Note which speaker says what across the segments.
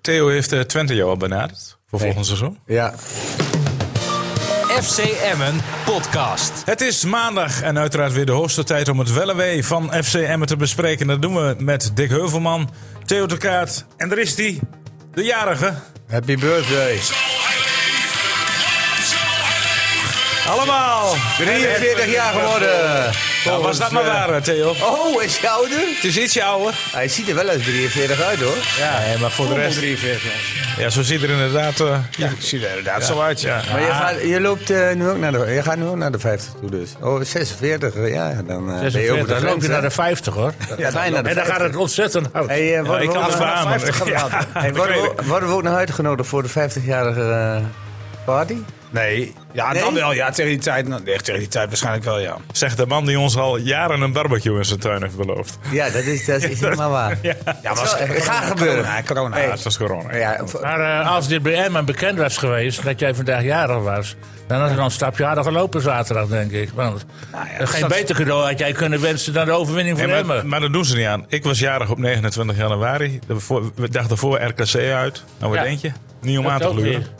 Speaker 1: Theo, heeft eh, Twente jou al benaderd voor
Speaker 2: Nee.
Speaker 1: volgend seizoen?
Speaker 2: Ja,
Speaker 3: FC Emmen podcast.
Speaker 1: Het is maandag en uiteraard weer de hoogste tijd om het wel en wee van FC Emmen te bespreken. Dat doen we met Dick Heuvelman, Theo de Kaat en daar is die, de jarige.
Speaker 2: happy birthday.
Speaker 1: Allemaal!
Speaker 2: 43 jaar geworden.
Speaker 1: Nou, was dat maar waar, hè, Theo.
Speaker 2: Oh, is hij ouder?
Speaker 1: Het is ietsje ouder.
Speaker 2: Hij ziet er wel als 43 uit hoor.
Speaker 1: Ja, maar voor de rest...
Speaker 2: 43.
Speaker 1: Ja, zo ziet er inderdaad... eh,
Speaker 2: Ja, ik zie er inderdaad
Speaker 1: zo uit, ja.
Speaker 2: Maar je, gaat, je loopt eh, nu ook naar de, je gaat nu ook naar de 50 toe dus. Oh, 46, ja. Dan eh, ben je over
Speaker 4: 46,
Speaker 2: de
Speaker 4: dan loop
Speaker 2: grens,
Speaker 4: je
Speaker 2: hè?
Speaker 4: naar de 50 hoor.
Speaker 2: Ja, bijna de
Speaker 4: en dan
Speaker 2: 50.
Speaker 4: gaat het ontzettend hard.
Speaker 2: Hey, eh, worden
Speaker 1: ik
Speaker 2: we
Speaker 1: kan
Speaker 2: ook
Speaker 1: het
Speaker 2: nog-
Speaker 1: beamen.
Speaker 2: Ja.
Speaker 1: Ja,
Speaker 2: Hey,
Speaker 1: dat
Speaker 2: worden,
Speaker 1: weet
Speaker 2: we, ook- worden we ook nog uitgenodigd voor de 50-jarige eh, party?
Speaker 5: Nee. Ja,
Speaker 2: Nee?
Speaker 5: dan wel. Ja, tegen die tijd. nou, Nee, tegen die tijd waarschijnlijk wel, ja.
Speaker 1: Zegt de man die ons al jaren een barbecue in zijn tuin heeft beloofd.
Speaker 2: Ja, dat is, dat is helemaal waar. Ja, maar
Speaker 5: was-
Speaker 2: gaat gebeuren.
Speaker 5: eh, Corona, corona.
Speaker 1: Ja, Ah, het was corona.
Speaker 2: Ja, v-
Speaker 4: Maar eh, als dit bij Emmen bekend was geweest dat jij vandaag jarig was, dan had er al een stapje harder gelopen zaterdag, denk ik. Want
Speaker 5: Nou ja,
Speaker 4: eh,
Speaker 5: dus
Speaker 4: geen
Speaker 5: dat-
Speaker 4: beter cadeau had jij kunnen wensen dan de overwinning van
Speaker 1: Nee, maar,
Speaker 4: Emmen.
Speaker 1: maar dat doen ze niet aan. Ik was jarig op 29 januari. De voor- we dachten voor RKC uit. Nou, wat
Speaker 4: Ja.
Speaker 1: denk je? Niet om
Speaker 4: Dat
Speaker 1: aan te
Speaker 4: ook
Speaker 1: gluren.
Speaker 4: weer.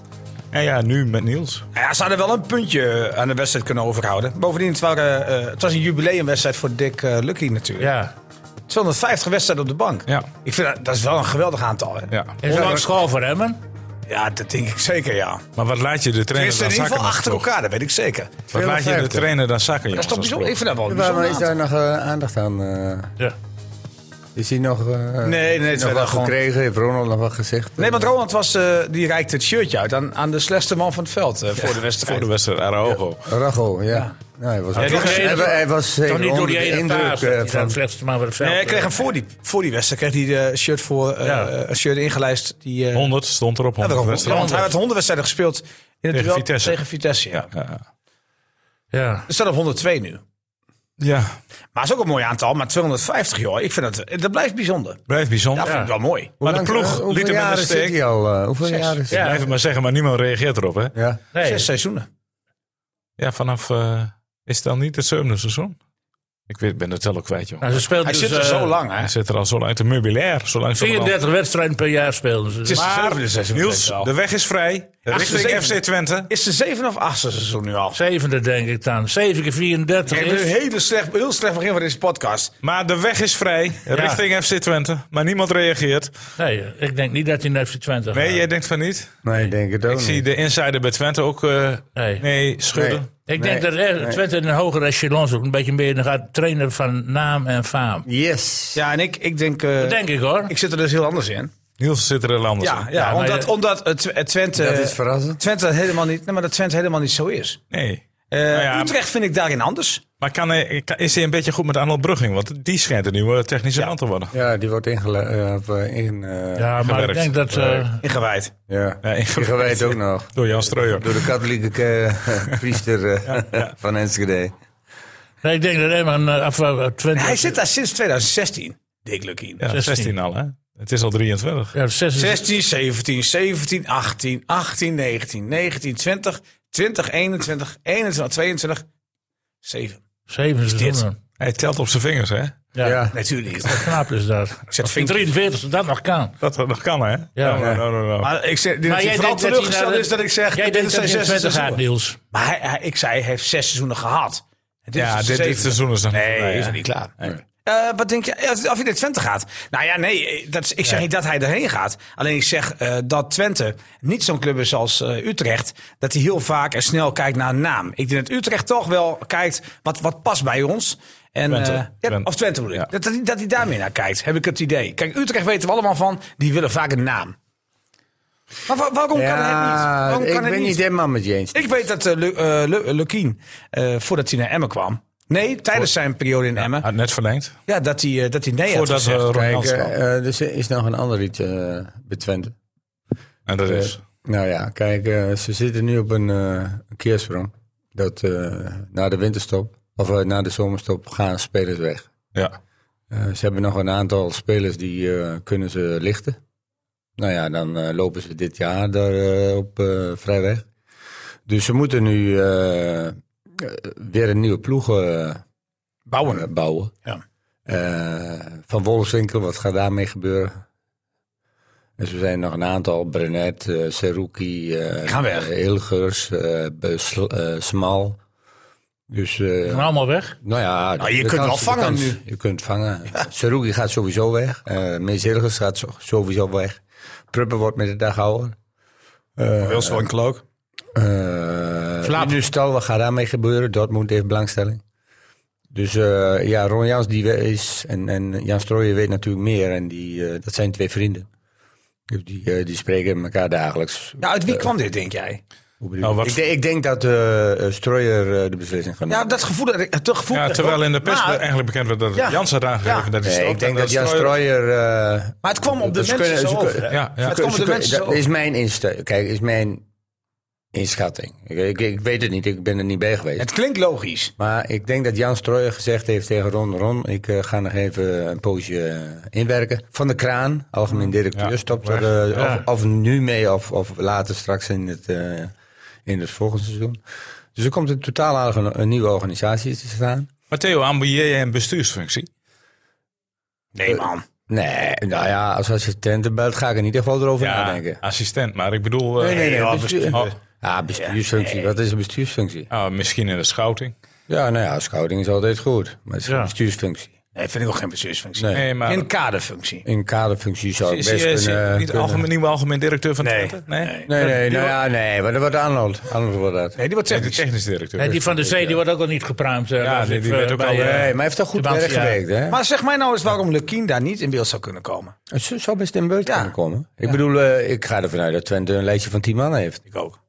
Speaker 1: En ja, nu met Niels.
Speaker 5: Ja, ze hadden wel een puntje eh, aan de wedstrijd kunnen overhouden. Bovendien, het, waren, eh, het was een jubileumwedstrijd voor Dick eh, Lucky natuurlijk.
Speaker 4: Ja.
Speaker 5: 250 wedstrijden op de bank.
Speaker 1: Ja.
Speaker 5: Ik vind dat, dat is wel een geweldig aantal. Hè?
Speaker 1: Ja.
Speaker 4: Is dat een school voor Emmen?
Speaker 5: Ja, dat denk ik zeker, ja.
Speaker 1: Maar wat laat je de
Speaker 5: Er
Speaker 1: trainer
Speaker 5: is
Speaker 1: dan
Speaker 5: in ieder
Speaker 1: zakken?
Speaker 5: geval
Speaker 1: als
Speaker 5: achter
Speaker 1: ploeg?
Speaker 5: elkaar, dat weet ik zeker.
Speaker 1: Wat laat je de
Speaker 2: 52.
Speaker 1: trainer dan zakken,
Speaker 5: Dat is
Speaker 1: jongens?
Speaker 5: toch
Speaker 1: als
Speaker 5: bijzonder?
Speaker 1: ploeg?
Speaker 5: Ik vind dat wel een
Speaker 2: waarom
Speaker 5: bijzonder
Speaker 2: is daar nog eh, aandacht aan? eh?
Speaker 4: Ja.
Speaker 2: Is hij nog. eh,
Speaker 5: nee,
Speaker 2: is hij
Speaker 5: het
Speaker 2: nog
Speaker 5: werd
Speaker 2: wat
Speaker 5: gewoon-
Speaker 2: gekregen? Heeft Ronald nog wat gezegd?
Speaker 5: Nee, want Roland was, eh, die reikte het shirtje uit aan, aan de slechtste man van het veld eh, voor de wedstrijd.
Speaker 1: Voor de wedstrijd Araujo.
Speaker 2: Rago, ja. Nou, hij was,
Speaker 1: Ja, die
Speaker 2: hij,
Speaker 4: ene-
Speaker 2: wa- hij was
Speaker 4: Toch
Speaker 2: zeker
Speaker 4: niet door
Speaker 2: onder
Speaker 4: die
Speaker 2: de
Speaker 4: ene taas.
Speaker 2: indruk eh,
Speaker 4: dat hij
Speaker 2: van.
Speaker 4: de slechtste man van het veld.
Speaker 5: Nee, hij kreeg hem voor die, voor die wedstrijd. Kreeg hij de shirt voor, eh,
Speaker 4: eh, Ja.
Speaker 5: een shirt ingelijst. Die, eh,
Speaker 1: 100 stond erop.
Speaker 5: ja,
Speaker 1: 100
Speaker 5: daarom. Ja,
Speaker 1: wedstrijden.
Speaker 5: want hij had 100 wedstrijden gespeeld in het
Speaker 1: Tegen
Speaker 5: duel
Speaker 1: Vitesse.
Speaker 5: tegen Vitesse. Ja.
Speaker 1: Ja.
Speaker 4: Ja.
Speaker 5: Er staat op 102 nu.
Speaker 1: ja,
Speaker 5: Maar het is ook een mooi aantal, maar 250 joh. Ik vind dat, dat blijft bijzonder.
Speaker 1: blijft bijzonder.
Speaker 5: Dat vind ik wel mooi.
Speaker 1: Maar de ploeg
Speaker 2: eh, hoeveel
Speaker 1: liet hem in
Speaker 2: jaren
Speaker 1: de
Speaker 2: zit
Speaker 1: steek.
Speaker 2: hij al? eh, hoeveel
Speaker 5: Zes.
Speaker 2: jaren zit
Speaker 4: Ja.
Speaker 2: hij?
Speaker 1: Blijf het maar zeggen, maar niemand reageert erop. Hè?
Speaker 2: Ja.
Speaker 4: Nee.
Speaker 5: Zes seizoenen.
Speaker 1: Ja, vanaf eh, is het dan niet het zevende seizoen? Ik weet, ben de tel ook kwijt, joh.
Speaker 4: Nou, ze speelt
Speaker 5: Hij
Speaker 4: dus,
Speaker 5: zit er
Speaker 4: eh,
Speaker 5: zo lang, hè?
Speaker 1: Hij zit er al zo lang uit de meubilair. Zo lang
Speaker 4: 34 wedstrijden per jaar speelden ze.
Speaker 5: is-
Speaker 1: Maar,
Speaker 5: Zevende seizoen
Speaker 1: Niels,
Speaker 5: denk ik al.
Speaker 1: de weg is vrij. Richting FC
Speaker 5: zevende.
Speaker 1: Twente.
Speaker 5: Is de zeven of achtste seizoen nu al?
Speaker 4: Zevende denk ik dan. 7 keer 34
Speaker 5: Ik heb een
Speaker 4: is...
Speaker 5: hele slecht, heel slecht begin van deze podcast.
Speaker 1: Maar de weg is vrij. Richting FC Twente. Maar niemand reageert.
Speaker 4: Nee, ik denk niet dat hij naar FC Twente gaat.
Speaker 1: Nee, jij denkt van niet.
Speaker 2: Nee, ik denk het ook
Speaker 1: Ik zie
Speaker 2: niet.
Speaker 1: de insider bij Twente ook eh,
Speaker 4: Nee.
Speaker 1: nee schudden.
Speaker 4: Ik denk
Speaker 2: Nee,
Speaker 4: dat eh,
Speaker 2: nee.
Speaker 4: Twente in een hogere echelon zoekt. Een beetje meer dan gaat trainen van naam en faam.
Speaker 2: Yes.
Speaker 5: Ja, en ik, ik denk... eh,
Speaker 4: Dat denk ik hoor.
Speaker 5: ik zit er dus heel anders in.
Speaker 1: Niels zit er heel anders
Speaker 5: Ja, ja,
Speaker 1: in.
Speaker 4: maar
Speaker 5: omdat,
Speaker 4: je-
Speaker 5: omdat eh, Tw- eh, Twente...
Speaker 2: Dat is verrassend.
Speaker 5: Twente helemaal niet, nee, maar dat Twente helemaal niet zo is.
Speaker 1: Nee.
Speaker 5: Eh,
Speaker 1: Nou ja,
Speaker 5: Utrecht vind ik daarin anders.
Speaker 1: Maar kan hij, kan- is hij een beetje goed met Arnold Brugging? Want die schijnt een nieuwe technische man te worden.
Speaker 2: Ja, die wordt ingele... eh, of, eh, in, eh, ja.
Speaker 4: Ja, maar
Speaker 1: gewerkt.
Speaker 4: ik denk dat... eh,
Speaker 5: Ingewijd.
Speaker 1: Ja,
Speaker 2: Die
Speaker 1: ingewikkeld.
Speaker 2: gewijd ook nog.
Speaker 1: Door Jan Streuer.
Speaker 2: Door de katholieke eh, priester eh, van Enschede.
Speaker 4: nee, ik denk dat Emmen... eh, Of, eh, Twente...
Speaker 5: Hij zit daar sinds 2016, Dick Lukien.
Speaker 1: Ja, 16.
Speaker 4: 16
Speaker 1: al, hè? Het is al 23.
Speaker 4: Ja, 26.
Speaker 5: 16, 17, 17, 18, 18, 19, 19, 20, 20, 21, 21, 22, 7.
Speaker 4: 7 seizoenen.
Speaker 1: Hij telt op zijn vingers, hè?
Speaker 4: Ja,
Speaker 2: Ja.
Speaker 5: Natuurlijk niet.
Speaker 4: knap is dat.
Speaker 5: zet
Speaker 4: Als die
Speaker 5: vinkjes.
Speaker 4: 43 dat nog kan.
Speaker 1: Dat dat nog kan, hè?
Speaker 4: Ja.
Speaker 1: Nou, nou, nou, nou.
Speaker 5: Maar ik zeg, dit
Speaker 4: Maar
Speaker 5: is
Speaker 4: jij
Speaker 5: vooral
Speaker 4: denkt dat hij
Speaker 5: teleurgesteld
Speaker 4: naar de-
Speaker 5: is dat ik zeg,
Speaker 4: Jij
Speaker 5: dit
Speaker 4: denkt
Speaker 5: is
Speaker 4: dat
Speaker 5: zijn
Speaker 4: hij naar
Speaker 5: zesde seizoen.
Speaker 4: Twente gaat, Niels.
Speaker 5: Maar hij, hij- ik zei, hij heeft zes seizoenen gehad. En dit
Speaker 1: ja,
Speaker 5: is
Speaker 1: dit,
Speaker 5: zijn
Speaker 1: dit
Speaker 5: zevende.
Speaker 1: seizoen is nog niet
Speaker 5: Nee,
Speaker 1: voorbij,
Speaker 5: is
Speaker 1: hè?
Speaker 5: er niet klaar. Eh, wat denk je, ja, of hij naar Twente gaat? Nou ja, nee, eh, dat, is- ik zeg niet dat hij erheen gaat. Alleen ik zeg eh, dat Twente niet zo'n club is als eh, Utrecht. Dat hij heel vaak en snel kijkt naar een naam. Ik denk dat Utrecht toch wel kijkt wat, wat past bij ons. En,
Speaker 1: Twente.
Speaker 5: eh, ja,
Speaker 1: Twente.
Speaker 5: Of Twente bedoel ik.
Speaker 1: Ja.
Speaker 5: Dat, dat, hij- dat hij daarmee naar kijkt, heb ik het idee. Kijk, Utrecht weten we allemaal van, die willen vaak een naam. Maar wa- waarom kan het niet? Waarom
Speaker 2: ik
Speaker 5: kan het
Speaker 2: ben niet helemaal met je eens.
Speaker 5: ik weet dat eh, Lu- eh, Lu- Lukien, eh, voordat hij naar Emmen kwam... Nee, tijdens zijn periode in Emmen.
Speaker 1: Had net verlengd.
Speaker 5: Ja, dat hij, eh, dat hij nee had
Speaker 1: Voordat we
Speaker 5: gezegd.
Speaker 2: Kijk,
Speaker 1: Ronald kwam.
Speaker 2: eh, eh, dus er is nog een ander iets eh bij Twente.
Speaker 1: En dat is.
Speaker 2: Nou ja, kijk, eh, ze zitten nu op een eh, een keersprong. Dat eh, na de winterstop, of eh, na de zomerstop, gaan spelers weg.
Speaker 1: Ja.
Speaker 2: Eh, ze hebben nog een aantal spelers die eh, kunnen ze lichten. Nou ja, dan eh, lopen ze dit jaar daar eh, op eh, vrij weg. Dus ze moeten nu eh, eh, weer een nieuwe ploeg eh,
Speaker 5: Bouwen.
Speaker 2: eh, bouwen.
Speaker 5: Ja.
Speaker 2: Eh, van Wolfswinkel, wat gaat daarmee gebeuren? Dus er zijn nog een aantal, Brenet, eh Seruki, eh,
Speaker 5: gaan weg.
Speaker 2: eh, Hilgers, eh, Beusl- eh, Smal. Dus, eh,
Speaker 4: Gaan allemaal weg.
Speaker 2: nou ja,
Speaker 5: je
Speaker 2: de
Speaker 5: kunt wel
Speaker 2: de
Speaker 5: vangen
Speaker 2: kans-
Speaker 5: nu.
Speaker 2: Je kunt vangen. Seruki gaat sowieso weg. Eh Mees Hilgers gaat zo- sowieso weg. Pruppen wordt met de dag ouder. Eh,
Speaker 5: Wilson en Klook.
Speaker 2: Uh, nu stel, wat gaat daarmee gebeuren? Dortmund heeft belangstelling. Dus eh, ja, Ron Jans die we- is en, en Jan Strooijen weet natuurlijk meer. En die, eh, dat zijn twee vrienden. Dus Die, eh, die spreken elkaar dagelijks.
Speaker 5: Ja, uit wie kwam dit, denk jij?
Speaker 2: Hoe bedoel
Speaker 1: Nou,
Speaker 2: je?
Speaker 1: wat-
Speaker 2: ik, denk- ik denk dat eh eh, Strooijer eh, de beslissing gaat
Speaker 5: Ja,
Speaker 2: nemen.
Speaker 5: dat gevoel. dat ik- Het gevoel
Speaker 1: Ja,
Speaker 5: dat-
Speaker 1: terwijl in de pers
Speaker 5: Maar-
Speaker 1: eigenlijk bekend werd dat
Speaker 5: Ja.
Speaker 1: Jans had aangegeven
Speaker 5: Ja.
Speaker 1: Dus dat hij
Speaker 2: Nee,
Speaker 1: stopt.
Speaker 2: ik denk
Speaker 1: en
Speaker 2: dat Jan
Speaker 1: Strooijer-
Speaker 2: Strooijer... eh,
Speaker 5: Maar het kwam op de
Speaker 2: Ze
Speaker 5: mensen
Speaker 2: kunnen-
Speaker 5: zo
Speaker 2: ze
Speaker 5: over.
Speaker 2: kunnen-
Speaker 5: hè?
Speaker 1: Ja, ja.
Speaker 5: Het kwam op de
Speaker 2: Ze-
Speaker 5: mensen zo
Speaker 2: dat
Speaker 5: over.
Speaker 2: is mijn instelling. Kijk, is mijn inschatting. Ik, ik, ik weet het niet, ik ben er niet bij geweest.
Speaker 5: Het klinkt logisch.
Speaker 2: Maar ik denk dat Jan Strooijer gezegd heeft tegen Ron... Ron, ik eh, ga nog even een poosje eh, inwerken. Van de Kraan, algemeen directeur,
Speaker 1: Ja,
Speaker 2: stopt
Speaker 1: weg.
Speaker 2: er... eh,
Speaker 4: Ja.
Speaker 2: of, of nu mee, of, of later straks in het, eh, in het volgende seizoen. Dus er komt een totaal aardige- een, nieuwe organisatie te staan.
Speaker 1: Maar Theo, ambieer jij een bestuursfunctie?
Speaker 5: Nee, man.
Speaker 2: Nee, nou ja, als assistent belt ga ik in ieder geval erover nadenken.
Speaker 1: assistent. Maar ik bedoel, eh,
Speaker 5: ja,
Speaker 2: bestuur-
Speaker 1: bestuur-
Speaker 2: Ah, bestuursfunctie. Wat is een bestuursfunctie?
Speaker 1: ah, misschien in de schouting.
Speaker 2: Ja, nou ja, scouting is altijd goed. Maar het is geen
Speaker 4: Ja.
Speaker 2: bestuursfunctie.
Speaker 5: Nee, vind ik ook geen bestuursfunctie.
Speaker 2: Nee.
Speaker 1: Nee, maar...
Speaker 5: Een kaderfunctie.
Speaker 2: In kaderfunctie zou ik
Speaker 1: is
Speaker 2: best
Speaker 1: hij, is hij
Speaker 2: kunnen...
Speaker 1: niet de
Speaker 2: kunnen-
Speaker 1: algemeen, nieuwe algemeen directeur van
Speaker 5: Nee.
Speaker 1: Twente? Nee. nee.
Speaker 2: Nee, nee, nou ja, nee. Wat wordt Arnold? Arnold wordt dat.
Speaker 5: Nee, die wordt
Speaker 1: de
Speaker 5: technisch.
Speaker 1: technisch directeur.
Speaker 4: Hè, die van de Zee die wordt ook al niet gepruimd. eh,
Speaker 1: Ja,
Speaker 4: las
Speaker 1: die-
Speaker 4: ik,
Speaker 1: die
Speaker 4: eh,
Speaker 1: werd ook
Speaker 4: bij,
Speaker 1: al,
Speaker 4: eh,
Speaker 1: eh,
Speaker 2: Nee, maar hij heeft toch goed
Speaker 4: De Bansia.
Speaker 2: werk gewerkt, hè?
Speaker 5: Maar zeg mij nou eens waarom Lukien daar niet in beeld zou kunnen komen.
Speaker 2: Het zou zou best in beeld
Speaker 5: Ja.
Speaker 2: kunnen komen. Ik bedoel, eh, ik ga ervan uit dat Twente een lijstje van tien mannen heeft.
Speaker 5: Ik ook.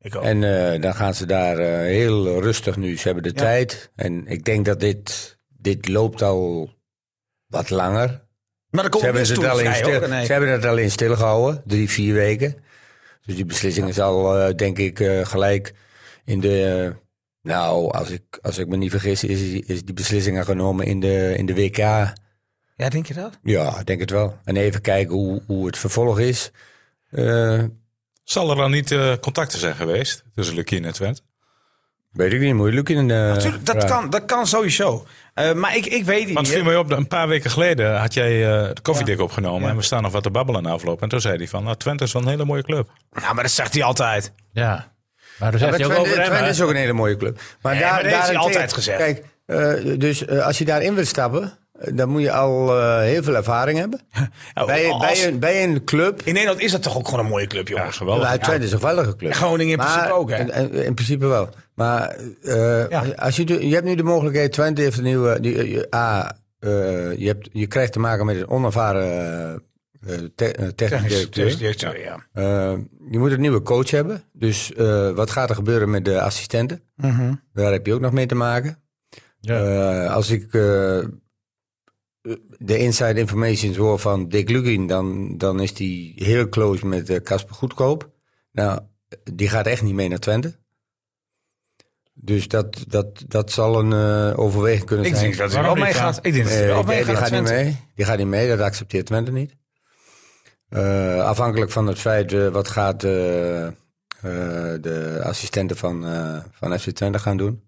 Speaker 5: Ik ook.
Speaker 2: En eh, dan gaan ze daar eh, heel rustig nu. Ze hebben de tijd. En ik denk dat dit, dit loopt al wat langer.
Speaker 5: maar er komt
Speaker 2: Ze hebben,
Speaker 5: niks
Speaker 2: het
Speaker 5: toe
Speaker 2: al in
Speaker 5: vrij,
Speaker 2: stil,
Speaker 5: hoor. Nee.
Speaker 2: ze hebben het alleen stilgehouden, drie, vier weken. Dus die beslissing is al, eh, denk ik, eh, gelijk in de. eh, nou, als ik, als ik me niet vergis, is, is die beslissing al genomen in de, in de WK.
Speaker 5: Ja, denk je dat?
Speaker 2: Ja, ik denk het wel. En even kijken hoe, hoe het vervolg is. Eh,
Speaker 1: Zal er dan niet eh, contacten zijn geweest tussen Lukien en Twente?
Speaker 2: weet ik niet, moeilijk in een. eh,
Speaker 5: Tuurlijk, dat, kan, dat kan sowieso. Eh, maar ik, ik weet het
Speaker 1: Want het
Speaker 5: niet.
Speaker 1: viel
Speaker 5: hè.
Speaker 1: mij op, dat een paar weken geleden had jij eh de koffiedik opgenomen. En we staan nog wat te babbelen na afloop. En toen zei hij van, nou, Twente is wel een hele mooie club.
Speaker 5: Nou, maar dat zegt hij altijd.
Speaker 4: Ja. Maar daar zegt hij ook
Speaker 2: Twente,
Speaker 4: over hem,
Speaker 2: Twente
Speaker 4: hè?
Speaker 2: is ook een hele mooie club. Maar
Speaker 5: Nee, maar dat heeft hij
Speaker 2: daarentegen-
Speaker 5: altijd gezegd.
Speaker 2: Kijk, eh, dus eh, als je daarin wilt stappen, eh, dan moet je al eh, heel veel ervaring hebben.
Speaker 5: Nou,
Speaker 2: bij,
Speaker 5: als-
Speaker 2: bij, een, bij een club.
Speaker 5: In Nederland is dat toch ook gewoon een mooie club, jongens.
Speaker 1: Geweldig.
Speaker 2: Nou, Twente is een veilige club.
Speaker 5: Groningen in principe ook, hè?
Speaker 2: In, in- in principe wel. Maar eh,
Speaker 5: Ja.
Speaker 2: als je, de- je hebt nu de mogelijkheid, Twente heeft een nieuwe... Die, eh, je- A, eh, je, hebt, je krijgt te maken met een onervaren eh, eh, te- eh, technisch
Speaker 5: Technisch dus
Speaker 2: directeur.
Speaker 5: directeur, ja.
Speaker 2: Eh, je moet een nieuwe coach hebben. Dus eh, wat gaat er gebeuren met de assistenten? Daar heb je ook nog mee te maken. Eh, als ik eh, de inside informations hoor van Dick Lugin, dan, dan is die heel close met eh, Casper Goedkoop. Nou, die gaat echt niet mee naar Twente. Dus dat, dat, dat zal een eh, overweging kunnen
Speaker 5: Ik
Speaker 2: zijn.
Speaker 5: denk dat hij wel
Speaker 4: Waarom
Speaker 5: mee
Speaker 4: niet,
Speaker 5: gaat. Ik denk dat hij
Speaker 2: Eh,
Speaker 5: wel
Speaker 2: die,
Speaker 5: mee
Speaker 2: die
Speaker 5: gaat.
Speaker 2: gaat niet
Speaker 5: Twente.
Speaker 2: mee. Die gaat niet mee, dat accepteert Twente niet. Eh, afhankelijk van het feit eh, wat gaat eh, eh, de assistenten van, eh, van FC Twente gaan doen.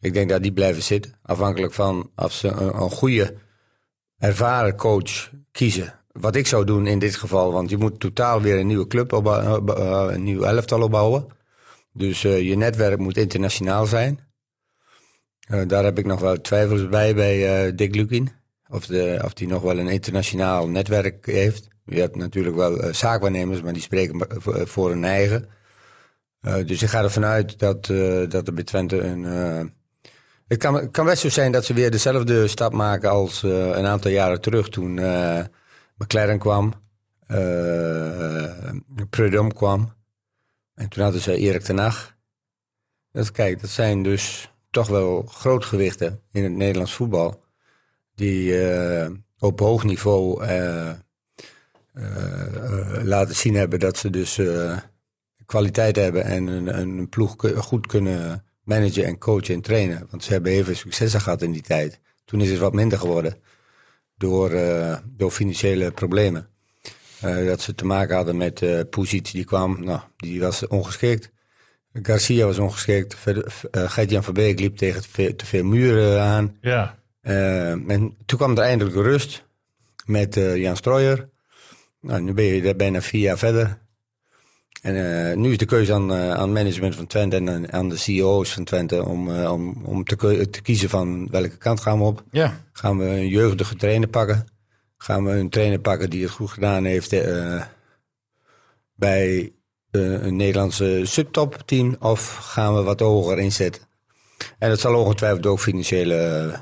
Speaker 2: Ik denk dat die blijven zitten. Afhankelijk van of ze een, een goede, ervaren coach kiezen. Wat ik zou doen in dit geval, want je moet totaal weer een nieuwe club, opbou- eh, een nieuw elftal opbouwen. Dus eh, je netwerk moet internationaal zijn. Eh, daar heb ik nog wel twijfels bij, bij eh Dick Lukin. Of, de, of die nog wel een internationaal netwerk heeft. Je hebt natuurlijk wel eh, zaakwaarnemers, maar die spreken maar voor- voor hun eigen. Eh, dus ik ga ervan uit dat, eh, dat er bij Twente een... eh, het kan, het kan best zo zijn dat ze weer dezelfde stap maken als eh, een aantal jaren terug toen eh McLaren kwam. eh Prudhomme kwam. En toen hadden ze Erik ten Hag. Dat, kijk, dat zijn dus toch wel grootgewichten in het Nederlands voetbal. Die eh, op hoog niveau eh, eh, eh, laten zien hebben dat ze dus eh, kwaliteit hebben en een, een ploeg ku- goed kunnen managen en coachen en trainen. Want ze hebben heel veel successen gehad in die tijd. Toen is het wat minder geworden door, eh, door financiële problemen. Eh, dat ze te maken hadden met eh Pusic, die kwam, nou, die was ongeschikt. Garcia was ongeschikt. Verder- eh, Gert-Jan Verbeek liep tegen te veel, te veel muren aan.
Speaker 4: Ja.
Speaker 2: Eh, en toen kwam er eindelijk rust met eh, Jan Strooijer. Nou, nu ben je daar bijna vier jaar verder. En eh, nu is de keuze aan, eh, aan het management van Twente en aan- aan de CEO's van Twente om, eh, om, om te, keu- te kiezen van welke kant gaan we op.
Speaker 6: Ja.
Speaker 2: Gaan we een jeugdige trainer pakken? Gaan we een trainer pakken die het goed gedaan heeft eh, bij eh, een Nederlandse subtopteam? Of gaan we wat hoger inzetten? En dat zal ongetwijfeld ook financiële eh,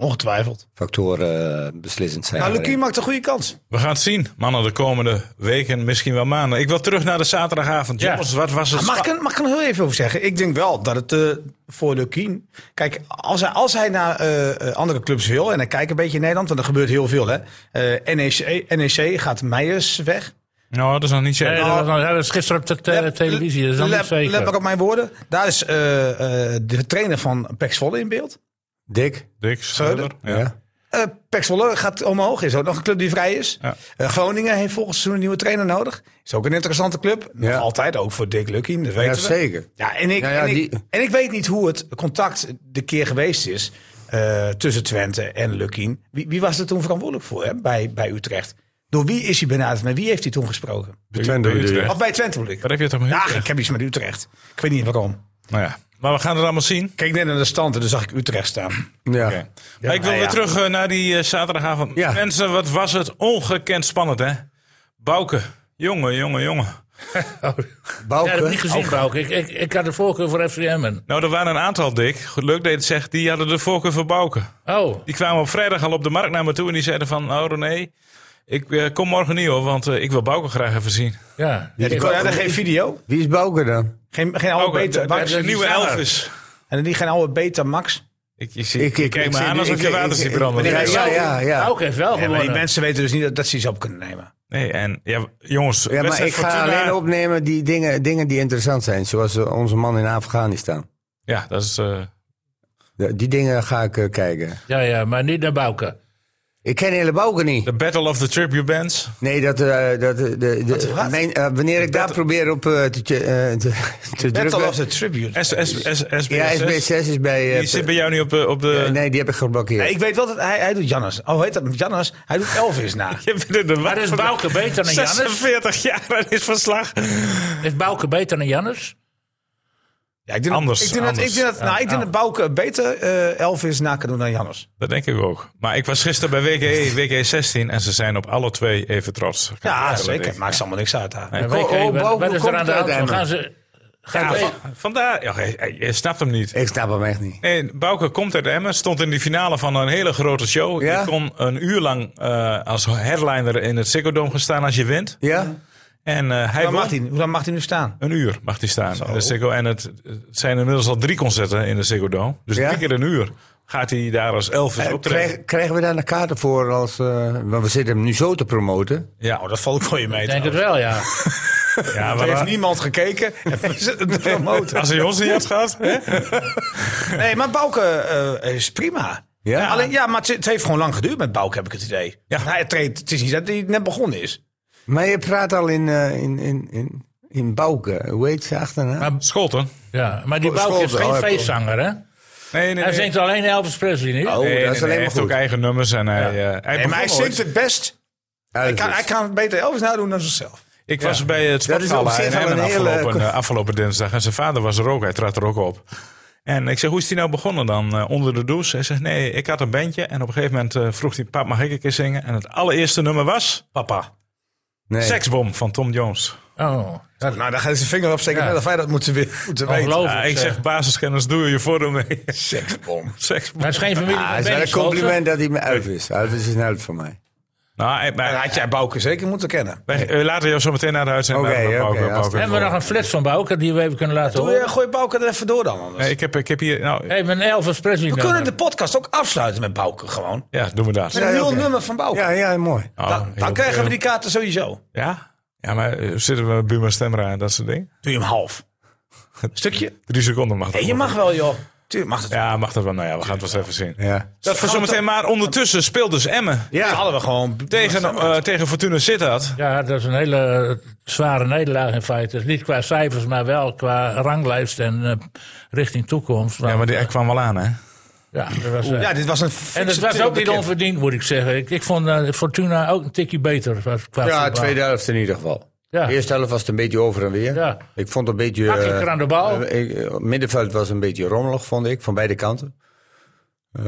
Speaker 6: Ongetwijfeld.
Speaker 2: factoren eh, beslissend zijn.
Speaker 5: Nou, Lucie
Speaker 2: daarin.
Speaker 5: maakt een goede kans.
Speaker 1: We gaan het zien, mannen, de komende weken, misschien wel maanden. Ik wil terug naar de zaterdagavond.
Speaker 4: Ja.
Speaker 1: Jongens, wat was het?
Speaker 5: Ah, Mag ik,
Speaker 1: spa-
Speaker 5: er- mag ik er nog heel even over zeggen? Ik denk wel dat het eh, voor Lukien... Kijk, als hij, als hij naar eh, eh, andere clubs wil... en hij kijkt een beetje in Nederland, want er gebeurt heel veel. Hè? Eh, NEC, NEC gaat Meijers weg.
Speaker 1: Nou, dat is nog niet zeker.
Speaker 4: Nee, dat, was, nog- dat is gisteren op de te-
Speaker 5: Lep-
Speaker 4: televisie. Dat is nog
Speaker 5: lep-
Speaker 4: niet zeker.
Speaker 5: Let maar op mijn woorden. Daar is eh, eh, de trainer van Pax Volle in beeld.
Speaker 2: Dick?
Speaker 1: Dick Schreuder. Ja.
Speaker 2: Ja.
Speaker 5: Eh Pax Volle gaat omhoog. Is ook nog een club die vrij is.
Speaker 1: Ja.
Speaker 5: Eh, Groningen heeft volgend seizoen een nieuwe trainer nodig. Is ook een interessante club. Nog
Speaker 2: Ja.
Speaker 5: altijd, ook voor Dick Lukien. Dat weten
Speaker 2: Ja,
Speaker 5: we.
Speaker 2: zeker.
Speaker 5: Ja, en ik,
Speaker 2: Ja, ja,
Speaker 5: en, ik,
Speaker 2: die-
Speaker 5: en ik weet niet hoe het contact de keer geweest is eh, tussen Twente en Lukien. Wie, wie was er toen verantwoordelijk voor hè, bij, bij Utrecht? Door wie is hij benaderd? Met wie heeft hij toen gesproken?
Speaker 2: Twente
Speaker 1: Utrecht.
Speaker 2: bedoel je?
Speaker 5: Of bij Twente bedoel ik.
Speaker 1: Wat heb je toch mee?
Speaker 5: Ja, ik heb iets met Utrecht. Ik weet niet waarom.
Speaker 1: Nou ja. Maar we gaan het allemaal zien.
Speaker 5: Kijk net naar de stand en dan zag ik Utrecht staan.
Speaker 2: Ja.
Speaker 1: Oké. Maar ik wil
Speaker 5: ja,
Speaker 1: weer
Speaker 5: ja.
Speaker 1: terug eh, naar die eh, zaterdagavond.
Speaker 2: Ja.
Speaker 1: Mensen, wat was het ongekend spannend, hè? Bouke. Jongen, jongen, jongen.
Speaker 4: Ja, dat heb ik niet
Speaker 2: Bouke?
Speaker 4: gezien, Bouke. Ik, ik, ik had de voorkeur voor FCM'en.
Speaker 1: Nou, er waren een aantal, Dick. Goed, Leuk dat je het zegt. Die hadden de voorkeur voor Bouke.
Speaker 4: Oh,
Speaker 1: Die kwamen op vrijdag al op de markt naar me toe en die zeiden van... Oh, René, ik eh, kom morgen niet, hoor, want eh, ik wil Bouke graag even zien.
Speaker 4: ja.
Speaker 5: Ja, die hadden geen video.
Speaker 2: Wie is Bouke dan?
Speaker 5: Geen, geen oude
Speaker 1: Bouke,
Speaker 5: beta
Speaker 1: de, de,
Speaker 5: Max.
Speaker 1: de nieuwe
Speaker 4: sneller.
Speaker 1: Elvis.
Speaker 5: En die geen oude beta Max.
Speaker 1: Ik, je ziet- je kijkt me
Speaker 2: zie-
Speaker 1: aan alsof
Speaker 2: ik-
Speaker 1: je
Speaker 2: ik-
Speaker 1: water
Speaker 2: ik-
Speaker 1: ziet branden.
Speaker 2: Ja, ja, ja. ja.
Speaker 4: Bouke heeft wel
Speaker 5: Ja, maar die
Speaker 4: gewonnen.
Speaker 5: mensen weten dus niet dat, dat ze iets op kunnen nemen.
Speaker 1: Nee, en ja, jongens,
Speaker 2: Ja, maar
Speaker 1: wedstrijd
Speaker 2: ik ga
Speaker 1: Fortuna-
Speaker 2: alleen opnemen die dingen, dingen die interessant zijn. Zoals eh, onze man in Afghanistan.
Speaker 1: Ja, dat is... eh,
Speaker 2: De- Die dingen ga ik eh, kijken.
Speaker 4: Ja, ja, maar niet naar Bouke.
Speaker 2: Ik ken hele Bouke niet.
Speaker 1: The Battle of the Tribute Bands.
Speaker 2: Nee, dat, eh, dat, eh, de, de,
Speaker 5: wat?
Speaker 2: mijn, eh, wanneer ik daar probeer op eh, te, eh, te, te
Speaker 5: Battle
Speaker 2: drukken.
Speaker 5: of the Tribute.
Speaker 1: S, S, S, SBS.
Speaker 2: Ja, SB6 is bij... eh,
Speaker 1: Die zit bij jou niet op de... Op de...
Speaker 2: eh, nee, die heb ik geblokkeerd.
Speaker 5: Ja, ik weet wel dat hij, hij doet Jannes. Oh, heet dat Jannes? Hij doet Elvis na.
Speaker 1: Je bent in de
Speaker 4: Maar
Speaker 1: war
Speaker 4: is
Speaker 1: van de-
Speaker 4: Bouke beter dan Jannes?
Speaker 1: 46 jaar aan dit verslag.
Speaker 4: Is Bouke beter dan Jannes?
Speaker 5: Ja, ik denk
Speaker 1: Anders,
Speaker 5: Dat, ik denk dat, ik
Speaker 1: anders.
Speaker 5: denk dat, nou, ik denk dat Bouke beter eh, Elvis na kan doen dan Jannes.
Speaker 1: Dat denk ik ook. Maar ik was gisteren bij E, WGE, WGE 16 en ze zijn op alle twee even trots. Kan ik
Speaker 5: Ja,
Speaker 1: vertellen, denk
Speaker 5: zeker.
Speaker 1: ik.
Speaker 5: Maakt allemaal niks uit daar.
Speaker 4: En
Speaker 2: oh,
Speaker 4: weet je, wat-
Speaker 2: Bouke,
Speaker 4: wat is
Speaker 2: komt
Speaker 4: er aan de
Speaker 2: uit
Speaker 4: hand?
Speaker 2: Emmen.
Speaker 4: Gaan ze... Gaan
Speaker 1: Ja,
Speaker 4: ze-
Speaker 1: van- vandaar. Ja, je, je- je snapt hem niet.
Speaker 2: Ik snap hem echt niet.
Speaker 1: Nee, Bouke komt uit Emmen, stond in de finale van een hele grote show.
Speaker 2: Ja?
Speaker 1: Je kon een uur lang eh, als headliner in het Ziggo Dome gaan staan als je wint.
Speaker 2: Ja?
Speaker 1: En eh, hij
Speaker 5: Hoe lang,
Speaker 1: won.
Speaker 5: mag hij, hoe lang mag hij nu staan?
Speaker 1: Een uur mag die staan in de Ziggo. En het, het zijn inmiddels al drie concerten in de Ziggo Dome. Dus
Speaker 2: Ja?
Speaker 1: drie keer een uur gaat hij daar als Elvis
Speaker 2: Eh,
Speaker 1: optreden.
Speaker 2: krijg- krijgen we daar een kaarten voor als... eh, want we zitten hem nu zo te promoten.
Speaker 1: Ja,
Speaker 5: Nou, dat valt voor je mee.
Speaker 4: Ik denk het
Speaker 5: trouwens.
Speaker 4: wel, ja.
Speaker 1: ja
Speaker 5: Er heeft
Speaker 1: maar,
Speaker 5: niemand gekeken. En we zitten te promoten.
Speaker 1: als hij ons niet had gehad. hè?
Speaker 5: Nee, maar Bouke eh, is prima.
Speaker 2: Ja?
Speaker 5: Alleen, ja, maar het, het heeft gewoon lang geduurd met Bouke, heb ik het idee.
Speaker 1: Ja.
Speaker 5: Hij treedt, het is niet dat hij net begonnen is.
Speaker 2: Maar je praat al in, eh, in, in, in, in Bouke. Hoe heet ze achterna?
Speaker 1: Scholten.
Speaker 4: ja. Maar die
Speaker 2: Oh,
Speaker 4: Bouke is
Speaker 2: Scholten, oh,
Speaker 4: geen
Speaker 2: heb ik ook.
Speaker 4: feestzanger, hè?
Speaker 1: Nee, nee,
Speaker 4: Hij zingt alleen Elvis Presley nu.
Speaker 2: Oh,
Speaker 1: nee,
Speaker 2: dat is
Speaker 1: nee,
Speaker 2: alleen
Speaker 1: hij
Speaker 2: maar
Speaker 1: heeft
Speaker 2: goed.
Speaker 1: ook eigen nummers en hij, eh, hij
Speaker 5: En
Speaker 1: begon
Speaker 5: maar hij
Speaker 1: ooit-
Speaker 5: zingt het best. Hij kan, hij kan het beter Elvis nadoen dan zichzelf.
Speaker 1: Ik was bij het
Speaker 2: Dat is op
Speaker 1: sportgala
Speaker 2: zich
Speaker 1: in
Speaker 2: wel
Speaker 1: Emmen
Speaker 2: een hele-
Speaker 1: afgelopen, eh, afgelopen dinsdag. En zijn vader was er ook, hij trad er ook op. En ik zeg, hoe is die nou begonnen dan? Eh, onder de douche? Hij zegt, nee, ik had een bandje. En op een gegeven moment eh, vroeg hij, pap, mag ik een keer zingen? En het allereerste nummer was
Speaker 5: Papa.
Speaker 2: Nee.
Speaker 1: Seksbom van Tom Jones.
Speaker 4: Oh, dat
Speaker 5: Nou, daar gaat hij zijn vinger op steken.
Speaker 4: Ja.
Speaker 5: Net of wij dat moeten, we- moeten weten.
Speaker 4: ongelooflijk.
Speaker 1: Ja, ah, ik zeg, basiskennis, doe je voordeel mee.
Speaker 5: Seksbom.
Speaker 1: Seksbom.
Speaker 4: Maar het is geen familie
Speaker 2: Ah,
Speaker 4: van
Speaker 2: het is wel
Speaker 4: Benny
Speaker 2: een
Speaker 4: Scholten.
Speaker 2: compliment dat hij me uit is. Uit is een helft van mij.
Speaker 1: Nou, hij- maar-
Speaker 5: En had jij Bouke zeker moeten kennen.
Speaker 1: wij- we laten jou zo meteen naar de uitzending.
Speaker 2: Oké,
Speaker 1: laten we
Speaker 2: oké,
Speaker 1: Bouke-
Speaker 2: als-
Speaker 1: Bouke
Speaker 4: Hebben we nog
Speaker 1: horen.
Speaker 4: een flits van Bouke die we even kunnen laten
Speaker 5: Doe, eh,
Speaker 4: horen?
Speaker 5: gooi Bouke er even door dan anders.
Speaker 1: Nee, ik, heb, ik heb hier... Nou,
Speaker 4: Even een Elvis Presley nou,
Speaker 5: we kunnen de
Speaker 4: nummer.
Speaker 5: podcast ook afsluiten met Bouke gewoon.
Speaker 1: ja, doen we dat.
Speaker 5: Met een
Speaker 2: Ja,
Speaker 5: heel
Speaker 2: oké.
Speaker 5: nummer van Bouke.
Speaker 2: Ja, ja, mooi.
Speaker 1: Oh,
Speaker 5: dan dan
Speaker 1: heel-
Speaker 5: krijgen we die kaarten sowieso.
Speaker 1: Ja? Ja, maar eh, zitten we met Buma Stemra en dat soort dingen?
Speaker 5: Doe je hem half. Een stukje?
Speaker 1: Drie seconden mag dat.
Speaker 5: Nee, je mag wel joh. Tuurlijk mag het.
Speaker 1: Ja, mag dat wel. Nou ja, we gaan het wel eens even zien.
Speaker 2: Ja.
Speaker 1: Dat voor zometeen. Maar ondertussen speelt dus Emmen
Speaker 5: Dat
Speaker 2: Ja.
Speaker 5: hadden we gewoon.
Speaker 1: tegen, eh, tegen Fortuna Sittard.
Speaker 4: Ja, dat is een hele eh, zware nederlaag in feite. Dus niet qua cijfers, maar wel qua ranglijst en eh, richting toekomst.
Speaker 1: Ja, maar die, hij kwam wel aan, hè?
Speaker 4: Ja, dat was, eh,
Speaker 5: Ja, dit was een
Speaker 4: en het
Speaker 5: fikse
Speaker 4: was ook niet
Speaker 5: trilbekend.
Speaker 4: onverdiend, moet ik zeggen. Ik, ik vond eh, Fortuna ook een tikje beter. Qua qua
Speaker 2: Ja,
Speaker 4: voetbal.
Speaker 2: tweede helft in ieder geval.
Speaker 4: Ja.
Speaker 2: De eerste helft was het een beetje over en weer.
Speaker 4: Ja.
Speaker 2: Ik vond het een beetje...
Speaker 4: Makkelijker
Speaker 2: eh,
Speaker 4: aan de bal.
Speaker 2: eh, ik- eh, middenveld was een beetje rommelig, vond ik, van beide kanten. Eh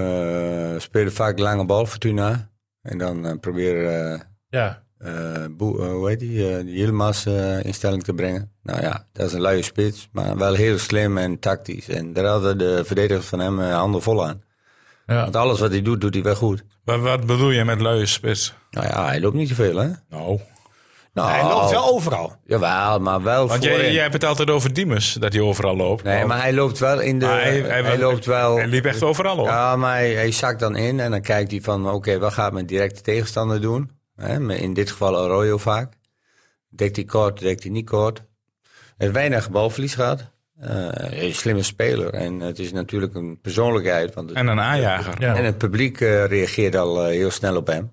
Speaker 2: speelde vaak lange bal, Fortuna. En dan eh, proberen eh,
Speaker 4: Ja.
Speaker 2: eh, Boe- eh, hoe heet die, eh, die Yilmaz eh, in stelling te brengen. Nou ja, dat is een luie spits, maar wel heel slim en tactisch. En daar hadden de verdedigers van hem eh, handen vol aan.
Speaker 4: Ja.
Speaker 2: Want alles wat hij doet, doet hij wel goed.
Speaker 1: Wat, wat bedoel je met luie spits?
Speaker 2: Nou ja, hij loopt niet zoveel, hè?
Speaker 1: Nou,
Speaker 2: Nou,
Speaker 5: Hij loopt wel overal.
Speaker 2: Jawel, maar wel
Speaker 1: want
Speaker 2: voorin.
Speaker 1: jij, jij hebt het altijd over Diemers, dat hij overal loopt. Oh.
Speaker 2: Nee, maar hij loopt wel in de...
Speaker 1: Maar
Speaker 2: hij, loopt wel...
Speaker 1: Hij liep echt overal op.
Speaker 2: Ja, maar hij, hij zakt dan in en dan kijkt hij van... Oké, wat gaat mijn directe tegenstander doen? Hè, maar in dit geval Arroyo vaak. Dekt hij kort, dekt hij niet kort. Er is weinig balverlies gehad. Eh, hij is een slimme speler. En het is natuurlijk een persoonlijkheid. Want het-
Speaker 1: En een aanjager.
Speaker 4: Ja.
Speaker 2: en het publiek eh, reageert al eh, heel snel op hem.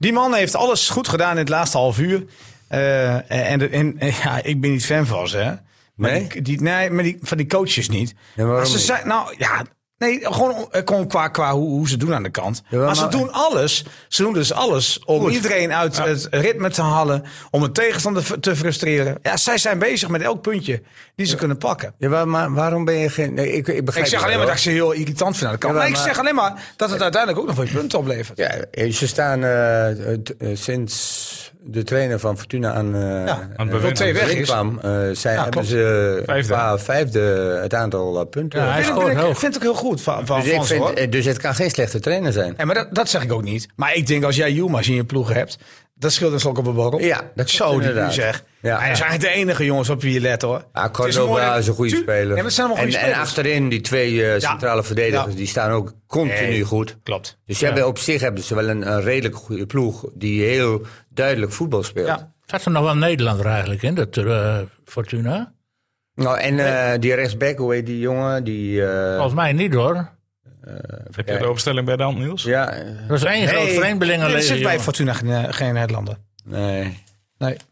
Speaker 5: Die man heeft alles goed gedaan in het laatste half uur. Eh, en de- en- en ja, ik ben niet fan van ze. hè. Maar
Speaker 2: Nee?
Speaker 5: Die, die- nee, maar die, van die coaches niet.
Speaker 2: Ja, waarom
Speaker 5: Maar ze
Speaker 2: niet?
Speaker 5: zijn, nou ja, nee, gewoon, eh, gewoon qua, qua hoe, hoe ze doen aan de kant.
Speaker 2: Ja, nou-
Speaker 5: maar,
Speaker 2: maar-
Speaker 5: ze doen alles. Ze doen dus alles om iedereen uit het ritme te halen. Om een tegenstander f- te frustreren. Ja, zij zijn bezig met elk puntje die ze kunnen pakken.
Speaker 2: Ja, maar- maar waarom ben je geen... Nee, ik, ik, begrijp
Speaker 5: Ik
Speaker 2: het
Speaker 5: zeg
Speaker 2: wel,
Speaker 5: alleen maar
Speaker 2: hoor.
Speaker 5: dat ik ze heel irritant vind aan de kant.
Speaker 2: Ja,
Speaker 5: maar,
Speaker 2: maar-
Speaker 5: ik zeg alleen maar dat het uiteindelijk ook nog weer punten oplevert.
Speaker 2: Ja, eh, ze staan eh, t- eh, sinds de trainer van Fortuna aan, eh
Speaker 5: aan
Speaker 1: het bewind.
Speaker 2: eh,
Speaker 5: Twee weg is.
Speaker 2: kwam, eh, zijn,
Speaker 5: Ja,
Speaker 2: hebben
Speaker 5: klopt.
Speaker 2: ze
Speaker 1: Vijfde.
Speaker 2: qua vijfde het aantal eh, punten.
Speaker 4: Ja, hij
Speaker 5: Ik
Speaker 4: is
Speaker 5: vind het-
Speaker 4: gewoon
Speaker 5: ik
Speaker 4: hoog.
Speaker 5: vind het ook heel goed van, van,
Speaker 2: dus, ik
Speaker 5: van ze,
Speaker 2: vind,
Speaker 5: hoor.
Speaker 2: eh, dus het kan geen slechte trainer zijn.
Speaker 5: Ja, maar dat, dat zeg ik ook niet. Maar ik denk als jij Jumas in je ploeg hebt, dat scheelt een slok op een borrel.
Speaker 2: Ja, dat klopt
Speaker 5: Zo die nu
Speaker 2: inderdaad.
Speaker 5: zeg.
Speaker 2: Ja.
Speaker 5: Hij is eigenlijk de enige jongens op wie je let hoor.
Speaker 2: Ah,
Speaker 5: Het is mooi
Speaker 2: Cordoba
Speaker 5: dat-
Speaker 2: is een goede
Speaker 5: Tu-
Speaker 2: speler.
Speaker 5: Ja, maar het zijn allemaal
Speaker 2: en,
Speaker 5: goede
Speaker 2: en
Speaker 5: spelers.
Speaker 2: achterin die twee eh, centrale verdedigers,
Speaker 5: Ja.
Speaker 2: die staan ook continu
Speaker 5: Nee.
Speaker 2: goed.
Speaker 5: Klopt.
Speaker 2: Dus ze hebben op zich hebben ze wel een, een redelijk goede ploeg die heel duidelijk voetbal speelt.
Speaker 5: Ja.
Speaker 4: Zat er nog wel een Nederlander eigenlijk in, dat eh, Fortuna?
Speaker 2: Nou, en eh, die rechtsback, hoe heet die jongen? Die,
Speaker 5: Oh.
Speaker 2: eh,
Speaker 4: Volgens mij niet hoor.
Speaker 1: Heb je de opstelling bij de hand, Niels?
Speaker 2: Ja, eh,
Speaker 4: Dat is één groot
Speaker 5: Nee, nee, er
Speaker 4: vreemdelingenleger.
Speaker 5: zit bij
Speaker 4: jongen.
Speaker 5: Fortuna geen, eh, geen Nederlander.
Speaker 2: nee.
Speaker 5: Nee.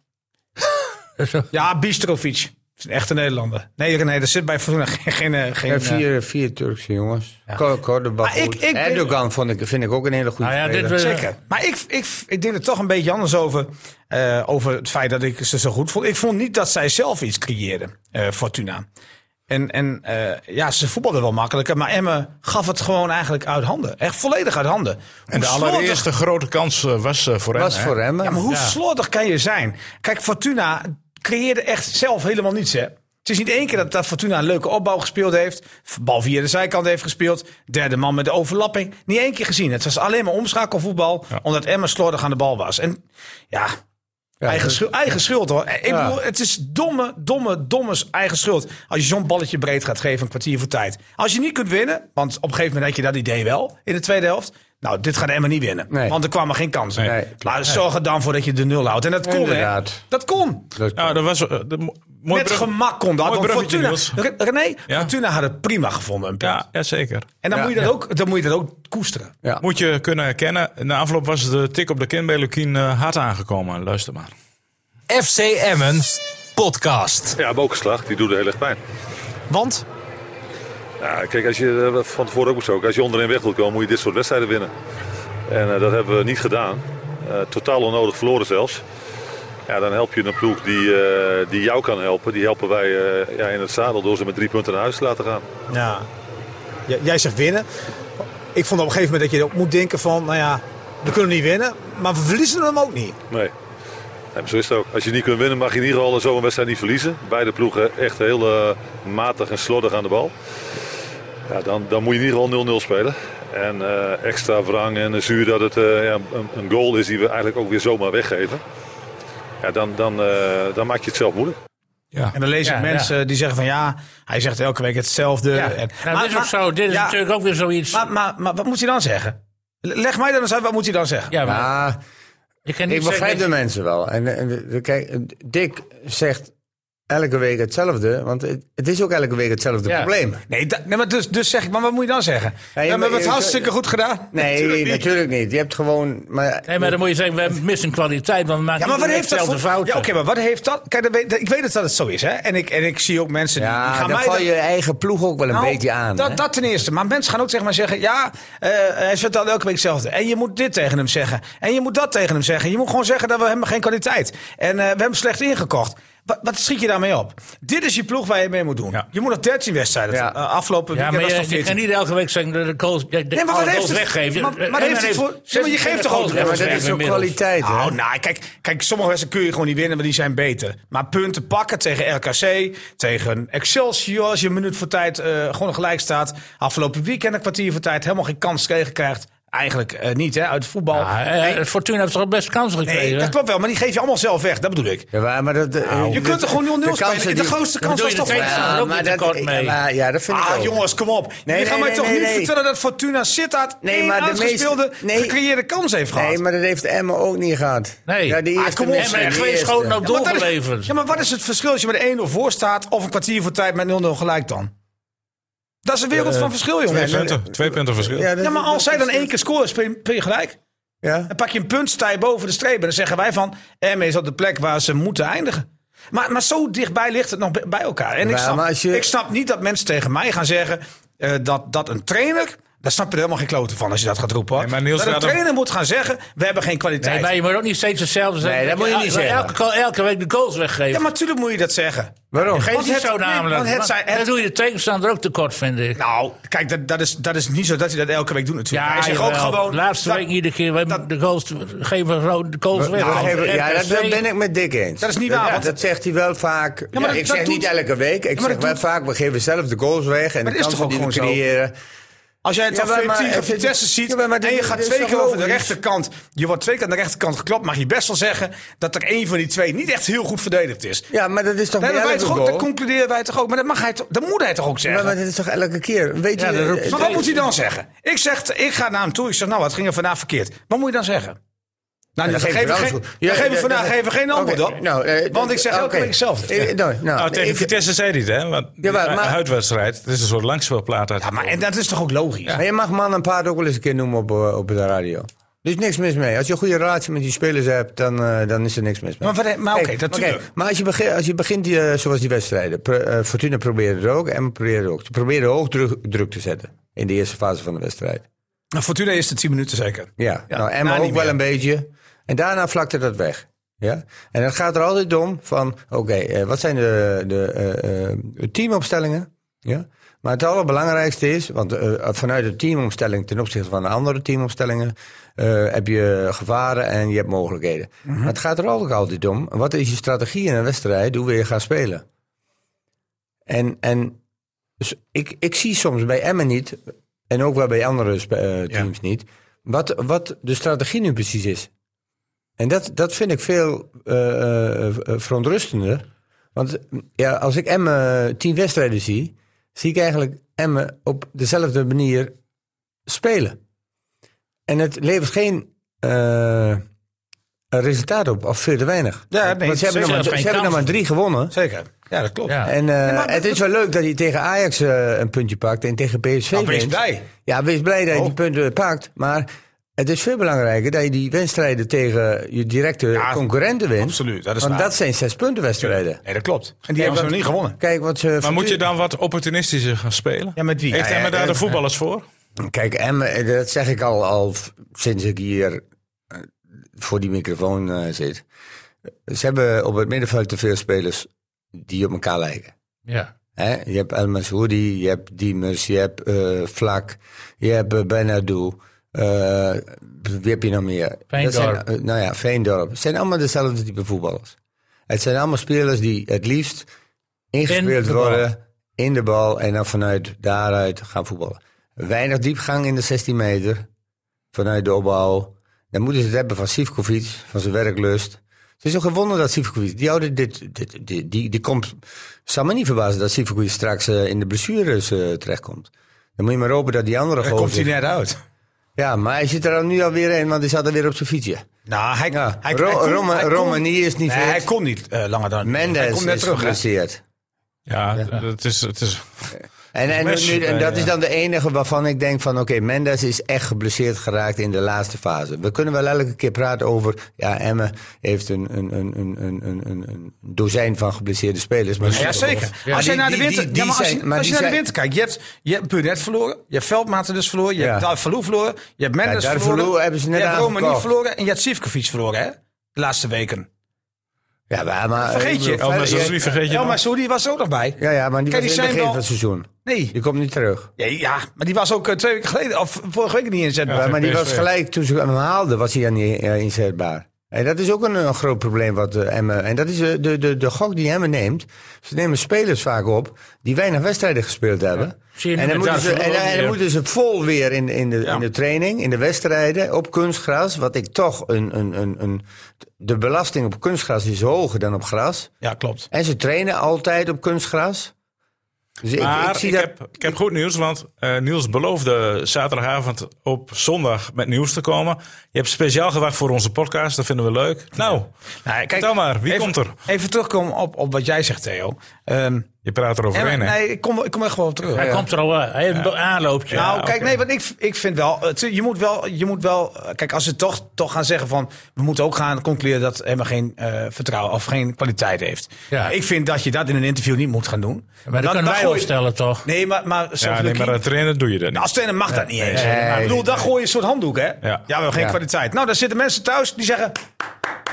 Speaker 4: Zo.
Speaker 5: Ja, Bistrovic. Dat is een echte Nederlander. Nee, nee, er zit bij Fortuna geen... geen, eh, geen
Speaker 2: Ja,
Speaker 5: eh,
Speaker 2: vier, vier Turkse jongens. Ko- Cordoba
Speaker 5: Maar ik-
Speaker 2: goed.
Speaker 5: ik ben-
Speaker 2: Erdogan vond ik, vind ik ook een hele goede
Speaker 4: Nou ja, dit
Speaker 2: speler.
Speaker 4: was-
Speaker 5: Zeker. Maar ik, ik, ik denk er toch een beetje anders over. eh, over het feit dat ik ze zo goed vond. Ik vond niet dat zij zelf iets creëerden, eh, Fortuna. En, en eh, ja, ze voetbalden wel makkelijker. Maar Emmen gaf het gewoon eigenlijk uit handen. Echt volledig uit handen.
Speaker 1: En de
Speaker 5: Hoe slordig-
Speaker 1: allereerste grote kans eh, was eh, voor hem.
Speaker 2: was
Speaker 1: hè?
Speaker 2: voor hem.
Speaker 5: Ja, maar hoe slordig kan je zijn? Kijk, Fortuna creëerde echt zelf helemaal niets, hè? Het is niet één keer dat, dat Fortuna een leuke opbouw gespeeld heeft. Bal via de zijkant heeft gespeeld. Derde man met de overlapping. Niet één keer gezien. Het was alleen maar omschakelvoetbal. Omdat Emma slordig aan de bal was. En ja, eigen, schuld, eigen schuld hoor. Ik
Speaker 2: dus- Ja.
Speaker 5: bedoel, het is domme, domme, domme eigen schuld. Als je zo'n balletje breed gaat geven, een kwartier voor tijd. Als je niet kunt winnen, want op een gegeven moment had je dat idee wel in de tweede helft. Nou, dit gaat Emma niet winnen.
Speaker 2: Nee.
Speaker 5: Want er kwamen geen kansen.
Speaker 2: Nee.
Speaker 5: Maar zorg er dan voor dat je de nul houdt. En dat kon, hè?
Speaker 2: Inderdaad.
Speaker 5: Dat kon.
Speaker 1: Nou, dat was eh, de, mo- mooi
Speaker 5: Met
Speaker 1: brug-
Speaker 5: gemak kon dat.
Speaker 1: mooi
Speaker 5: Want
Speaker 1: bruggetje,
Speaker 5: Fortuna,
Speaker 1: Niels.
Speaker 5: Re- René,
Speaker 1: Ja.
Speaker 5: Fortuna had het prima gevonden. een punt.
Speaker 1: Ja, ja, zeker.
Speaker 5: En dan,
Speaker 2: Ja.
Speaker 5: moet je dat ook, dan moet je dat ook koesteren.
Speaker 2: Ja.
Speaker 1: Ah. Moet je kunnen herkennen. Na afloop was de tik op de kin bij Lukien eh, hard aangekomen. Luister maar.
Speaker 3: FC Emmen podcast.
Speaker 6: Ja, bokenslag, die doet heel erg pijn.
Speaker 3: Want
Speaker 6: Ja, kijk, als je eh, van tevoren ook zo, als je onderin weg wilt komen, moet je dit soort wedstrijden winnen. En eh, dat hebben we niet gedaan. Eh, totaal onnodig verloren zelfs. Ja, dan help je een ploeg die, eh, die jou kan helpen. Die helpen wij eh, ja, in het zadel door ze met drie punten naar huis te laten gaan.
Speaker 5: Ja. J- Jij zegt winnen. Ik vond op een gegeven moment dat je ook moet denken van, nou ja, we kunnen niet winnen, maar we verliezen hem ook niet.
Speaker 6: Nee. nee maar zo is het ook. Als je niet kunt winnen, mag je in ieder geval zo'n wedstrijd niet verliezen. Beide ploegen echt heel eh, matig en slordig aan de bal. Ja, dan, dan moet je in ieder geval 0-0 spelen. En eh, extra wrang en zuur dat het eh, ja, een, een goal is die we eigenlijk ook weer zomaar weggeven. Ja, dan, dan, eh, dan maak je het zelf moeilijk.
Speaker 1: Ja.
Speaker 5: En dan lees ik
Speaker 4: Ja,
Speaker 5: mensen die zeggen van, ja, hij zegt elke week hetzelfde.
Speaker 4: Ja.
Speaker 5: En,
Speaker 4: Nou, dit is ook zo. Dit is
Speaker 5: ja,
Speaker 4: natuurlijk ook weer zoiets.
Speaker 5: Maar, maar, maar wat moet hij dan zeggen? Le- Leg mij dan eens uit, wat moet hij dan zeggen?
Speaker 4: ja, maar
Speaker 2: Ja,
Speaker 4: je kan niet
Speaker 2: ik begrijp de
Speaker 4: zeggen,
Speaker 2: eh, mensen wel. En, en, de- de- kijk, Dick zegt elke week hetzelfde. Want het, het is ook elke week hetzelfde
Speaker 4: Ja.
Speaker 2: probleem.
Speaker 5: Nee, da- nee maar dus, dus zeg ik, maar wat moet je dan zeggen?
Speaker 2: Ja, je
Speaker 5: we hebben
Speaker 2: moet-
Speaker 5: het
Speaker 2: je-
Speaker 5: hartstikke goed gedaan.
Speaker 2: Nee, natuurlijk niet.
Speaker 5: niet.
Speaker 2: Je hebt gewoon... Maar,
Speaker 4: Nee, maar dan moet je zeggen, we missen kwaliteit, want we maken
Speaker 5: Ja, maar wat
Speaker 4: niet
Speaker 5: heeft dat
Speaker 4: hetzelfde
Speaker 5: voor...
Speaker 4: fouten.
Speaker 5: Ja, oké, maar wat heeft dat... Kijk, dat weet- dat- ik weet dat dat het zo is, hè. En ik, en ik zie ook mensen die, die
Speaker 2: ja,
Speaker 5: gaan
Speaker 2: dan
Speaker 5: mij...
Speaker 2: val
Speaker 5: dat-
Speaker 2: je eigen ploeg ook wel een
Speaker 5: Nou,
Speaker 2: beetje aan. hè?
Speaker 5: Dat, dat ten eerste. Maar mensen gaan ook zeg maar zeggen, ja, eh, hij zegt al elke week hetzelfde. En je moet dit tegen hem zeggen. En je moet dat tegen hem zeggen. Je moet gewoon zeggen dat we hebben geen kwaliteit. En eh, we hebben hem slecht ingekocht. Wat, wat schiet je daarmee op? Dit is je ploeg waar je mee moet doen.
Speaker 1: Ja.
Speaker 5: Je moet nog 13 wedstrijden.
Speaker 2: Ja.
Speaker 5: eh, afgelopen
Speaker 4: Ja, maar
Speaker 5: weekend was
Speaker 4: je,
Speaker 5: het nog
Speaker 4: je kan
Speaker 5: 14.
Speaker 4: niet elke week zeggen dat de goals, de,
Speaker 5: Nee, maar wat
Speaker 4: alle
Speaker 5: heeft
Speaker 4: goals
Speaker 5: het-
Speaker 4: weggeven.
Speaker 5: maar- maar
Speaker 4: En
Speaker 5: heeft
Speaker 4: men
Speaker 5: het voor- Ja, maar je geeft toch
Speaker 4: goals
Speaker 5: ook-
Speaker 2: ja, maar dat
Speaker 4: weggegeven
Speaker 2: is ook
Speaker 4: inmiddels.
Speaker 2: kwaliteit, hè?
Speaker 5: Nou, nou, kijk, kijk, sommige wedstrijden kun je gewoon niet winnen, want die zijn beter. Maar punten pakken tegen RKC, tegen Excelsior, als je een minuut voor tijd eh, gewoon gelijk staat. Afgelopen weekend een kwartier voor tijd, helemaal geen kans tegen krijgt. Eigenlijk eh, niet, hè, uit voetbal.
Speaker 4: Ja, eh, Fortuna heeft toch best kansen
Speaker 5: nee,
Speaker 4: gekregen?
Speaker 5: dat klopt wel, maar die geef je allemaal zelf weg, dat bedoel ik.
Speaker 2: Ja, maar- maar dat,
Speaker 5: Nou.
Speaker 2: eh,
Speaker 5: Je kunt er gewoon 0-0 spelen. De grootste kans
Speaker 4: bedoel
Speaker 5: was
Speaker 4: je,
Speaker 5: toch...
Speaker 4: de tweede
Speaker 5: Ja.
Speaker 4: kans? ook weer tekort mee.
Speaker 2: Ja, ja, dat vind ik
Speaker 5: Ah,
Speaker 2: ook.
Speaker 5: jongens, kom op. Je
Speaker 2: Nee,
Speaker 5: gaat
Speaker 2: nee,
Speaker 5: mij
Speaker 2: nee,
Speaker 5: toch
Speaker 2: nee,
Speaker 5: niet
Speaker 2: nee.
Speaker 5: vertellen dat Fortuna Sittard
Speaker 2: Nee,
Speaker 5: één
Speaker 2: maar de
Speaker 5: uitgespeelde,
Speaker 2: meeste- nee.
Speaker 5: gecreëerde kans heeft gehad.
Speaker 2: Nee, maar dat heeft Emma ook niet gehad.
Speaker 4: Nee.
Speaker 2: Ja, die
Speaker 4: Ah,
Speaker 2: eerste
Speaker 5: kom op,
Speaker 2: missie,
Speaker 5: zeg.
Speaker 2: die
Speaker 4: Twee
Speaker 2: eerste.
Speaker 4: schoten op-
Speaker 5: Ja, maar dat is-
Speaker 4: doelgeleverd.
Speaker 5: Ja, maar wat is het verschil als je met 1-0 voor staat of een kwartier voor tijd met 0-0 gelijk dan? Dat is een wereld van verschil,
Speaker 1: Twee
Speaker 5: jongens.
Speaker 1: punten, twee punten verschil.
Speaker 2: Ja, dat-
Speaker 5: Ja, maar als
Speaker 2: dat-
Speaker 5: zij dan één keer scoren, speel je- speel je gelijk.
Speaker 2: Ja.
Speaker 5: Dan pak je een punt, sta je boven de streep. En dan zeggen wij van, Emme is op de plek waar ze moeten eindigen. Maar, maar zo dichtbij ligt het nog bij- bij elkaar. En ik
Speaker 2: Ja,
Speaker 5: snap,
Speaker 2: maar als je-
Speaker 5: ik snap niet dat mensen tegen mij gaan zeggen eh, dat, dat een trainer... Daar snap je er helemaal geen kloten van als je dat gaat roepen. hoor.
Speaker 1: Nee, maar Niels
Speaker 5: dat een
Speaker 1: gaat hem-
Speaker 5: trainer moet gaan zeggen, we hebben geen kwaliteit.
Speaker 4: Nee, maar je moet ook niet steeds hetzelfde zeggen.
Speaker 2: Nee, dat moet je niet
Speaker 4: elke-
Speaker 2: zeggen.
Speaker 4: Elke, elke week de goals weggeven.
Speaker 5: Ja, maar natuurlijk moet je dat zeggen.
Speaker 2: Waarom?
Speaker 4: Geef
Speaker 5: Want
Speaker 4: niet
Speaker 5: het-
Speaker 4: zo
Speaker 5: nee,
Speaker 4: namelijk.
Speaker 5: want het
Speaker 4: Maar
Speaker 5: zijn- het-
Speaker 4: Dan doe je de tegenstander ook tekort, vind ik.
Speaker 5: Nou, kijk, dat, dat, is, dat is niet zo dat hij dat elke week doet natuurlijk. hij zegt ook
Speaker 4: jawel.
Speaker 5: gewoon...
Speaker 4: Laatste
Speaker 5: dat,
Speaker 4: week iedere keer. wij
Speaker 5: dat-
Speaker 4: de goals geven gewoon de goals weg.
Speaker 2: Nou,
Speaker 4: Want
Speaker 2: geef- ja,
Speaker 4: RKC
Speaker 2: dat dat ben ik met Dick eens.
Speaker 5: Dat is niet waar,
Speaker 2: Ja,
Speaker 5: want-
Speaker 2: dat zegt hij wel vaak. Ja,
Speaker 5: maar dat-
Speaker 2: ik
Speaker 5: dat
Speaker 2: zeg
Speaker 5: doet-
Speaker 2: niet elke week. Ik
Speaker 5: maar
Speaker 2: zeg
Speaker 5: dat
Speaker 2: wel
Speaker 5: doet-
Speaker 2: vaak, we geven zelf de goals weg. En
Speaker 5: Maar
Speaker 2: de
Speaker 5: dat is
Speaker 2: kansen
Speaker 5: toch ook
Speaker 2: die we
Speaker 5: gewoon zo?
Speaker 2: creëren.
Speaker 5: Als jij toch
Speaker 2: Ja, maar-
Speaker 5: 15
Speaker 2: maar-
Speaker 5: tegen
Speaker 2: vind-
Speaker 5: Vitesse ziet
Speaker 2: Ja, maar- maar
Speaker 5: en je
Speaker 2: dit-
Speaker 5: gaat
Speaker 2: dit is
Speaker 5: twee
Speaker 2: toch
Speaker 5: keer over de
Speaker 2: logisch?
Speaker 5: rechterkant... Je wordt twee keer aan de rechterkant geklopt, mag je best wel zeggen... dat er één van die twee niet echt heel goed verdedigd is.
Speaker 2: Ja, maar dat is toch
Speaker 5: Nee,
Speaker 2: bij
Speaker 5: dat, wij
Speaker 2: elke
Speaker 5: toch ook, dat
Speaker 2: goal?
Speaker 5: concluderen wij toch ook. Maar dat, mag hij, toch- dat moet hij toch ook
Speaker 2: Ja,
Speaker 5: zeggen?
Speaker 2: maar dat is toch elke keer? Weet
Speaker 4: Ja,
Speaker 2: je,
Speaker 4: dat roept-
Speaker 2: eh,
Speaker 5: maar wat moet hij dan zeggen? Ik, zeg, ik ga naar hem toe, ik zeg nou wat ging er vandaag verkeerd? Wat moet je dan zeggen? Nou, dan
Speaker 2: geef
Speaker 5: geven
Speaker 2: je
Speaker 5: we
Speaker 2: wel
Speaker 5: geen-
Speaker 2: eens goed.
Speaker 5: dan geven we
Speaker 2: ja,
Speaker 5: vandaag
Speaker 2: ja,
Speaker 5: geven we geen
Speaker 2: oké,
Speaker 5: antwoord op.
Speaker 2: nou, eh,
Speaker 5: Want ik zeg elke
Speaker 2: oké.
Speaker 5: week hetzelfde.
Speaker 2: Eh, nou, nou,
Speaker 1: Nou, tegen
Speaker 2: ik-
Speaker 1: Vitesse zei hij het, hè? Want die eh,
Speaker 2: Jawel, maar-
Speaker 1: huidwedstrijd, het is een soort langspeelplaat uit.
Speaker 5: Ja, maar en dat is toch ook logisch?
Speaker 2: Maar je mag man en paard ook wel eens een keer noemen op, eh, op de radio. Er is niks mis mee. Als je een goede relatie met die spelers hebt, dan, eh, dan is er niks mis mee.
Speaker 5: Maar wat- maar oké,
Speaker 2: Kijk,
Speaker 5: dat-
Speaker 2: maar als je, begint, als je begint eh, zoals die wedstrijden. Pro- eh, Fortuna probeerde het ook en we probeerden het ook. Ze probeerden hoog druk, druk te zetten in de eerste fase van de wedstrijd.
Speaker 5: Nou, Fortuna is het 10 minuten zeker.
Speaker 2: Ja,
Speaker 5: Ja,
Speaker 2: nou,
Speaker 5: nou,
Speaker 2: Emma
Speaker 5: niet
Speaker 2: ook wel
Speaker 5: meer.
Speaker 2: een beetje. En daarna vlakte dat weg. Ja? En het gaat er altijd om van, oké, eh, wat zijn de, de eh, eh, teamopstellingen? Ja? Maar het allerbelangrijkste is, want eh, vanuit de teamopstelling ten opzichte van de andere teamopstellingen eh, heb je gevaren en je hebt mogelijkheden.
Speaker 5: Mhm.
Speaker 2: Maar het gaat er ook altijd om, wat is je strategie in een wedstrijd, hoe wil je gaan spelen? En, en dus ik, ik zie soms bij Emmen niet, en ook wel bij andere spe- eh, teams niet, wat, wat de strategie nu precies is. En dat, dat vind ik veel eh, eh, verontrustender. Want mm, ja, als ik Emmen tien wedstrijden zie, zie ik eigenlijk Emmen op dezelfde manier spelen. En het levert geen eh, resultaat op, of veel te weinig.
Speaker 5: Ja, nee,
Speaker 2: Want ze hebben, nog
Speaker 5: zeker.
Speaker 2: maar, ze
Speaker 4: Geen
Speaker 2: hebben nog
Speaker 4: kans.
Speaker 2: maar drie gewonnen.
Speaker 5: Zeker. Ja, dat klopt.
Speaker 4: Ja.
Speaker 2: En eh,
Speaker 5: maar-
Speaker 2: het is wel leuk dat hij tegen Ajax eh, een puntje pakt en tegen PSV
Speaker 5: Nou, wees
Speaker 2: wint.
Speaker 5: blij.
Speaker 2: Ja, wees blij dat je
Speaker 5: Oh.
Speaker 2: die punten pakt. Maar het is veel belangrijker dat je die wedstrijden tegen je directe
Speaker 5: Ja,
Speaker 2: concurrenten wint.
Speaker 5: absoluut, dat is
Speaker 2: Want
Speaker 5: waar.
Speaker 2: dat zijn zes punten wedstrijden.
Speaker 5: Nee, dat klopt. En die hebben ze nog niet gewonnen.
Speaker 2: Kijk, wat ze
Speaker 1: Maar
Speaker 2: Fortuna-
Speaker 1: moet je dan wat opportunistischer gaan spelen?
Speaker 5: Ja, met wie?
Speaker 1: Heeft
Speaker 5: Ja, ja,
Speaker 1: Emma daar
Speaker 5: ja.
Speaker 1: de voetballers voor?
Speaker 2: Kijk, Emmen, eh, dat zeg ik al, al v- sinds ik hier eh, voor die microfoon eh, zit. Ze hebben op het middenveld te veel spelers die op elkaar lijken.
Speaker 4: Ja.
Speaker 2: Hè? Je hebt El Mashoudi, je hebt Diemers, je hebt eh, Vlak, je hebt eh, Benadou. eh, wie heb je nog meer? Dat
Speaker 4: Veendorp.
Speaker 2: zijn, eh, nou ja, Veendorp. Het zijn allemaal dezelfde type voetballers. Het zijn allemaal spelers die het liefst ingespeeld
Speaker 4: In de bal.
Speaker 2: worden in de bal en dan vanuit daaruit gaan voetballen. Weinig diepgang in de 16 meter, vanuit de opbouw. Dan moeten ze het hebben van Sivkovic, van zijn werklust. Het is ook een wonder dat Sivkovic, die oude, dit, dit, die, die, die komt, zal me niet verbazen dat Sivkovic straks eh, in de blessures eh, terechtkomt. Dan moet je maar hopen dat die andere
Speaker 5: Daar komt hij
Speaker 2: gozer...
Speaker 5: net uit.
Speaker 2: Ja, maar hij zit er al nu alweer in, want hij zat alweer op zijn fietsje.
Speaker 5: Nou, hij,
Speaker 2: Ja.
Speaker 5: hij,
Speaker 2: Ro-
Speaker 5: hij kon-
Speaker 2: Roma-
Speaker 5: hij kon-
Speaker 2: Romani is niet
Speaker 5: Nee,
Speaker 2: fit.
Speaker 5: hij kon niet eh, langer dan. hij
Speaker 2: Mendes
Speaker 5: komt net
Speaker 2: is
Speaker 5: terug. hè?
Speaker 2: geblesseerd.
Speaker 1: Ja, Het, is, het is.
Speaker 2: En, en,
Speaker 1: Messi
Speaker 2: nu- en
Speaker 1: bij,
Speaker 2: dat is
Speaker 1: ja.
Speaker 2: dan de enige waarvan ik denk van... oké, Mendes is echt geblesseerd geraakt in de laatste fase. We kunnen wel elke keer praten over... ja, Emme heeft een, een, een, een, een, een, een- een dozijn van geblesseerde spelers. Maar
Speaker 5: Ja, ja, zeker.
Speaker 2: Ja,
Speaker 5: als je
Speaker 2: die-
Speaker 5: naar de
Speaker 2: die-
Speaker 5: winter,
Speaker 2: die-
Speaker 5: ja,
Speaker 2: die
Speaker 5: maar als je,
Speaker 2: zijn- maar
Speaker 5: als je
Speaker 2: die
Speaker 5: naar de
Speaker 2: zijn-
Speaker 5: winter kijkt, je hebt, je hebt Burnett verloren, je hebt Veldmaten dus verloren, je
Speaker 2: Ja.
Speaker 5: hebt David Valou verloren, je hebt Mendes
Speaker 2: Ja, David
Speaker 5: verloren,
Speaker 2: Verloe hebben ze net
Speaker 5: je hebt Romani
Speaker 2: aangekocht.
Speaker 5: verloren en je hebt Sivkovic verloren, hè? De laatste weken.
Speaker 2: Ja, maar, maar-
Speaker 5: Vergeet je.
Speaker 2: eh,
Speaker 1: El Masraoui vergeet je
Speaker 5: El
Speaker 1: nog.
Speaker 5: Massoudi was er ook nog bij.
Speaker 2: Ja, ja, maar die
Speaker 5: Kijk,
Speaker 2: was
Speaker 5: die
Speaker 2: in het
Speaker 5: zijn
Speaker 2: begin
Speaker 5: wel-
Speaker 2: van het seizoen.
Speaker 5: Nee.
Speaker 2: Die komt niet terug.
Speaker 5: Ja, ja, maar die was ook eh, twee weken geleden, of vorige week niet inzetbaar.
Speaker 2: Ja, maar die
Speaker 1: PSV.
Speaker 2: was gelijk toen ze hem haalden, was hij dan niet eh, inzetbaar. En dat is ook een, eh, groot probleem wat eh, Emmen... En dat is eh, de, de, de gok die Emmen neemt. Ze nemen spelers vaak op die weinig wedstrijden gespeeld hebben.
Speaker 4: Zie je
Speaker 2: En
Speaker 4: nu
Speaker 2: dan,
Speaker 4: met
Speaker 2: moeten ze,
Speaker 4: Duitsland
Speaker 2: en,
Speaker 4: ook
Speaker 2: en dan
Speaker 4: weer.
Speaker 2: moeten ze vol weer in, in, de, in de training, in de wedstrijden, op kunstgras. Wat ik toch een, een, een, een... De belasting op kunstgras is hoger dan op gras.
Speaker 5: Ja, klopt.
Speaker 2: En ze trainen altijd op kunstgras. Dus ik-
Speaker 1: Maar
Speaker 2: ik,
Speaker 1: ik,
Speaker 2: zie dat...
Speaker 1: heb, ik heb goed nieuws, want eh, Niels beloofde zaterdagavond op zondag met nieuws te komen. Je hebt speciaal gewacht voor onze podcast, dat vinden we leuk. Nou,
Speaker 5: Nou, kijk,
Speaker 1: vertel maar, wie
Speaker 5: even-
Speaker 1: komt er?
Speaker 5: Even terugkomen op, op wat jij zegt, Theo. Ehm,
Speaker 1: Je praat
Speaker 5: Emma-
Speaker 1: eroverheen, hè?
Speaker 5: nee, ik kom, ik kom echt wel op terug.
Speaker 4: Hij
Speaker 5: Ja.
Speaker 4: komt er al aan. Hij heeft een aanloopje.
Speaker 5: Nou,
Speaker 4: Ja,
Speaker 5: kijk,
Speaker 4: oké.
Speaker 5: nee, want ik, ik vind wel, het- je moet wel, je moet wel, eh, kijk, als ze toch, toch gaan zeggen van, we moeten ook gaan concluderen dat Emma geen eh, vertrouwen of geen kwaliteit heeft.
Speaker 4: Ja.
Speaker 5: Ik vind dat je dat in een interview niet moet gaan doen.
Speaker 4: Maar dat kunnen wij
Speaker 5: gooi-
Speaker 4: opstellen, toch?
Speaker 5: Nee, maar, maar, zoals
Speaker 1: ja, nee,
Speaker 5: Lucky-
Speaker 1: maar als trainer doe je dat niet.
Speaker 5: Nou, als trainer mag dat niet eens.
Speaker 2: nee,
Speaker 5: Maar ik
Speaker 2: nee,
Speaker 5: bedoel, dan gooi je een soort handdoek, hè? Ja, we hebben geen
Speaker 2: Ja.
Speaker 5: kwaliteit. Nou, daar zitten mensen thuis die zeggen,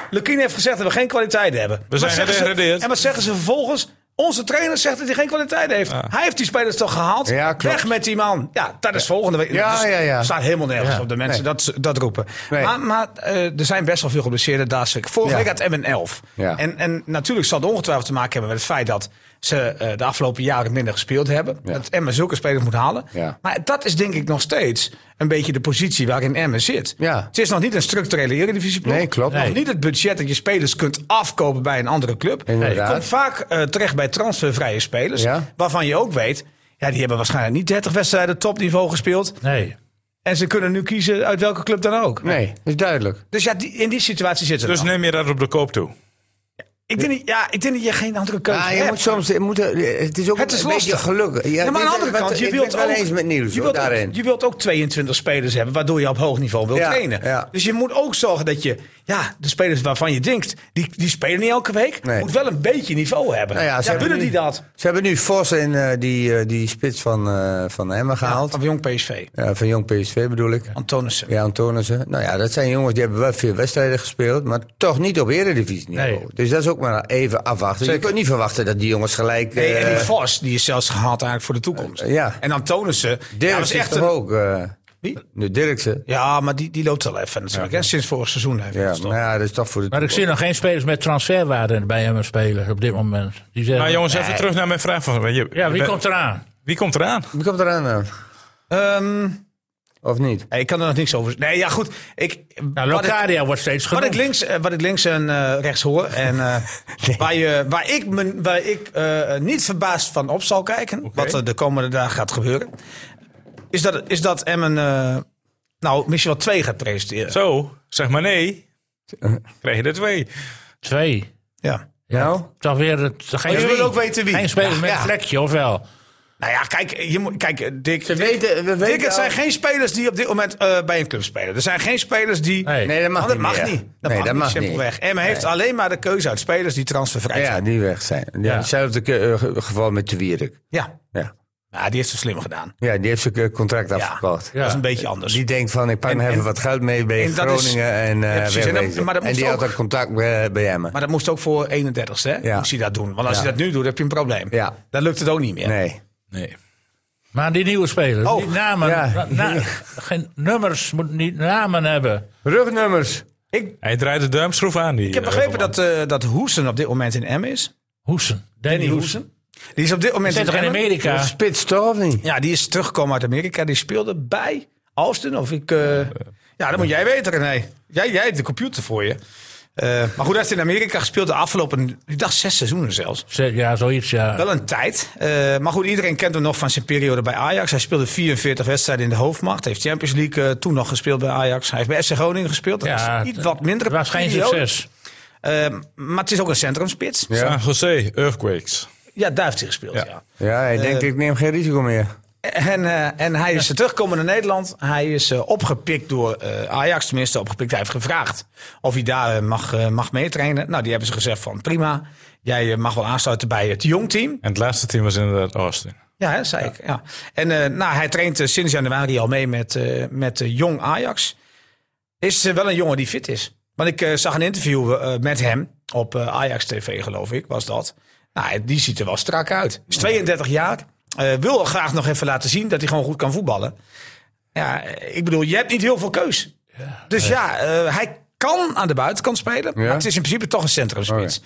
Speaker 5: Lukien heeft gezegd dat we geen kwaliteit hebben. Wat
Speaker 1: zijn
Speaker 5: zeggen ze-
Speaker 1: gedegradeerd.
Speaker 5: En wat zeggen ze vervolgens? Onze trainer zegt dat hij geen kwaliteit heeft. Hij heeft die spelers toch gehaald?
Speaker 2: Ja, klopt.
Speaker 5: Weg met die man. Ja, dat is volgende week.
Speaker 2: Ja,
Speaker 5: Dat is-
Speaker 2: ja, ja.
Speaker 5: staat helemaal nergens
Speaker 2: Ja.
Speaker 5: op de mensen dat, dat roepen.
Speaker 2: Nee.
Speaker 5: Maar, maar eh, er zijn best wel veel geblesseerden daar. schrik. Vorige
Speaker 2: Ja.
Speaker 5: week had Emmen 11.
Speaker 2: Ja.
Speaker 5: En, en natuurlijk zal het ongetwijfeld te maken hebben met het feit dat ze eh, de afgelopen jaren minder gespeeld hebben. Dat Emmen zulke spelers moet halen.
Speaker 2: Ja.
Speaker 5: Maar dat is denk ik nog steeds een beetje de positie waarin Emmen zit.
Speaker 2: Ja.
Speaker 5: Het is nog niet een structurele eredivisieploeg.
Speaker 2: Nee, klopt.
Speaker 5: Nog
Speaker 2: Nee.
Speaker 5: niet het budget dat je spelers kunt afkopen bij een andere club.
Speaker 2: Inderdaad.
Speaker 5: Je komt vaak eh, terecht bij transfervrije spelers.
Speaker 2: Ja.
Speaker 5: Waarvan je ook weet, ja, die hebben waarschijnlijk niet 30 wedstrijden topniveau gespeeld.
Speaker 4: Nee.
Speaker 5: En ze kunnen nu kiezen uit welke club dan ook.
Speaker 2: Nee, dat is duidelijk.
Speaker 5: Dus ja, die, in die situatie zitten we
Speaker 1: dus
Speaker 5: dan.
Speaker 1: neem je dat op de koop toe.
Speaker 5: ik, denk, niet- ja, ik denk dat je geen andere keuze
Speaker 2: Ja, je
Speaker 5: hebt.
Speaker 2: moet soms, je moet, eh, het is ook
Speaker 5: Het is
Speaker 2: een
Speaker 5: lastig.
Speaker 2: beetje geluk. Ja,
Speaker 5: Ja, maar aan de
Speaker 2: dit-
Speaker 5: andere
Speaker 2: wat-
Speaker 5: kant, je
Speaker 2: ik
Speaker 5: wilt
Speaker 2: ben het wel
Speaker 5: ook-
Speaker 2: eens met nieuws
Speaker 5: je
Speaker 2: hoor,
Speaker 5: wilt, ook,
Speaker 2: daarin.
Speaker 5: je wilt ook 22 spelers hebben, waardoor je op hoog niveau wilt
Speaker 2: Ja,
Speaker 5: trainen.
Speaker 2: ja.
Speaker 5: Dus je moet ook zorgen dat je, ja, de spelers waarvan je denkt, die, die spelen niet elke week,
Speaker 2: Nee.
Speaker 5: moet wel een beetje niveau hebben.
Speaker 2: Nou ja,
Speaker 5: ja,
Speaker 2: ze hebben
Speaker 5: willen die
Speaker 2: nu-
Speaker 5: dat?
Speaker 2: Ze hebben nu Vos en eh, die, eh, die spits van, eh, van Emmen gehaald.
Speaker 5: Van jong PSV,
Speaker 2: Ja, van Jong PSV bedoel ik.
Speaker 5: Antonissen.
Speaker 2: Ja, Antonissen. Nou ja, dat zijn jongens die hebben wel veel wedstrijden gespeeld, maar toch niet op eredivisie niveau.
Speaker 4: Nee.
Speaker 2: Dus dat is ook maar even afwachten. Je kunt niet verwachten dat die jongens gelijk...
Speaker 5: Nee, en
Speaker 2: eh,
Speaker 5: die Vos, die is zelfs gehaald eigenlijk voor de toekomst.
Speaker 2: Eh, ja.
Speaker 5: En Antonissen, ja, was
Speaker 2: Dirksen
Speaker 5: echt
Speaker 2: toch
Speaker 5: een-
Speaker 2: ook? eh,
Speaker 5: Wie?
Speaker 2: Nu Dirksen.
Speaker 5: Ja, maar die, die loopt al even natuurlijk, hè, sinds vorig seizoen. Heeft hij
Speaker 2: Ja,
Speaker 5: gestopt.
Speaker 2: maar ja, dat is toch voor de
Speaker 4: Maar ik zie nog geen spelers met transferwaarde bij hem spelen op dit moment. Die zeggen,
Speaker 1: Maar jongens, even terug naar mijn vraag. Van, je-
Speaker 4: ja,
Speaker 1: je
Speaker 4: wie
Speaker 1: bent-
Speaker 4: komt eraan?
Speaker 1: wie komt eraan?
Speaker 2: Wie komt eraan dan?
Speaker 5: Ehm,
Speaker 2: Of niet?
Speaker 5: ik kan er nog niks over Nee, ja, goed. Ik,
Speaker 4: Nou,
Speaker 5: wat ik-
Speaker 4: Locadia wordt steeds
Speaker 5: Wat ik,
Speaker 4: genoemd.
Speaker 5: links, eh, wat ik links en eh, rechts hoor. En eh, waar, je, waar ik, me, waar ik eh, niet verbaasd van op zal kijken. Wat er de komende dagen gaat gebeuren. Is dat, is dat Emmen. eh, nou, misschien wel twee gaat presenteren.
Speaker 1: Zo, zeg maar nee. Krijg je er twee.
Speaker 4: Twee.
Speaker 5: Ja.
Speaker 2: Nou?
Speaker 4: Toch weer het, geen,
Speaker 5: je wil
Speaker 4: wie.
Speaker 5: ook weten wie.
Speaker 4: geen spelers
Speaker 5: Ja,
Speaker 4: met
Speaker 5: ja.
Speaker 4: vlekje, of wel?
Speaker 5: Nou ja, kijk, je moet, kijk eh, Dick.
Speaker 2: We
Speaker 5: Dick-
Speaker 2: weten, we
Speaker 5: Dick,
Speaker 2: weten
Speaker 5: het zijn
Speaker 2: al-
Speaker 5: geen spelers die op dit moment eh, bij een club spelen. Er zijn geen spelers die.
Speaker 4: Nee.
Speaker 2: Nee, Oh, dat mag
Speaker 5: Want dat
Speaker 2: niet
Speaker 5: mag
Speaker 2: meer.
Speaker 5: niet. Dat
Speaker 2: Nee,
Speaker 5: mag
Speaker 2: dat
Speaker 5: niet,
Speaker 2: mag niet.
Speaker 5: simpelweg. Emmen heeft alleen maar de keuze uit spelers die transfervrij
Speaker 2: Ja,
Speaker 5: zijn.
Speaker 2: die weg zijn. Ja,
Speaker 4: Ja.
Speaker 2: Hetzelfde ke- eh, ge- geval met de Wierik.
Speaker 5: Ja.
Speaker 2: Ja.
Speaker 5: ja, die heeft ze slim gedaan.
Speaker 2: ja, die heeft zijn eh, contract afgekocht.
Speaker 5: Dat is een beetje anders.
Speaker 2: Die denkt van, ik pak
Speaker 5: En-
Speaker 2: nog even
Speaker 5: en-
Speaker 2: wat geld mee bij
Speaker 5: en dat is-
Speaker 2: Groningen en eh
Speaker 5: Ja, precies. En dan-
Speaker 2: wegwezen.
Speaker 5: maar dat
Speaker 2: en
Speaker 5: moet
Speaker 2: die had
Speaker 5: ook-
Speaker 2: dat contact bij, bij hem.
Speaker 5: Maar dat moest ook voor 31ste, hè?
Speaker 2: Ja.
Speaker 5: Moest hij dat doen. Want als
Speaker 2: Ja.
Speaker 5: je dat nu doet, heb je een probleem.
Speaker 2: Ja.
Speaker 5: Dan lukt het ook niet meer.
Speaker 2: Nee.
Speaker 1: Nee.
Speaker 4: Maar die nieuwe spelers,
Speaker 5: Oh,
Speaker 4: die namen,
Speaker 2: ja.
Speaker 4: na- na- geen nummers, moet niet namen hebben.
Speaker 2: Rugnummers.
Speaker 1: Hij draait de duimschroef aan. Die,
Speaker 5: Ik heb begrepen dat, eh dat Hoesen op dit moment in M is.
Speaker 4: Hoesen, Danny Hoesen.
Speaker 5: Die is op dit moment
Speaker 4: Zit toch in
Speaker 5: Emmen?
Speaker 4: Amerika?
Speaker 2: Spits toch of niet?
Speaker 5: Ja, die is teruggekomen uit Amerika. Die speelde bij Austin. Of ik. eh, ja, dat moet jij weten, René. Jij, jij hebt de computer voor je. Eh, maar goed, hij heeft in Amerika gespeeld de afgelopen, ik dacht zes seizoenen zelfs.
Speaker 4: Zeg, Ja, zoiets, ja.
Speaker 5: Wel een tijd. Eh, maar goed, iedereen kent hem nog van zijn periode bij Ajax. Hij speelde 44 wedstrijden in de hoofdmacht. Heeft Champions League eh, toen nog gespeeld bij Ajax. Hij heeft bij FC Groningen gespeeld. Dat
Speaker 4: Ja,
Speaker 5: is iets wat minder.
Speaker 4: Het was geen succes.
Speaker 5: maar het is ook een centrumspits. Ja,
Speaker 1: San Jose Earthquakes.
Speaker 5: daar heeft hij gespeeld,
Speaker 1: Ja.
Speaker 5: ja.
Speaker 2: Ja,
Speaker 5: Eh.
Speaker 2: hij denkt, ik neem geen risico meer.
Speaker 5: En, eh, en hij is teruggekomen naar Nederland. Hij is eh, opgepikt door eh, Ajax, tenminste opgepikt. Hij heeft gevraagd of hij daar eh, mag, eh, mag meetrainen. Nou, die hebben ze gezegd van prima. Jij eh, mag wel aansluiten bij het jongteam.
Speaker 1: En het laatste team was inderdaad Austin.
Speaker 5: Ja, hè, zei ik. Ja. En eh, nou, hij traint eh, sinds januari al mee met, eh, met eh, jong Ajax. Is eh, wel een jongen die fit is. Want ik eh, zag een interview eh, met hem op eh, Ajax TV, geloof ik, was dat. Nou, die ziet er wel strak uit. Is 32 jaar. eh, wil al graag nog even laten zien dat hij gewoon goed kan voetballen. Ja, eh, ik bedoel, je hebt niet heel veel keus. dus ja, eh, hij kan aan de buitenkant spelen. Maar het is in principe toch een centrumspits.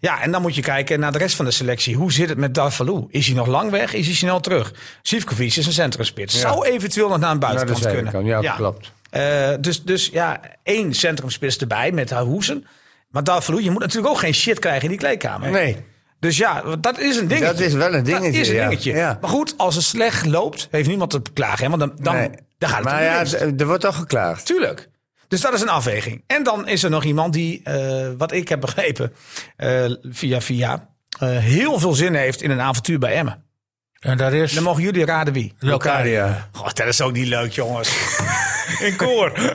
Speaker 5: Ja, en dan moet je kijken naar de rest van de selectie. Hoe zit het met Darvalou? Is hij nog lang weg? Is hij snel terug? Sivkovic is een centrumspits. Zou eventueel nog naar een
Speaker 2: Naar de
Speaker 5: buitenkant kunnen.
Speaker 2: zijkant, ja, klopt.
Speaker 5: Eh, dus, dus ja, één centrumspits erbij met Hoesen. Maar Darvalou, je moet natuurlijk ook geen shit krijgen in die kleedkamer.
Speaker 2: Nee.
Speaker 5: Dus ja, dat is een dingetje.
Speaker 2: Dat is wel een
Speaker 5: Dat
Speaker 2: dingetje,
Speaker 5: is een
Speaker 2: ja.
Speaker 5: dingetje.
Speaker 2: Ja.
Speaker 5: Maar goed, als het slecht loopt, heeft niemand te klagen. Hè? Want dan, dan,
Speaker 2: Nee.
Speaker 5: dan gaat het
Speaker 2: maar
Speaker 5: om de
Speaker 2: ja,
Speaker 5: winst.
Speaker 2: d- er wordt toch geklaagd.
Speaker 5: Tuurlijk. Dus dat is een afweging. En dan is er nog iemand die, eh, wat ik heb begrepen, eh, via via, eh, heel veel zin heeft in een avontuur bij Emmen.
Speaker 4: En daar is
Speaker 5: Dan mogen jullie raden wie.
Speaker 2: Locadia.
Speaker 5: Goh, dat is ook niet leuk, jongens.
Speaker 1: In koor.
Speaker 5: nou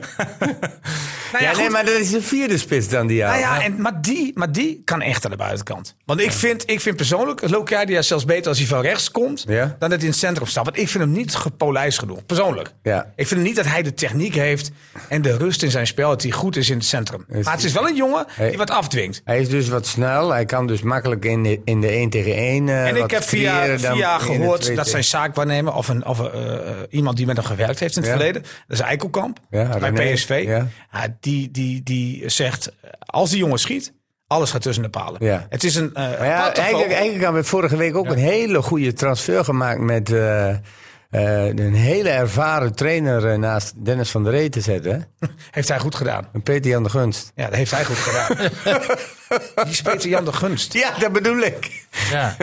Speaker 5: ja,
Speaker 2: Ja,
Speaker 5: goed.
Speaker 2: nee, maar dat is de vierde spits dan die
Speaker 5: Nou
Speaker 2: jaar.
Speaker 5: ja, en, maar, die, maar die kan echt aan de buitenkant. Want ik vind, ik vind persoonlijk Locadia zelfs beter als hij van rechts komt...
Speaker 2: Ja.
Speaker 5: dan dat hij in het centrum staat. Want ik vind hem niet gepolijst genoeg, persoonlijk.
Speaker 2: Ja.
Speaker 5: Ik vind niet dat hij de techniek heeft en de rust in zijn spel... dat hij goed is in het centrum. Maar het is wel een jongen die
Speaker 2: Hey.
Speaker 5: wat afdwingt.
Speaker 2: Hij is dus wat snel. Hij kan dus makkelijk in de, in de 1 tegen eh, 1
Speaker 5: En ik heb via, via gehoord dat zijn zaakwaarnemer of, een, of eh, eh, iemand die met hem gewerkt heeft in het
Speaker 2: Ja.
Speaker 5: verleden, dat is Eikelkamp
Speaker 2: Ja,
Speaker 5: bij
Speaker 2: René,
Speaker 5: PSV,
Speaker 2: ja.
Speaker 5: Ja, die, die, die zegt: als die jongen schiet, alles gaat tussen de palen.
Speaker 2: Ja.
Speaker 5: Het is een. eh
Speaker 2: Maar ja,
Speaker 5: aparte vogel.
Speaker 2: eigenlijk, eigenlijk hebben we vorige week ook een hele goede transfer gemaakt met eh, eh, een hele ervaren trainer eh, naast Dennis van der Ree te zetten. hè?
Speaker 5: heeft hij goed gedaan.
Speaker 2: Een Peter Jan de Gunst.
Speaker 5: Ja, dat heeft hij goed gedaan. die is Peter Jan de Gunst.
Speaker 2: Ja, dat bedoel ik.
Speaker 4: Ja.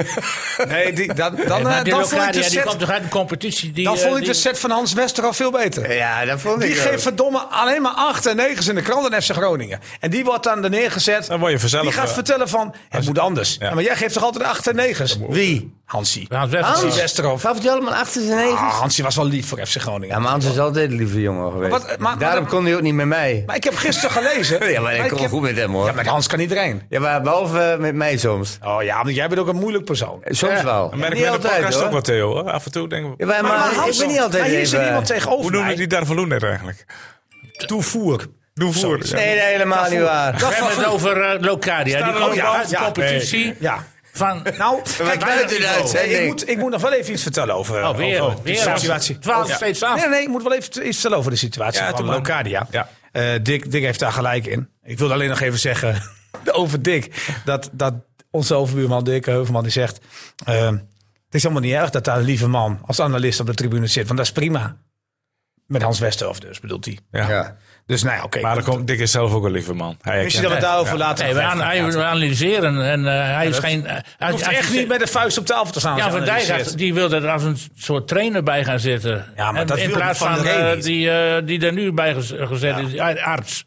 Speaker 5: Nee, die, dan, dan, eh,
Speaker 4: Maar die
Speaker 5: dan Nou, vond ik de
Speaker 4: Locadia, die komt
Speaker 5: set.
Speaker 4: toch uit een competitie die...
Speaker 5: Dan
Speaker 4: eh,
Speaker 5: vond ik
Speaker 4: die-
Speaker 5: de set van Hans Wester al veel beter.
Speaker 2: Ja, dat vond
Speaker 5: Die
Speaker 1: eh,
Speaker 2: ik ook.
Speaker 5: geeft verdomme alleen maar 8 en 9's in de krant en FC Groningen. En die wordt dan er neergezet.
Speaker 1: Dan word je vanzelf...
Speaker 5: Die gaat
Speaker 1: eh,
Speaker 5: vertellen van, het moet anders.
Speaker 1: Ja.
Speaker 5: Ja, maar jij geeft toch altijd de 8 en 9's?
Speaker 2: Wie?
Speaker 5: Hansie.
Speaker 4: Hans Westerhof.
Speaker 5: Hansie Westerhof.
Speaker 2: Gaf hij allemaal achter zijn negen?
Speaker 5: Ah, Hansie was wel lief voor FC Groningen.
Speaker 2: Ja, maar Hans is altijd een lieve jongen geweest.
Speaker 5: Maar wat- maar-
Speaker 2: Daarom
Speaker 5: maar-
Speaker 2: kon hij ook niet met mij.
Speaker 5: Maar ik heb gisteren gelezen...
Speaker 2: Ja, maar ik kom
Speaker 5: heb-
Speaker 2: goed met hem hoor.
Speaker 5: Ja, met Hans kan iedereen.
Speaker 2: Ja, maar behalve eh, met mij soms.
Speaker 5: Oh ja, want jij bent ook een moeilijk persoon.
Speaker 2: Soms wel.
Speaker 1: Dan merk
Speaker 2: Niet
Speaker 1: ik in de
Speaker 2: altijd,
Speaker 1: podcast
Speaker 2: hoor.
Speaker 1: ook wat, Theo. hoor. Af en toe denken we...
Speaker 2: Ja, maar, maar ik ben niet altijd
Speaker 5: Maar hier zit
Speaker 2: even-
Speaker 5: iemand
Speaker 1: Hoe
Speaker 5: tegenover
Speaker 1: noemen
Speaker 5: mij.
Speaker 1: die Darvaloen net eigenlijk?
Speaker 5: Toevoer.
Speaker 1: Doe voor. ja.
Speaker 2: Nee, nee, helemaal niet waar.
Speaker 4: We hebben het over eh, Locadia. Die
Speaker 5: er
Speaker 4: komt
Speaker 5: ook wel?
Speaker 4: uit de
Speaker 5: Ja.
Speaker 4: competitie
Speaker 5: Ja.
Speaker 4: van...
Speaker 5: Nou,
Speaker 2: waren
Speaker 5: kijk,
Speaker 2: buiten de
Speaker 5: eh,
Speaker 2: uitzending.
Speaker 5: ik moet, ik moet nog wel even iets vertellen over,
Speaker 4: Oh, weer.
Speaker 5: over
Speaker 4: weer.
Speaker 5: de situatie.
Speaker 4: Twaalf
Speaker 5: Over-
Speaker 4: steeds af.
Speaker 5: Nee, nee, ik moet wel even iets vertellen over de situatie
Speaker 1: Ja,
Speaker 5: van
Speaker 1: doe maar.
Speaker 5: Locadia.
Speaker 1: Ja.
Speaker 5: Eh, Dick, Dick heeft daar gelijk in. Ik wilde alleen nog even zeggen over Dick. Dat, dat onze overbuurman Dick Heuvelman die zegt... eh, het is helemaal niet erg dat daar een lieve man als analist op de tribune zit. Want dat is prima. Met Hans Westerhof dus, bedoelt hij.
Speaker 1: Ja.
Speaker 2: Ja.
Speaker 5: Dus nou ja, oké.
Speaker 1: Maar dan komt Dick is zelf ook een lieve man. Hij
Speaker 5: Misschien dat we
Speaker 1: herkent-
Speaker 5: daarover later
Speaker 4: Nee, we,
Speaker 5: nog
Speaker 4: aan,
Speaker 5: even
Speaker 4: hij-
Speaker 5: praten.
Speaker 4: we analyseren en eh, hij is geen... eh,
Speaker 5: Je
Speaker 4: als-
Speaker 5: hoeft
Speaker 4: als-
Speaker 5: echt niet met de vuist op tafel te staan. als
Speaker 4: Jan
Speaker 5: je
Speaker 4: van Dijk
Speaker 5: analyseert.
Speaker 4: had- die wilde er als een soort trainer bij gaan zitten.
Speaker 5: Ja, maar
Speaker 4: En
Speaker 5: dat
Speaker 4: in
Speaker 5: wilde
Speaker 4: plaats
Speaker 5: Van
Speaker 4: van,
Speaker 5: der Rey
Speaker 4: eh,
Speaker 5: niet.
Speaker 4: die, eh, die er nu bij gez- gezet is, die a- arts.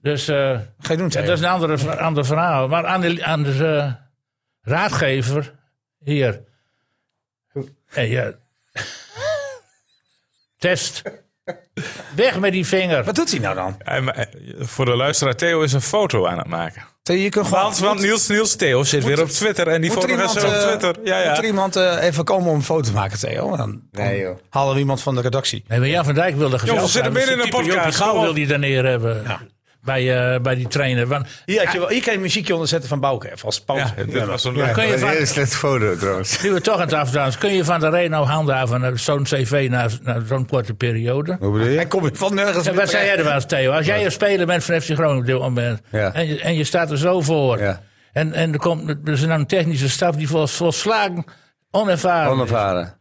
Speaker 4: Dus eh,
Speaker 5: Ga je doen,
Speaker 4: ja,
Speaker 5: Theo?
Speaker 4: dat is een andere, ver- ander verhaal. Maar aan de, aan de eh, raadgever hier. Hey, eh, test. Weg met die vinger.
Speaker 5: Wat doet hij nou dan?
Speaker 1: Hij ma- eh, Voor de luisteraar, Theo is een foto aan het maken.
Speaker 5: Theo, Je kunt gewoon...
Speaker 1: Want, want Niels, Niels Theo zit weer op Twitter. En die
Speaker 5: Moet er
Speaker 1: foto gaat
Speaker 5: iemand,
Speaker 1: zo op
Speaker 5: eh,
Speaker 1: Twitter. Ja,
Speaker 5: Moet er
Speaker 1: ja.
Speaker 5: iemand eh, even komen om een foto te maken, Theo? Dan
Speaker 2: Nee, joh.
Speaker 5: halen we iemand van de redactie.
Speaker 4: Nee, maar Jan van Dijk wilde gezellig
Speaker 1: Jongens, we zitten
Speaker 4: zijn.
Speaker 1: midden in
Speaker 4: Dus
Speaker 1: een
Speaker 4: type
Speaker 1: podcast.
Speaker 4: Jopie Gauw
Speaker 1: Kom op.
Speaker 4: wil die daar neer hebben. Bij, eh, bij die trainer. Want,
Speaker 5: Hier, had je wel, hier kan je muziekje onderzetten van Bouke. even Als pauze.
Speaker 1: Ja, dit was een
Speaker 4: kun
Speaker 1: leuk.
Speaker 4: je
Speaker 2: Dat is een
Speaker 4: van,
Speaker 2: hele slechte foto trouwens.
Speaker 4: Nu we toch aan het afdans, kun je van de Rijn nou handhaven naar zo'n cv na, na zo'n korte periode?
Speaker 2: Hoe bedoel
Speaker 5: Hij
Speaker 2: je?
Speaker 5: komt van nergens
Speaker 4: En
Speaker 5: meer
Speaker 4: wat zei jij
Speaker 5: terecht.
Speaker 4: er wel eens, Theo? Als jij een speler bent van FC Groningen op dit moment
Speaker 2: Ja.
Speaker 4: en, je, en je staat er zo voor.
Speaker 2: Ja.
Speaker 4: En, en er komt er is dan een technische staf die vol, volslagen onervaren is.
Speaker 2: Onervaren.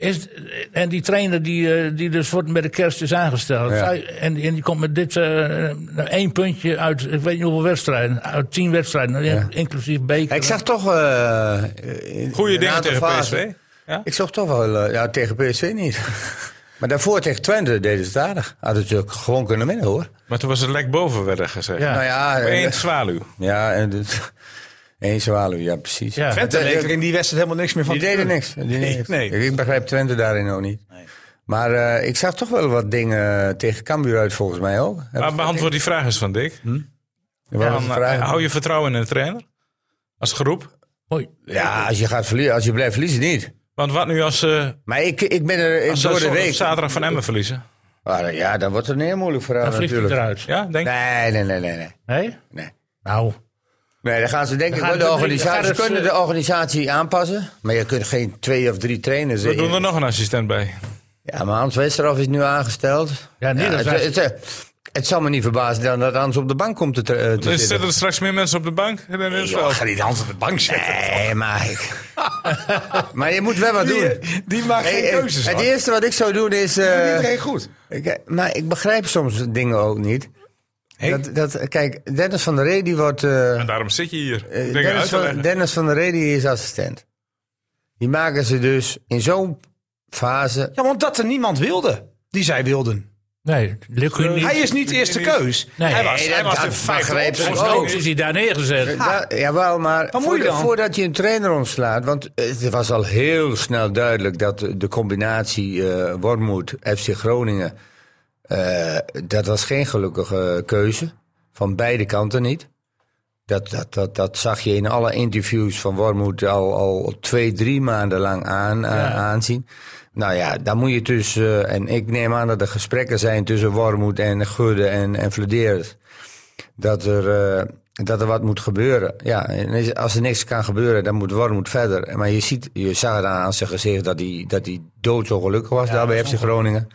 Speaker 4: Is, en die trainer die, eh, die dus wordt met de kerst is aangesteld.
Speaker 2: Ja.
Speaker 4: Zij- en, en die komt met dit eh, één puntje uit, ik weet niet hoeveel wedstrijden. Uit tien wedstrijden, nou, in- inclusief beker.
Speaker 2: Ik zag toch... eh, in- in
Speaker 1: Goede
Speaker 2: een
Speaker 1: dingen
Speaker 2: aantal
Speaker 1: tegen
Speaker 2: fasen-
Speaker 1: PSV. Ja?
Speaker 2: Ik zag toch wel... eh, ja, tegen PSV niet. maar daarvoor tegen Twente deden ze het aardig. Hadden ze ook gewoon kunnen winnen, hoor.
Speaker 1: Maar toen was het lek boven werden gezegd.
Speaker 4: Ja.
Speaker 1: Ja.
Speaker 2: Nou ja... eh,
Speaker 1: Eén zwaluw.
Speaker 2: ja, en dus... Eén zwaluw, ja, precies.
Speaker 4: Ja.
Speaker 5: Twente
Speaker 2: Eh,
Speaker 5: leek
Speaker 2: eh,
Speaker 5: er in die wedstrijd helemaal niks meer van.
Speaker 2: Die
Speaker 5: te
Speaker 2: deden
Speaker 5: kunnen.
Speaker 2: niks. Die deden
Speaker 5: Nee,
Speaker 2: niks.
Speaker 5: nee.
Speaker 2: Ik begrijp Twente daarin ook niet. Maar eh, ik zag toch wel wat dingen eh, tegen Cambuur uit, volgens mij ook. Heb
Speaker 1: Maar
Speaker 2: ik-
Speaker 1: beantwoord die vraag eens van Dick.
Speaker 2: er waren
Speaker 1: Dan, eh,
Speaker 2: Hm. vragen.
Speaker 1: hou je vertrouwen in de trainer? Als groep?
Speaker 4: Hoi.
Speaker 2: Ja, als je, gaat verliezen, als je blijft verliezen, niet.
Speaker 1: Want wat nu als ze
Speaker 2: Maar ik, ik ben er ik,
Speaker 1: als
Speaker 2: door
Speaker 1: ze
Speaker 2: de
Speaker 1: op
Speaker 2: week.
Speaker 1: zaterdag van Emmen verliezen?
Speaker 2: Ah, ja, dan wordt het een heel moeilijk verhaal
Speaker 4: Dan vliegt hij
Speaker 2: natuurlijk.
Speaker 4: eruit.
Speaker 1: Ja, denk ik.
Speaker 2: Nee, nee, nee, nee, nee.
Speaker 4: Nee?
Speaker 2: Nee.
Speaker 4: Nou,
Speaker 2: Nee, dan gaan ze denk ik
Speaker 4: gaan
Speaker 2: wel de
Speaker 4: het-
Speaker 2: organisatie.
Speaker 4: gaat
Speaker 2: Ze
Speaker 4: het,
Speaker 2: kunnen
Speaker 4: eh,
Speaker 2: de organisatie aanpassen. Maar je kunt geen twee of drie trainers.
Speaker 1: We
Speaker 2: in-
Speaker 1: doen er nog een assistent bij.
Speaker 2: Ja, maar Hans Westerhof is nu aangesteld.
Speaker 4: Ja, nee, dat
Speaker 2: het,
Speaker 4: is-
Speaker 2: het, het, het zal me niet verbazen dan dat Hans op de bank komt te, tra- eh, te
Speaker 1: Er
Speaker 2: zitten.
Speaker 1: zitten er straks meer mensen op de bank dan in het
Speaker 5: Joh,
Speaker 1: veld.
Speaker 5: ga die hand op de bank zetten.
Speaker 2: Nee, maar... ik- maar je moet wel wat doen.
Speaker 5: Die, die maakt
Speaker 2: Hey,
Speaker 5: geen
Speaker 2: eh,
Speaker 5: keuzes.
Speaker 2: het
Speaker 5: man.
Speaker 2: eerste wat ik zou doen is... eh,
Speaker 5: Iedereen goed.
Speaker 2: ik- maar ik begrijp soms dingen ook niet. Dat, dat, kijk, Dennis van der Ree die wordt... eh,
Speaker 1: En daarom zit je hier.
Speaker 2: eh,
Speaker 1: Dingen
Speaker 2: Dennis,
Speaker 1: uit te
Speaker 2: van,
Speaker 1: leggen.
Speaker 2: Dennis van der Ree die is assistent. Die maken ze dus in zo'n fase...
Speaker 5: Ja, want dat er niemand wilde die zij wilden.
Speaker 4: nee. Lukt u niet.
Speaker 5: Hij is niet de eerste keus.
Speaker 4: Nee.
Speaker 5: hij was,
Speaker 2: Nee,
Speaker 5: hij
Speaker 2: dat-
Speaker 5: was de
Speaker 2: dat
Speaker 5: vijfde
Speaker 2: begreep
Speaker 5: optie.
Speaker 2: ik
Speaker 4: Volgens
Speaker 2: ook.
Speaker 4: ons is hij daar neergezet.
Speaker 2: Ja, Eh, jawel, maar
Speaker 5: Wat moet je
Speaker 2: voordat-
Speaker 5: dan?
Speaker 2: voordat je een trainer ontslaat, want het was al heel snel duidelijk dat de combinatie eh Wormoed, FC Groningen, eh, dat was geen gelukkige keuze. Van beide kanten niet. Dat, dat, dat, dat zag je in alle interviews van Wormoed al, al twee, drie maanden lang aan, aan- aanzien. Nou ja, dan moet je tussen, eh, en ik neem aan dat er gesprekken zijn tussen Wormoed en Gudde en, en Vladeres dat er, eh, dat er wat moet gebeuren. Ja, en is- als er niks kan gebeuren, dan moet Wormoed verder. Maar je, ziet, je zag het aan zijn gezicht dat hij, dat hij doodongelukkig was daar bij FC Groningen.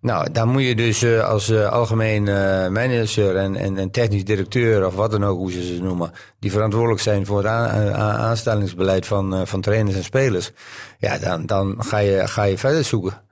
Speaker 2: Nou, dan moet je dus eh, als eh, algemeen eh, manager en, en, en technisch directeur, of wat dan ook, hoe ze ze noemen, die verantwoordelijk zijn voor het aan- a- a- aanstellingsbeleid van, eh, van trainers en spelers. Ja, dan, dan ga, je, ga je verder zoeken.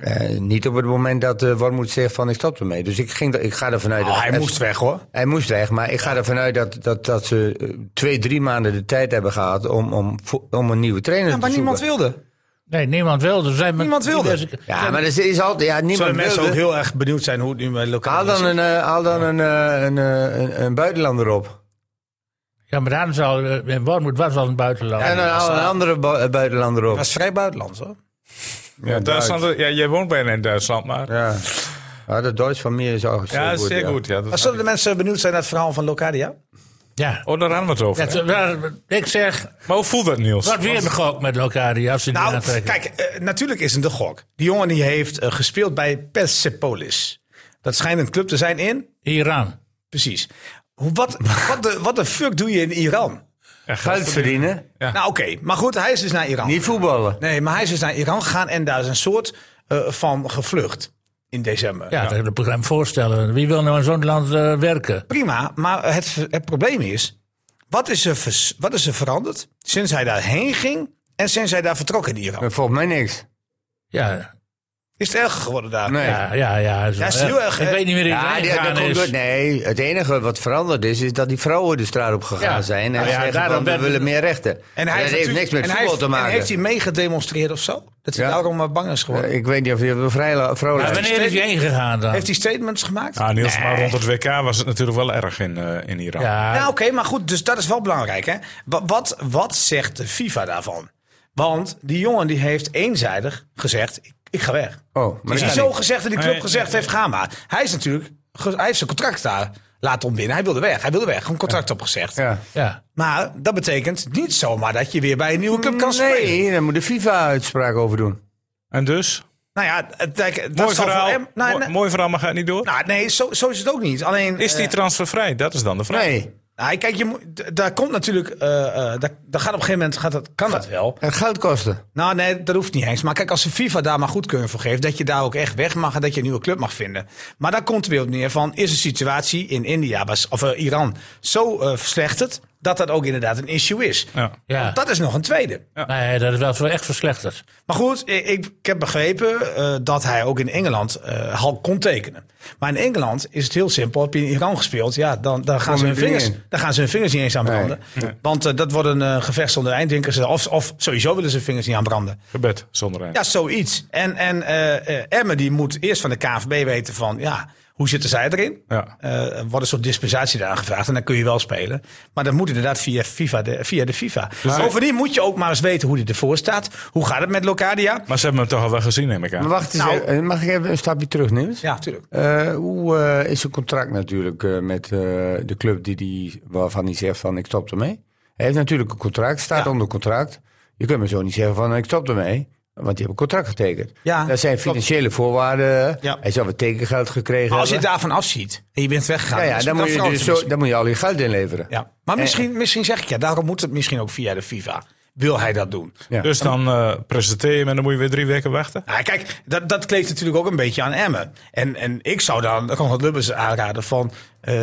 Speaker 2: Eh, niet op het moment dat eh Wormoed zegt van ik stop ermee. Dus ik, ging, er- ik ga ervan uit dat...
Speaker 5: Oh, hij
Speaker 2: F-
Speaker 5: moest weg hoor.
Speaker 2: hij moest weg, maar ik ga ervan uit dat, dat, dat ze eh, twee, drie maanden de tijd hebben gehad om, om, vo- om een nieuwe trainer
Speaker 5: Ja,
Speaker 2: te
Speaker 5: maar
Speaker 2: zoeken.
Speaker 5: niemand wilde.
Speaker 4: Nee, niemand wilde. Er Zijn
Speaker 5: Niemand wilde.
Speaker 2: Ja, maar er is altijd, ja,
Speaker 5: Zullen
Speaker 2: niemand
Speaker 5: mensen ook
Speaker 2: wilde.
Speaker 5: heel erg benieuwd zijn hoe het nu met lokaal
Speaker 2: Haal dan een, eh, haal dan een, eh, een, eh, een, een buitenlander op.
Speaker 4: Ja, maar daar is al, eh, in Wormoed was wel een buitenland.
Speaker 5: nou
Speaker 2: en dan haal een andere bu- eh, buitenlander op.
Speaker 5: Het was vrij buitenlands hoor.
Speaker 1: Ja, Duitsland, ja, jij woont bijna in Duitsland, maar... Ja,
Speaker 2: Ja. ja, dat Duits van mij is ook zo goed.
Speaker 1: zeer
Speaker 2: ja.
Speaker 1: goed. Ja, dat
Speaker 5: Maar zullen de mensen benieuwd zijn naar het verhaal van Locadia?
Speaker 4: ja.
Speaker 1: Oh, daar hadden we het over.
Speaker 4: Het, waar- ik zeg,
Speaker 1: Maar hoe voelt dat, Niels?
Speaker 4: wat weer een gok met Locadia als ze die
Speaker 5: Nou,
Speaker 4: aantrekken.
Speaker 5: kijk, eh, natuurlijk is het een gok. Die jongen die heeft eh, gespeeld bij Persepolis. Dat schijnt een club te zijn in.
Speaker 4: Iran.
Speaker 5: Precies. Hoe- Wat, wat, de, wat de fuck doe je in Iran?
Speaker 2: Geld verdienen,
Speaker 5: Nou oké, maar goed, hij is dus naar Iran.
Speaker 2: niet voetballen.
Speaker 5: Nee, maar hij is dus naar Iran gegaan en daar is een soort eh, van gevlucht in december.
Speaker 4: Ja, dat kan ik me voorstellen. Wie wil nou in zo'n land eh, werken?
Speaker 5: Prima, maar het, ver- het probleem is, wat is, er vers- wat is er veranderd sinds hij daarheen ging en sinds hij daar vertrok in Iran?
Speaker 2: Maar Volgens mij niks.
Speaker 4: Ja,
Speaker 5: Is het erger geworden daar?
Speaker 2: Nee.
Speaker 4: ja, ja. ja, is wel
Speaker 5: is heel erg,
Speaker 4: Ik
Speaker 5: hè?
Speaker 4: weet niet meer in
Speaker 2: Ja,
Speaker 4: ja,
Speaker 2: die- dat komt door-
Speaker 4: is.
Speaker 2: nee, het enige wat veranderd is, is dat die vrouwen de straat op gegaan
Speaker 4: Ja.
Speaker 2: zijn. En
Speaker 4: Nou ja,
Speaker 2: zeggen
Speaker 4: daarom
Speaker 2: van, we
Speaker 4: werd-
Speaker 2: willen meer rechten.
Speaker 5: En hij
Speaker 2: dat heeft
Speaker 5: natuurlijk-
Speaker 2: niks met
Speaker 5: en hij
Speaker 2: voetbal
Speaker 5: heeft-
Speaker 2: te maken.
Speaker 5: En heeft hij meegedemonstreerd of zo? Dat hij
Speaker 2: Ja.
Speaker 5: daarom maar bang is geworden.
Speaker 2: Eh, ik weet niet of je een vrij- vrouwelijk...
Speaker 4: Maar wanneer is hij heen gegaan dan?
Speaker 5: heeft hij statements gemaakt?
Speaker 1: Ah, Niels, maar rond het WK was het natuurlijk wel erg in, eh, in Iran.
Speaker 4: Ja,
Speaker 5: Nou, oké, maar goed, dus dat is wel belangrijk. Hè? Wat, wat, wat zegt de FIFA daarvan? Want die jongen die heeft eenzijdig gezegd: ik, ik ga weg.
Speaker 2: Oh, maar
Speaker 5: is hij
Speaker 2: dat
Speaker 5: zo
Speaker 2: kan
Speaker 5: gezegd en die club
Speaker 1: Nee,
Speaker 5: gezegd heeft: ga maar. Hij is natuurlijk, ge- hij heeft zijn contract daar laten ontbinden. Hij wilde weg, hij wilde weg. Een contract opgezegd.
Speaker 2: niet. Ja.
Speaker 4: ja.
Speaker 5: Maar dat betekent niet zomaar dat je weer bij een nieuwe club kan spelen.
Speaker 2: Nee, daar moet de FIFA uitspraak over doen.
Speaker 1: En dus?
Speaker 5: Nou ja, het- dat
Speaker 1: Mooi
Speaker 5: zal
Speaker 1: verhaal.
Speaker 5: voor hem. Nou,
Speaker 1: Mooi-
Speaker 5: nee,
Speaker 1: Mooi verhaal, maar gaat niet door.
Speaker 5: nou, nee, zo, zo is het ook niet. Alleen,
Speaker 1: Is die
Speaker 5: eh,
Speaker 1: transfervrij? Dat is dan de vraag.
Speaker 2: Nee,
Speaker 5: nou, kijk, je, moet- d- daar komt natuurlijk. eh, eh, daar, daar gaat op een gegeven moment. Gaat dat, kan dat wel?
Speaker 2: het geld kosten.
Speaker 5: Nou, nee, dat hoeft niet eens. Maar kijk, als de FIFA daar maar goedkeuring voor geeft, dat je daar ook echt weg mag en dat je een nieuwe club mag vinden. Maar daar komt er weer op neer van: is de situatie in India was- of eh, Iran zo eh, verslechterd dat dat ook inderdaad een issue is.
Speaker 1: Ja.
Speaker 4: Ja.
Speaker 5: Dat is nog een tweede.
Speaker 4: Nee, dat is wel zo echt verslechterd.
Speaker 5: Maar goed, ik, ik heb begrepen eh, dat hij ook in Engeland eh Halk kon tekenen. Maar in Engeland is het heel simpel. Heb je in Iran gespeeld, ja, dan, dan, gaan, ze hun
Speaker 2: er niet
Speaker 5: vingers,
Speaker 2: in.
Speaker 5: dan gaan ze hun vingers niet eens aan
Speaker 2: Nee.
Speaker 5: branden. Want eh, dat wordt een eh, gevecht zonder eind, denken ze. Of, of sowieso willen ze hun vingers niet aan branden.
Speaker 1: Gebed zonder eind.
Speaker 5: Ja, zoiets. En, en eh eh, Emmen die moet eerst van de KNVB weten van, ja, hoe zitten zij erin?
Speaker 1: Ja.
Speaker 5: Eh, wat een soort dispensatie daar aangevraagd en dan kun je wel spelen. Maar dat moet inderdaad via, FIFA de, via de FIFA.
Speaker 2: Dus-
Speaker 5: Bovendien moet je ook maar eens weten hoe die ervoor staat. Hoe gaat het met Locadia?
Speaker 1: Maar ze hebben hem toch al wel gezien, neem ik aan.
Speaker 2: Maar wacht eens,
Speaker 5: Nou.
Speaker 2: eh, mag ik even een stapje terug, Niels?
Speaker 5: Ja, tuurlijk.
Speaker 2: Eh, hoe eh, is zijn contract natuurlijk eh, met eh, de club die die, waarvan hij zegt van ik stop ermee? Hij heeft natuurlijk een contract, staat
Speaker 5: Ja.
Speaker 2: onder contract. Je kunt me zo niet zeggen van ik stop ermee, want je hebt een contract getekend.
Speaker 5: Ja,
Speaker 2: Dat zijn
Speaker 5: klopt.
Speaker 2: financiële voorwaarden.
Speaker 5: Ja.
Speaker 2: Hij zou wat tekengeld gekregen
Speaker 5: Maar als je het
Speaker 2: hebben.
Speaker 5: daarvan afziet en je bent weggegaan.
Speaker 2: ja, ja,
Speaker 5: is
Speaker 2: dan, moet
Speaker 5: dat
Speaker 2: je
Speaker 5: fout
Speaker 2: dus zo, Eh,
Speaker 5: misschien.
Speaker 2: dan moet je al je geld inleveren.
Speaker 5: ja. Maar misschien, misschien zeg ik ja, daarom moet het misschien ook via de FIFA. Wil hij dat doen?
Speaker 2: Ja.
Speaker 1: Dus dan eh, presenteer je hem en dan moet je weer drie weken wachten.
Speaker 5: Nou, kijk, dat, dat kleeft natuurlijk ook een beetje aan Emmen. En, en ik zou dan Conrad Lubbers aanraden van... eh,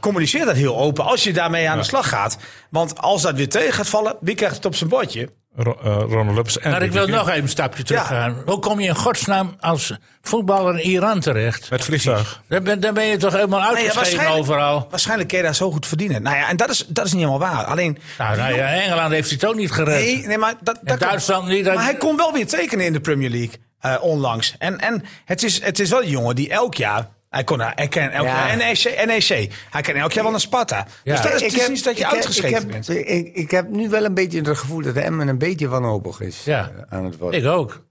Speaker 5: communiceer dat heel open als je daarmee aan de slag gaat. Want als dat weer tegen gaat vallen, wie krijgt het op zijn bordje?
Speaker 1: Ro eh, Ronald Lubbers en
Speaker 4: Maar ik
Speaker 1: Rudy
Speaker 4: wil
Speaker 1: King.
Speaker 4: nog even een stapje terug
Speaker 5: Ja.
Speaker 4: gaan. Hoe kom je in godsnaam als voetballer in Iran terecht?
Speaker 1: Met vliegtuig.
Speaker 4: Dan ben, dan ben je toch helemaal uitgeschreven overal?
Speaker 5: waarschijnlijk kun je daar zo goed verdienen. Nou ja, en dat is, dat is niet helemaal waar. Alleen,
Speaker 4: Nou, nou ja, Engeland heeft het ook niet gered.
Speaker 5: nee, nee, maar dat, dat
Speaker 4: Duitsland niet, dat-
Speaker 5: Maar hij kon wel weer tekenen in de Premier League eh, onlangs. En, en het, is, het is wel een jongen die elk jaar... Hij kon, hij kan elk
Speaker 2: Ja.
Speaker 5: jaar E NEC, NEC. Hij kan elk jaar wel naar Sparta. Dus dat is
Speaker 2: Ik
Speaker 5: precies
Speaker 2: heb-
Speaker 5: dat je
Speaker 2: ik heb-
Speaker 5: uitgeschreven
Speaker 2: ik heb,
Speaker 5: bent.
Speaker 2: Ik, ik heb nu wel een beetje het gevoel dat Emmen een beetje wanhopig is
Speaker 4: Ja.
Speaker 2: eh, aan het worden.
Speaker 4: Ik ook.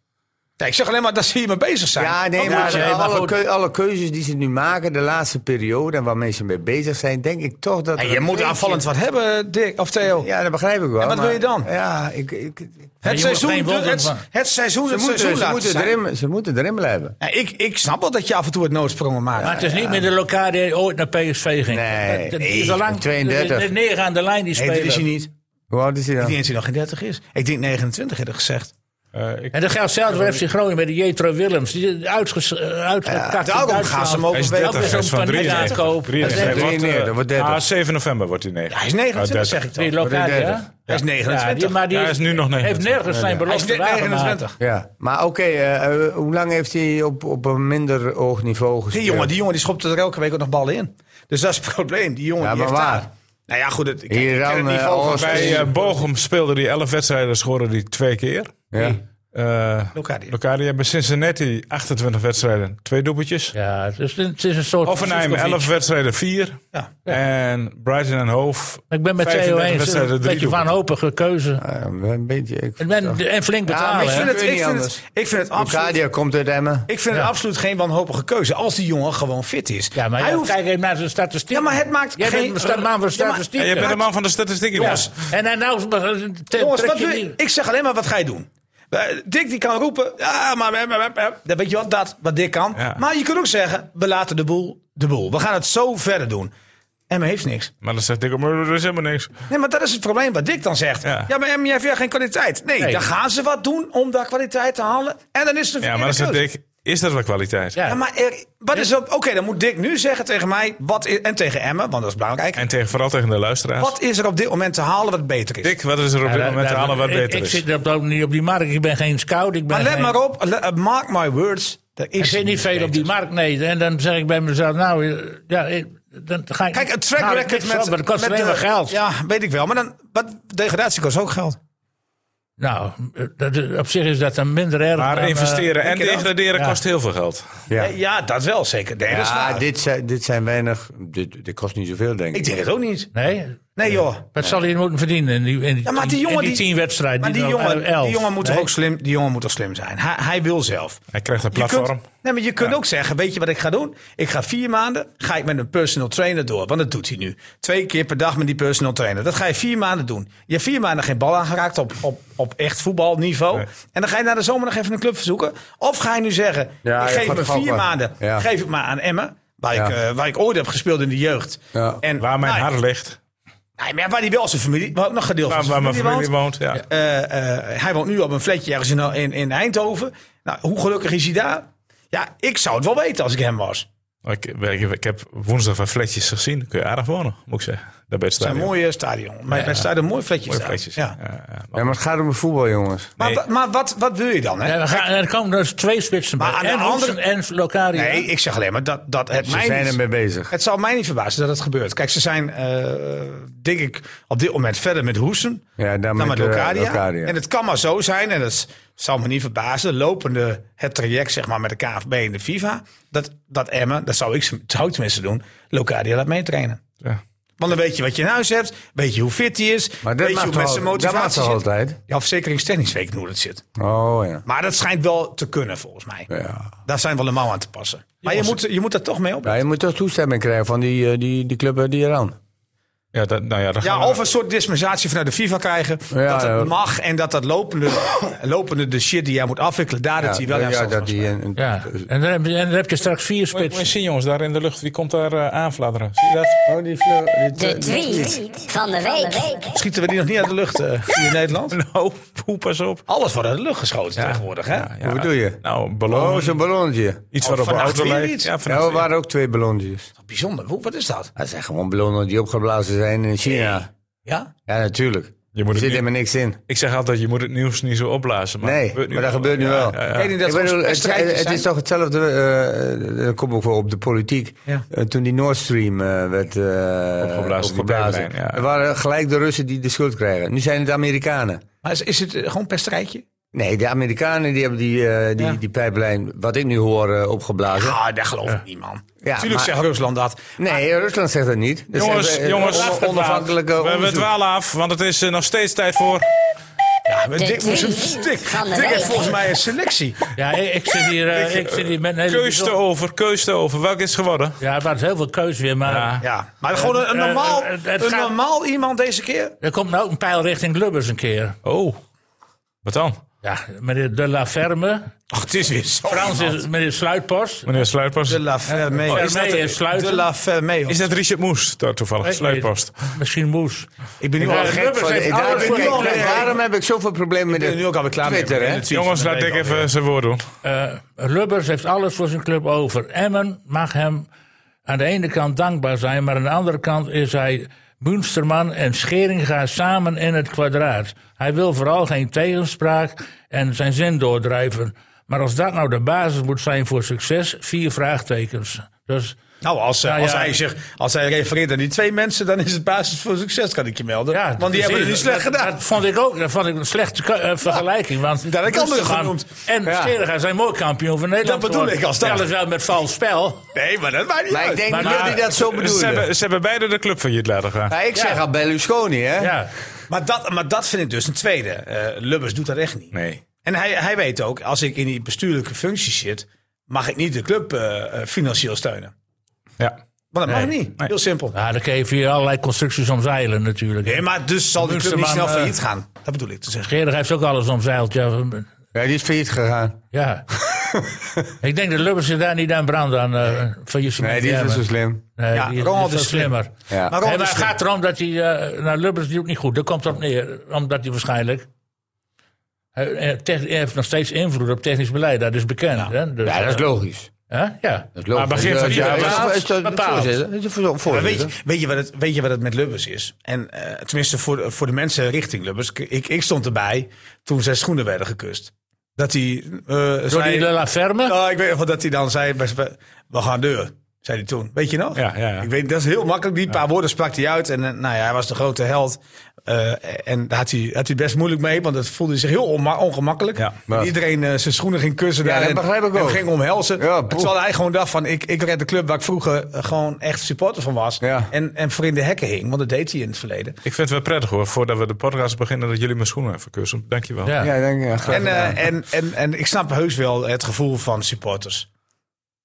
Speaker 5: Ja, ik zeg alleen maar dat ze hiermee bezig zijn. Oh,
Speaker 2: Ja, nee, maar,
Speaker 4: moet je- maar
Speaker 2: alle,
Speaker 4: goed.
Speaker 2: keu- alle keuzes die ze nu maken, de laatste periode en waar mensen mee bezig zijn, denk ik toch dat.
Speaker 5: En
Speaker 2: er
Speaker 5: je
Speaker 2: een
Speaker 5: moet
Speaker 2: beetje-
Speaker 5: aanvallend wat hebben, Dick of Theo.
Speaker 2: Ja, dat begrijp ik wel.
Speaker 5: En wat wil
Speaker 2: maar-
Speaker 5: je dan?
Speaker 2: Ja, ik. ik, ik-
Speaker 5: het,
Speaker 4: je
Speaker 5: seizoen,
Speaker 4: moet geen
Speaker 5: het,
Speaker 4: wonder
Speaker 5: het,
Speaker 4: van-
Speaker 5: seizoen,
Speaker 2: ze,
Speaker 5: het
Speaker 2: moeten,
Speaker 5: seizoen
Speaker 2: ze,
Speaker 5: laten
Speaker 2: moeten
Speaker 5: zijn.
Speaker 2: erin, ze moeten erin blijven.
Speaker 5: Ja, ik, ik snap wel dat je af en toe het noodsprongen maakt.
Speaker 4: Maar het is niet meer de locatie die ooit naar PSV ging.
Speaker 2: Nee,
Speaker 4: Dat- dat
Speaker 2: nee,
Speaker 4: is al lang
Speaker 2: 32.
Speaker 4: De, de negen aan de lijn die
Speaker 5: nee, dat is
Speaker 4: spelen.
Speaker 5: hij niet. Ik
Speaker 2: Hoe oud is hij
Speaker 5: denk
Speaker 2: dan?
Speaker 5: dat hij nog geen 30 is. Ik denk 29 hebben gezegd.
Speaker 1: Eh, ik-
Speaker 4: en dat geldt zelfs bij FC Groningen bij de Jetro Willems. Die is uitges, eh, uitgekakt. in
Speaker 5: daarom gaan ze
Speaker 4: Duitsland.
Speaker 5: hem ook
Speaker 1: hij is
Speaker 5: een beetje-
Speaker 1: 30, hij is
Speaker 4: Zo'n
Speaker 1: van 93.
Speaker 4: paniekaankoop.
Speaker 1: 93.
Speaker 4: Dat is
Speaker 1: Hij
Speaker 2: echt-
Speaker 1: wordt, eh,
Speaker 2: dat wordt 30.
Speaker 1: Ah, 7 november wordt hij 9.
Speaker 5: Ja, hij is 29,
Speaker 1: Ah,
Speaker 5: zeg ik dan.
Speaker 4: Die locatie, hè?
Speaker 2: 30.
Speaker 5: Hij is
Speaker 4: Ja,
Speaker 5: 29.
Speaker 4: die, maar die
Speaker 1: Ja, hij is nu nog
Speaker 4: heeft
Speaker 1: 29.
Speaker 4: nergens zijn
Speaker 5: hij is
Speaker 4: belofte waargemaakt.
Speaker 5: 29.
Speaker 2: Ja, maar oké, eh, eh, hoe lang heeft hij op, op een minder hoog niveau gespeeld?
Speaker 5: Die jongen, die jongen die schopt er elke week ook nog ballen in. Dus dat is het probleem. Die jongen
Speaker 2: Ja,
Speaker 5: die
Speaker 2: maar
Speaker 5: heeft
Speaker 2: waar?
Speaker 5: daar- Nou ja, goed. Het, ik,
Speaker 2: Hier
Speaker 5: ik ken
Speaker 2: dan,
Speaker 5: het
Speaker 2: eh,
Speaker 5: niveau van
Speaker 2: Alves-
Speaker 5: bij
Speaker 1: Bij eh, Bochum speelde hij 11 wedstrijden, schoorde hij twee keer.
Speaker 2: Ja.
Speaker 1: Eh
Speaker 5: Locadia.
Speaker 1: Locadia bij Cincinnati 28 wedstrijden, twee doelpuntjes.
Speaker 4: Ja, het is, het is een soort...
Speaker 1: Offenheim 11 wedstrijden, 4.
Speaker 5: Ja.
Speaker 1: En Brighton en Hoof.
Speaker 4: Ik ben met Theo
Speaker 1: 35
Speaker 4: eens.
Speaker 1: wedstrijden,
Speaker 4: Een
Speaker 1: drie
Speaker 4: beetje
Speaker 1: doelpunten.
Speaker 4: wanhopige keuze.
Speaker 2: Ah, een beetje. Ik,
Speaker 4: En, ben, en flink
Speaker 2: maar
Speaker 4: betalen.
Speaker 2: ik
Speaker 4: hè?
Speaker 5: Ik vind,
Speaker 2: Kun
Speaker 5: het,
Speaker 2: je
Speaker 5: ik,
Speaker 2: niet
Speaker 5: vind het,
Speaker 2: anders.
Speaker 5: ik vind het absoluut
Speaker 2: Locadia komt uit Emmen.
Speaker 5: Ik vind het absoluut geen wanhopige keuze als die jongen gewoon fit is.
Speaker 4: Ja, maar
Speaker 5: hij
Speaker 4: ja,
Speaker 5: hoeft.
Speaker 4: kijk even naar zijn statistieken.
Speaker 5: Ja, maar het maakt
Speaker 4: Jij
Speaker 5: geen-
Speaker 4: bent een sta- man van
Speaker 5: Ja, maar-
Speaker 1: Ja,
Speaker 4: statistieken.
Speaker 1: je bent een man van de statistieken, jongens.
Speaker 4: En dan nou... te-
Speaker 5: Jongens,
Speaker 4: trek
Speaker 5: wat
Speaker 4: je
Speaker 5: wil,
Speaker 4: die-
Speaker 5: ik zeg alleen maar wat ga je doen. Eh, Dick die kan roepen, ja, maar, maar, maar, maar, maar. Dan weet je wat, dat, wat Dick kan.
Speaker 1: Ja.
Speaker 5: Maar je kunt ook zeggen, we laten de boel de boel. We gaan het zo verder doen. Emma heeft niks.
Speaker 1: Maar dan zegt ik, maar er is helemaal niks.
Speaker 5: Nee, maar dat is het probleem wat Dick dan zegt. Ja,
Speaker 1: Ja.
Speaker 5: maar Emma, je hebt ja geen kwaliteit. Nee,
Speaker 4: Nee.
Speaker 5: dan gaan ze wat doen om daar kwaliteit te halen. En dan is het een
Speaker 1: Ja, maar dan
Speaker 5: verkeerde
Speaker 1: zegt
Speaker 5: keuze.
Speaker 1: ik, is dat wel kwaliteit?
Speaker 4: Ja.
Speaker 5: Ja, maar er, wat is dat? Oké, dan moet Dick nu zeggen tegen mij wat i- en tegen Emma, want dat is belangrijk.
Speaker 1: En tegen, vooral tegen de luisteraars.
Speaker 5: Wat is er op dit moment te halen wat beter is?
Speaker 1: Dick, wat is er op
Speaker 4: Ja,
Speaker 1: dit
Speaker 4: daar-
Speaker 1: moment
Speaker 4: daar-
Speaker 1: aan wat
Speaker 4: ik-
Speaker 1: beter
Speaker 4: Ik
Speaker 1: is?
Speaker 4: zit op, dat- niet op die markt. Ik ben geen scout. Ik ben
Speaker 5: Maar let
Speaker 4: geen-
Speaker 5: maar op, le- uh, mark my words. Er is
Speaker 4: Er zit niet veel op die markt, nee. En dan zeg ik bij mezelf, nou, eh, ja, ik- dan ga ik...
Speaker 5: Kijk, het track
Speaker 4: haal ik
Speaker 5: record
Speaker 4: niks
Speaker 5: met...
Speaker 4: op, Maar Nou, dat kost
Speaker 5: met
Speaker 4: alleen maar
Speaker 5: de-
Speaker 4: geld.
Speaker 5: Ja, weet ik wel. Maar dan, wat, degradatie kost ook geld.
Speaker 4: Nou, eh, dat, is- op zich is dat dan minder erg. dan,
Speaker 1: Maar
Speaker 4: eh,
Speaker 1: investeren en
Speaker 5: denk je dat?
Speaker 1: degraderen
Speaker 4: Ja.
Speaker 1: kost heel veel geld.
Speaker 5: Ja,
Speaker 2: Ja.
Speaker 5: dat wel zeker. Nee, dat is
Speaker 2: Ja,
Speaker 5: waar.
Speaker 2: dit zijn, dit zijn weinig. Dit, dit kost niet zoveel, denk
Speaker 5: Ik
Speaker 2: ik.
Speaker 5: denk het ook niet.
Speaker 4: Nee,
Speaker 5: Nee, joh.
Speaker 4: wat zal hij moeten verdienen in die, in die,
Speaker 5: Ja, maar die
Speaker 4: in
Speaker 5: jongen
Speaker 4: die,
Speaker 5: die-
Speaker 4: tien wedstrijden?
Speaker 5: Maar die
Speaker 4: dan-
Speaker 5: jongen,
Speaker 4: elf,
Speaker 5: die jongen moet toch
Speaker 4: nee?
Speaker 5: ook slim, die jongen moet toch slim zijn. Hij, hij wil zelf.
Speaker 1: Hij krijgt een
Speaker 5: Je kunt,
Speaker 1: platform.
Speaker 5: nee, maar je kunt ook zeggen, weet je wat ik ga doen? Ik ga vier maanden ga ik met een personal trainer door. Want dat doet hij nu. Twee keer per dag met die personal trainer. Dat ga je vier maanden doen. Je hebt vier maanden geen bal aangeraakt op, op, op echt voetbalniveau.
Speaker 1: Nee.
Speaker 5: En dan ga je na de zomer nog even een club verzoeken. Of ga je nu zeggen,
Speaker 2: Ja,
Speaker 5: ik
Speaker 2: ja,
Speaker 5: geef
Speaker 2: van
Speaker 5: me
Speaker 2: Gogh,
Speaker 5: vier
Speaker 2: maar-
Speaker 5: maanden.
Speaker 2: ja.
Speaker 5: Geef ik maar aan Emmen. Waar,
Speaker 2: Ja.
Speaker 5: ik, eh, waar ik ooit heb gespeeld in de jeugd.
Speaker 2: Ja.
Speaker 5: En,
Speaker 1: Waar mijn
Speaker 5: nou,
Speaker 1: hart ligt.
Speaker 5: nee, maar waar die wel zijn familie, waar ook nog gedeeld
Speaker 1: Waar,
Speaker 5: van
Speaker 1: waar
Speaker 5: zijn
Speaker 1: mijn
Speaker 5: familie woont.
Speaker 1: familie woont. Ja.
Speaker 5: Eh, eh, hij woont nu op een flatje ergens in, in, in Eindhoven. Nou, hoe gelukkig is hij daar? Ja, ik zou het wel weten als ik hem was.
Speaker 1: Ik, ik, ik heb woensdag wat flatjes gezien. Daar kun je aardig wonen, moet ik zeggen. Daar bij het
Speaker 5: Het is een
Speaker 1: stadion.
Speaker 5: mooie stadion. Maar bij het stadion mooi fletjes.
Speaker 1: mooie
Speaker 5: aan.
Speaker 1: plekjes.
Speaker 5: Ja.
Speaker 1: Ja, ja.
Speaker 2: Ja, maar het gaat om voetbal, jongens.
Speaker 5: Maar,
Speaker 1: Nee.
Speaker 5: wa- maar wat, wat wil je dan? Hè?
Speaker 4: Ja, we gaan, er komen dus twee spitsen
Speaker 5: Maar
Speaker 4: bij.
Speaker 5: aan de
Speaker 4: En Hansen
Speaker 5: andere-
Speaker 4: en Locadia.
Speaker 5: Nee, ik zeg alleen maar dat, dat het
Speaker 2: Ze
Speaker 5: mij
Speaker 2: zijn
Speaker 5: niet-
Speaker 2: ermee bezig.
Speaker 5: Het zal mij niet verbazen dat het gebeurt. Kijk, ze zijn, eh, denk ik, op dit moment verder met Hoesen
Speaker 2: Ja, daar
Speaker 5: dan
Speaker 2: met,
Speaker 5: met,
Speaker 2: eh,
Speaker 5: Locadia.
Speaker 2: Locadia.
Speaker 5: En het kan maar zo zijn, en dat zal me niet verbazen, lopende het traject zeg maar, met de KFB en de FIFA, dat, dat Emmen, dat zou ik, zou ik tenminste doen, Locadia laat meetrainen.
Speaker 1: Ja.
Speaker 5: Want dan weet je wat je in huis hebt, weet je hoe fit hij is,
Speaker 2: Maar dat
Speaker 5: weet je hoe
Speaker 2: mag,
Speaker 5: met
Speaker 2: toch,
Speaker 5: zijn
Speaker 2: al- dat mag
Speaker 5: motivatie
Speaker 2: toch
Speaker 5: zit.
Speaker 2: altijd?
Speaker 5: Ja, verzekeringstechnisch weet ik niet hoe dat zit.
Speaker 2: Oh ja.
Speaker 5: Maar dat schijnt wel te kunnen volgens mij.
Speaker 2: Ja.
Speaker 5: Daar zijn wel de mouw aan te passen. Maar je moet, je moet daar toch mee op.
Speaker 2: ja, je moet toch toestemming krijgen van die, eh, die, die club eh, die eraan.
Speaker 1: Ja, dat, nou ja, daar gaan
Speaker 5: Ja,
Speaker 1: we-
Speaker 5: of een soort dispensatie vanuit de FIFA krijgen.
Speaker 2: Ja,
Speaker 5: dat het
Speaker 2: ja.
Speaker 5: mag en dat dat lopende, lopende de shit die jij moet afwikkelen, daar dat hij wel
Speaker 2: ja,
Speaker 5: aan
Speaker 2: dat die eh, een, een-
Speaker 4: Ja, en dan, heb je, en dan heb je straks vier
Speaker 1: Moet je- moet je
Speaker 4: spitsen.
Speaker 1: zien, jongens, daar in de lucht. Wie komt daar eh, aanfladderen? Zie je dat?
Speaker 2: Oh, die fleur. die-
Speaker 7: De tweet van de week.
Speaker 5: Schieten we die nog niet uit de lucht eh, hier in Nederland?
Speaker 2: Oh,
Speaker 1: Nou, poe, pas op.
Speaker 5: Alles wordt uit de lucht geschoten tegenwoordig, hè?
Speaker 2: Hoe bedoel je?
Speaker 1: Nou,
Speaker 2: Oh,
Speaker 1: ballon.
Speaker 2: zo'n ballonnetje.
Speaker 1: iets
Speaker 5: Oh,
Speaker 1: waarop een
Speaker 5: vannacht
Speaker 1: auto
Speaker 5: weer
Speaker 1: lijkt.
Speaker 5: iets?
Speaker 1: Ja,
Speaker 2: Ja, er
Speaker 1: vannacht
Speaker 2: waren ook twee ballonnetjes.
Speaker 5: Bijzonder. Hoe, wat is dat?
Speaker 2: Dat zijn gewoon ballonnen die opgeblazen zijn in China.
Speaker 5: Ja?
Speaker 2: Ja, natuurlijk.
Speaker 1: Je moet
Speaker 2: er
Speaker 1: het
Speaker 2: zit
Speaker 1: niet-
Speaker 2: helemaal niks in.
Speaker 1: Ik zeg altijd, je moet het nieuws niet zo opblazen. Maar
Speaker 2: nee, maar dat gebeurt nu
Speaker 1: Ja,
Speaker 2: wel.
Speaker 1: ja, ja.
Speaker 5: Ik denk dat
Speaker 2: Ik bedoel,
Speaker 5: gewoon
Speaker 2: het,
Speaker 5: strijdjes
Speaker 2: het
Speaker 5: zijn.
Speaker 2: is toch hetzelfde, eh, eh, dat komt ook wel op de politiek.
Speaker 5: Ja.
Speaker 2: Eh, toen die Nord Stream eh, werd eh,
Speaker 1: Opgeblazen, die
Speaker 2: opgeblazen.
Speaker 1: pijplijn, ja.
Speaker 2: Er waren gelijk de Russen die de schuld krijgen. Nu zijn het de Amerikanen.
Speaker 5: Maar is, is het eh, gewoon pesterijtje?
Speaker 2: Nee, de Amerikanen die hebben die, eh, die,
Speaker 5: Ja.
Speaker 2: die pijplijn, wat ik nu hoor, eh, opgeblazen.
Speaker 5: Ah, daar geloof ik niet, man.
Speaker 2: Ja,
Speaker 5: Tuurlijk
Speaker 2: maar-
Speaker 5: zegt Rusland dat.
Speaker 2: Nee, Rusland zegt dat niet. Dus
Speaker 1: Jongens,
Speaker 2: hebben, eh,
Speaker 1: jongens,
Speaker 2: on- onafhankelijke
Speaker 1: we, we
Speaker 2: onderzoek.
Speaker 1: dwalen af, want het is eh, nog steeds tijd voor.
Speaker 5: Ja, maar
Speaker 7: De
Speaker 5: Dick moest een
Speaker 7: tweet
Speaker 5: Dick-
Speaker 7: van de
Speaker 5: Dick heeft
Speaker 7: week.
Speaker 5: volgens mij een selectie.
Speaker 4: Ja, ik, ik zit hier, eh, ik zit hier met een hele...
Speaker 1: Keus over, keus over. Welk is het geworden?
Speaker 4: Ja, het was heel veel keus weer, maar...
Speaker 1: Ja.
Speaker 5: Ja, maar gewoon een, een
Speaker 4: eh,
Speaker 5: normaal,
Speaker 4: eh, het
Speaker 5: een
Speaker 4: gaat-
Speaker 5: normaal iemand deze keer.
Speaker 4: Er komt nou ook een pijl richting Lubbers een keer.
Speaker 1: Oh, wat dan? Oh,
Speaker 4: Ja, meneer De La Ferme.
Speaker 5: Ach, het is weer zo.
Speaker 4: Frans is meneer Sluitpost.
Speaker 1: Meneer Sluitpost.
Speaker 5: De La Ferme.
Speaker 4: Ferme
Speaker 5: Is dat-
Speaker 4: Eh, oh, is sluiten.
Speaker 5: De La Ferme. of
Speaker 1: Is dat Richard Moes, daar toevallig?
Speaker 4: Nee,
Speaker 1: Sluitpost.
Speaker 4: Misschien Moes.
Speaker 5: Ik ben nu
Speaker 4: Ja,
Speaker 5: al
Speaker 4: de
Speaker 5: gek
Speaker 4: Lubbers
Speaker 5: van
Speaker 4: heeft
Speaker 5: dit.
Speaker 4: alles
Speaker 5: Ja, ik ben nu
Speaker 4: voor
Speaker 5: al
Speaker 4: elkaar.
Speaker 5: gek.
Speaker 2: Waarom heb ik zoveel problemen met
Speaker 5: Ik ben
Speaker 2: de
Speaker 5: nu ook alweer klaar mee.
Speaker 2: Twitter,
Speaker 5: Ik ben
Speaker 2: hè?
Speaker 5: het ziek
Speaker 1: Jongens,
Speaker 5: van de
Speaker 1: laat
Speaker 5: week
Speaker 1: Dick
Speaker 5: alweer.
Speaker 1: even zijn woord doen.
Speaker 4: Eh, Lubbers heeft alles voor zijn club over. Emmen mag hem aan de ene kant dankbaar zijn, maar aan de andere kant is hij Munsterman en Scheringa samen in het kwadraat. Hij wil vooral geen tegenspraak en zijn zin doordrijven. Maar als dat nou de basis moet zijn voor succes, vier vraagtekens. Dus
Speaker 5: Nou, als, eh,
Speaker 4: Nou
Speaker 5: als,
Speaker 4: ja.
Speaker 5: hij zich, als hij refereert aan die twee mensen, dan is het basis voor succes, kan ik je melden.
Speaker 4: ja,
Speaker 5: Want die
Speaker 4: precies.
Speaker 5: hebben het niet slecht
Speaker 4: Dat-
Speaker 5: gedaan.
Speaker 4: Dat vond ik ook dat vond ik een slechte ke- eh, vergelijking. Want
Speaker 5: daar heb ik anderen
Speaker 4: Munsterman
Speaker 5: genoemd.
Speaker 4: En
Speaker 2: Ja.
Speaker 4: Scheringa zijn mooi kampioen van Nederland.
Speaker 5: Dat bedoel ik als dat.
Speaker 4: Ja, wel met vals spel.
Speaker 5: nee, maar dat maakt niet
Speaker 2: Maar
Speaker 5: uit.
Speaker 2: ik denk
Speaker 4: Maar-
Speaker 2: niet dat
Speaker 4: maar-
Speaker 2: hij dat zo
Speaker 1: Ze
Speaker 2: bedoelde.
Speaker 1: hebben, ze hebben beide de club failliet laten gaan.
Speaker 2: Ja, ik zeg al Berlusconi, hè?
Speaker 4: Ja.
Speaker 5: maar, dat, maar dat vind ik dus een tweede. Eh, Lubbers doet dat echt niet.
Speaker 1: Nee.
Speaker 5: En hij, hij weet ook, als ik in die bestuurlijke functie zit, mag ik niet de club eh, eh, financieel steunen.
Speaker 1: Ja.
Speaker 5: Want dat mag niet. Heel simpel.
Speaker 4: Ja, Nou, dan kun je via allerlei constructies omzeilen natuurlijk.
Speaker 5: Nee, maar dus zal de club niet
Speaker 4: Munsterman,
Speaker 5: snel
Speaker 4: eh,
Speaker 5: failliet gaan. Dat bedoel ik te zeggen.
Speaker 4: Gerder heeft ook alles omzeild. Ja.
Speaker 2: Ja, die is failliet gegaan.
Speaker 4: ja. ik denk dat Lubbers zich daar niet aan brandt aan eh faillissement.
Speaker 2: Nee, die is
Speaker 4: hebben.
Speaker 2: niet zo slim.
Speaker 4: Nee,
Speaker 5: dus- Ja,
Speaker 4: die is,
Speaker 5: Ronald
Speaker 4: die is
Speaker 5: is
Speaker 4: veel slimmer.
Speaker 2: Ja.
Speaker 5: Maar
Speaker 4: Nee,
Speaker 5: Ron,
Speaker 4: maar
Speaker 5: dus-
Speaker 4: het gaat erom dat hij... eh nou, Lubbers doet niet goed. Daar komt het op neer. Omdat hij waarschijnlijk... Hij eh, tech- hij heeft nog steeds invloed op technisch beleid. Dat is bekend. Hè? Dus,
Speaker 2: ja, dat is
Speaker 4: eh,
Speaker 2: logisch.
Speaker 4: hè? Ja.
Speaker 2: Dat is logisch.
Speaker 1: Maar begin van
Speaker 2: Ja,
Speaker 1: die-
Speaker 2: ja,
Speaker 1: ja,
Speaker 2: maar-
Speaker 4: dat
Speaker 2: is dat-
Speaker 4: bepaald.
Speaker 2: voorzitter? Is dat voor-
Speaker 5: Maar
Speaker 2: voorzitter?
Speaker 5: weet, je, weet, je wat het, weet je wat het met Lubbers is? En eh, tenminste voor, voor de mensen richting Lubbers. Ik, ik stond erbij toen zijn schoenen werden gekust. Dat hij. eh
Speaker 4: Door die
Speaker 5: zei,
Speaker 4: La Ferme?
Speaker 5: Nou, ik weet nog wel dat hij dan zei: bij- bij- We gaan deur. Zei hij toen. Weet je nog?
Speaker 1: Ja, ja, ja.
Speaker 5: Ik weet, dat is heel makkelijk. Die paar woorden sprak hij uit. En eh, nou ja, hij was de grote held. Eh, en daar had hij, had hij het best moeilijk mee, want dat voelde hij zich heel onma- ongemakkelijk.
Speaker 1: Ja.
Speaker 5: Dat Iedereen eh, zijn schoenen ging kussen.
Speaker 2: Ja,
Speaker 5: daar
Speaker 2: dat
Speaker 5: en-
Speaker 2: begrijp ik
Speaker 5: en
Speaker 2: ook.
Speaker 5: ging omhelzen.
Speaker 2: Ja, poeh.
Speaker 5: terwijl hij gewoon dacht van, ik, ik red de club waar ik vroeger eh, gewoon echt supporter van was.
Speaker 2: Ja.
Speaker 5: En, en voor in de hekken hing, want dat deed hij in het verleden.
Speaker 1: Ik vind het wel prettig hoor, voordat we de podcast beginnen, dat jullie mijn schoenen even kussen. Dankjewel.
Speaker 4: Ja.
Speaker 2: Ja, denk, ja, graag
Speaker 5: En, eh,
Speaker 2: gedaan.
Speaker 5: en, en, en ik snap heus wel het gevoel van supporters.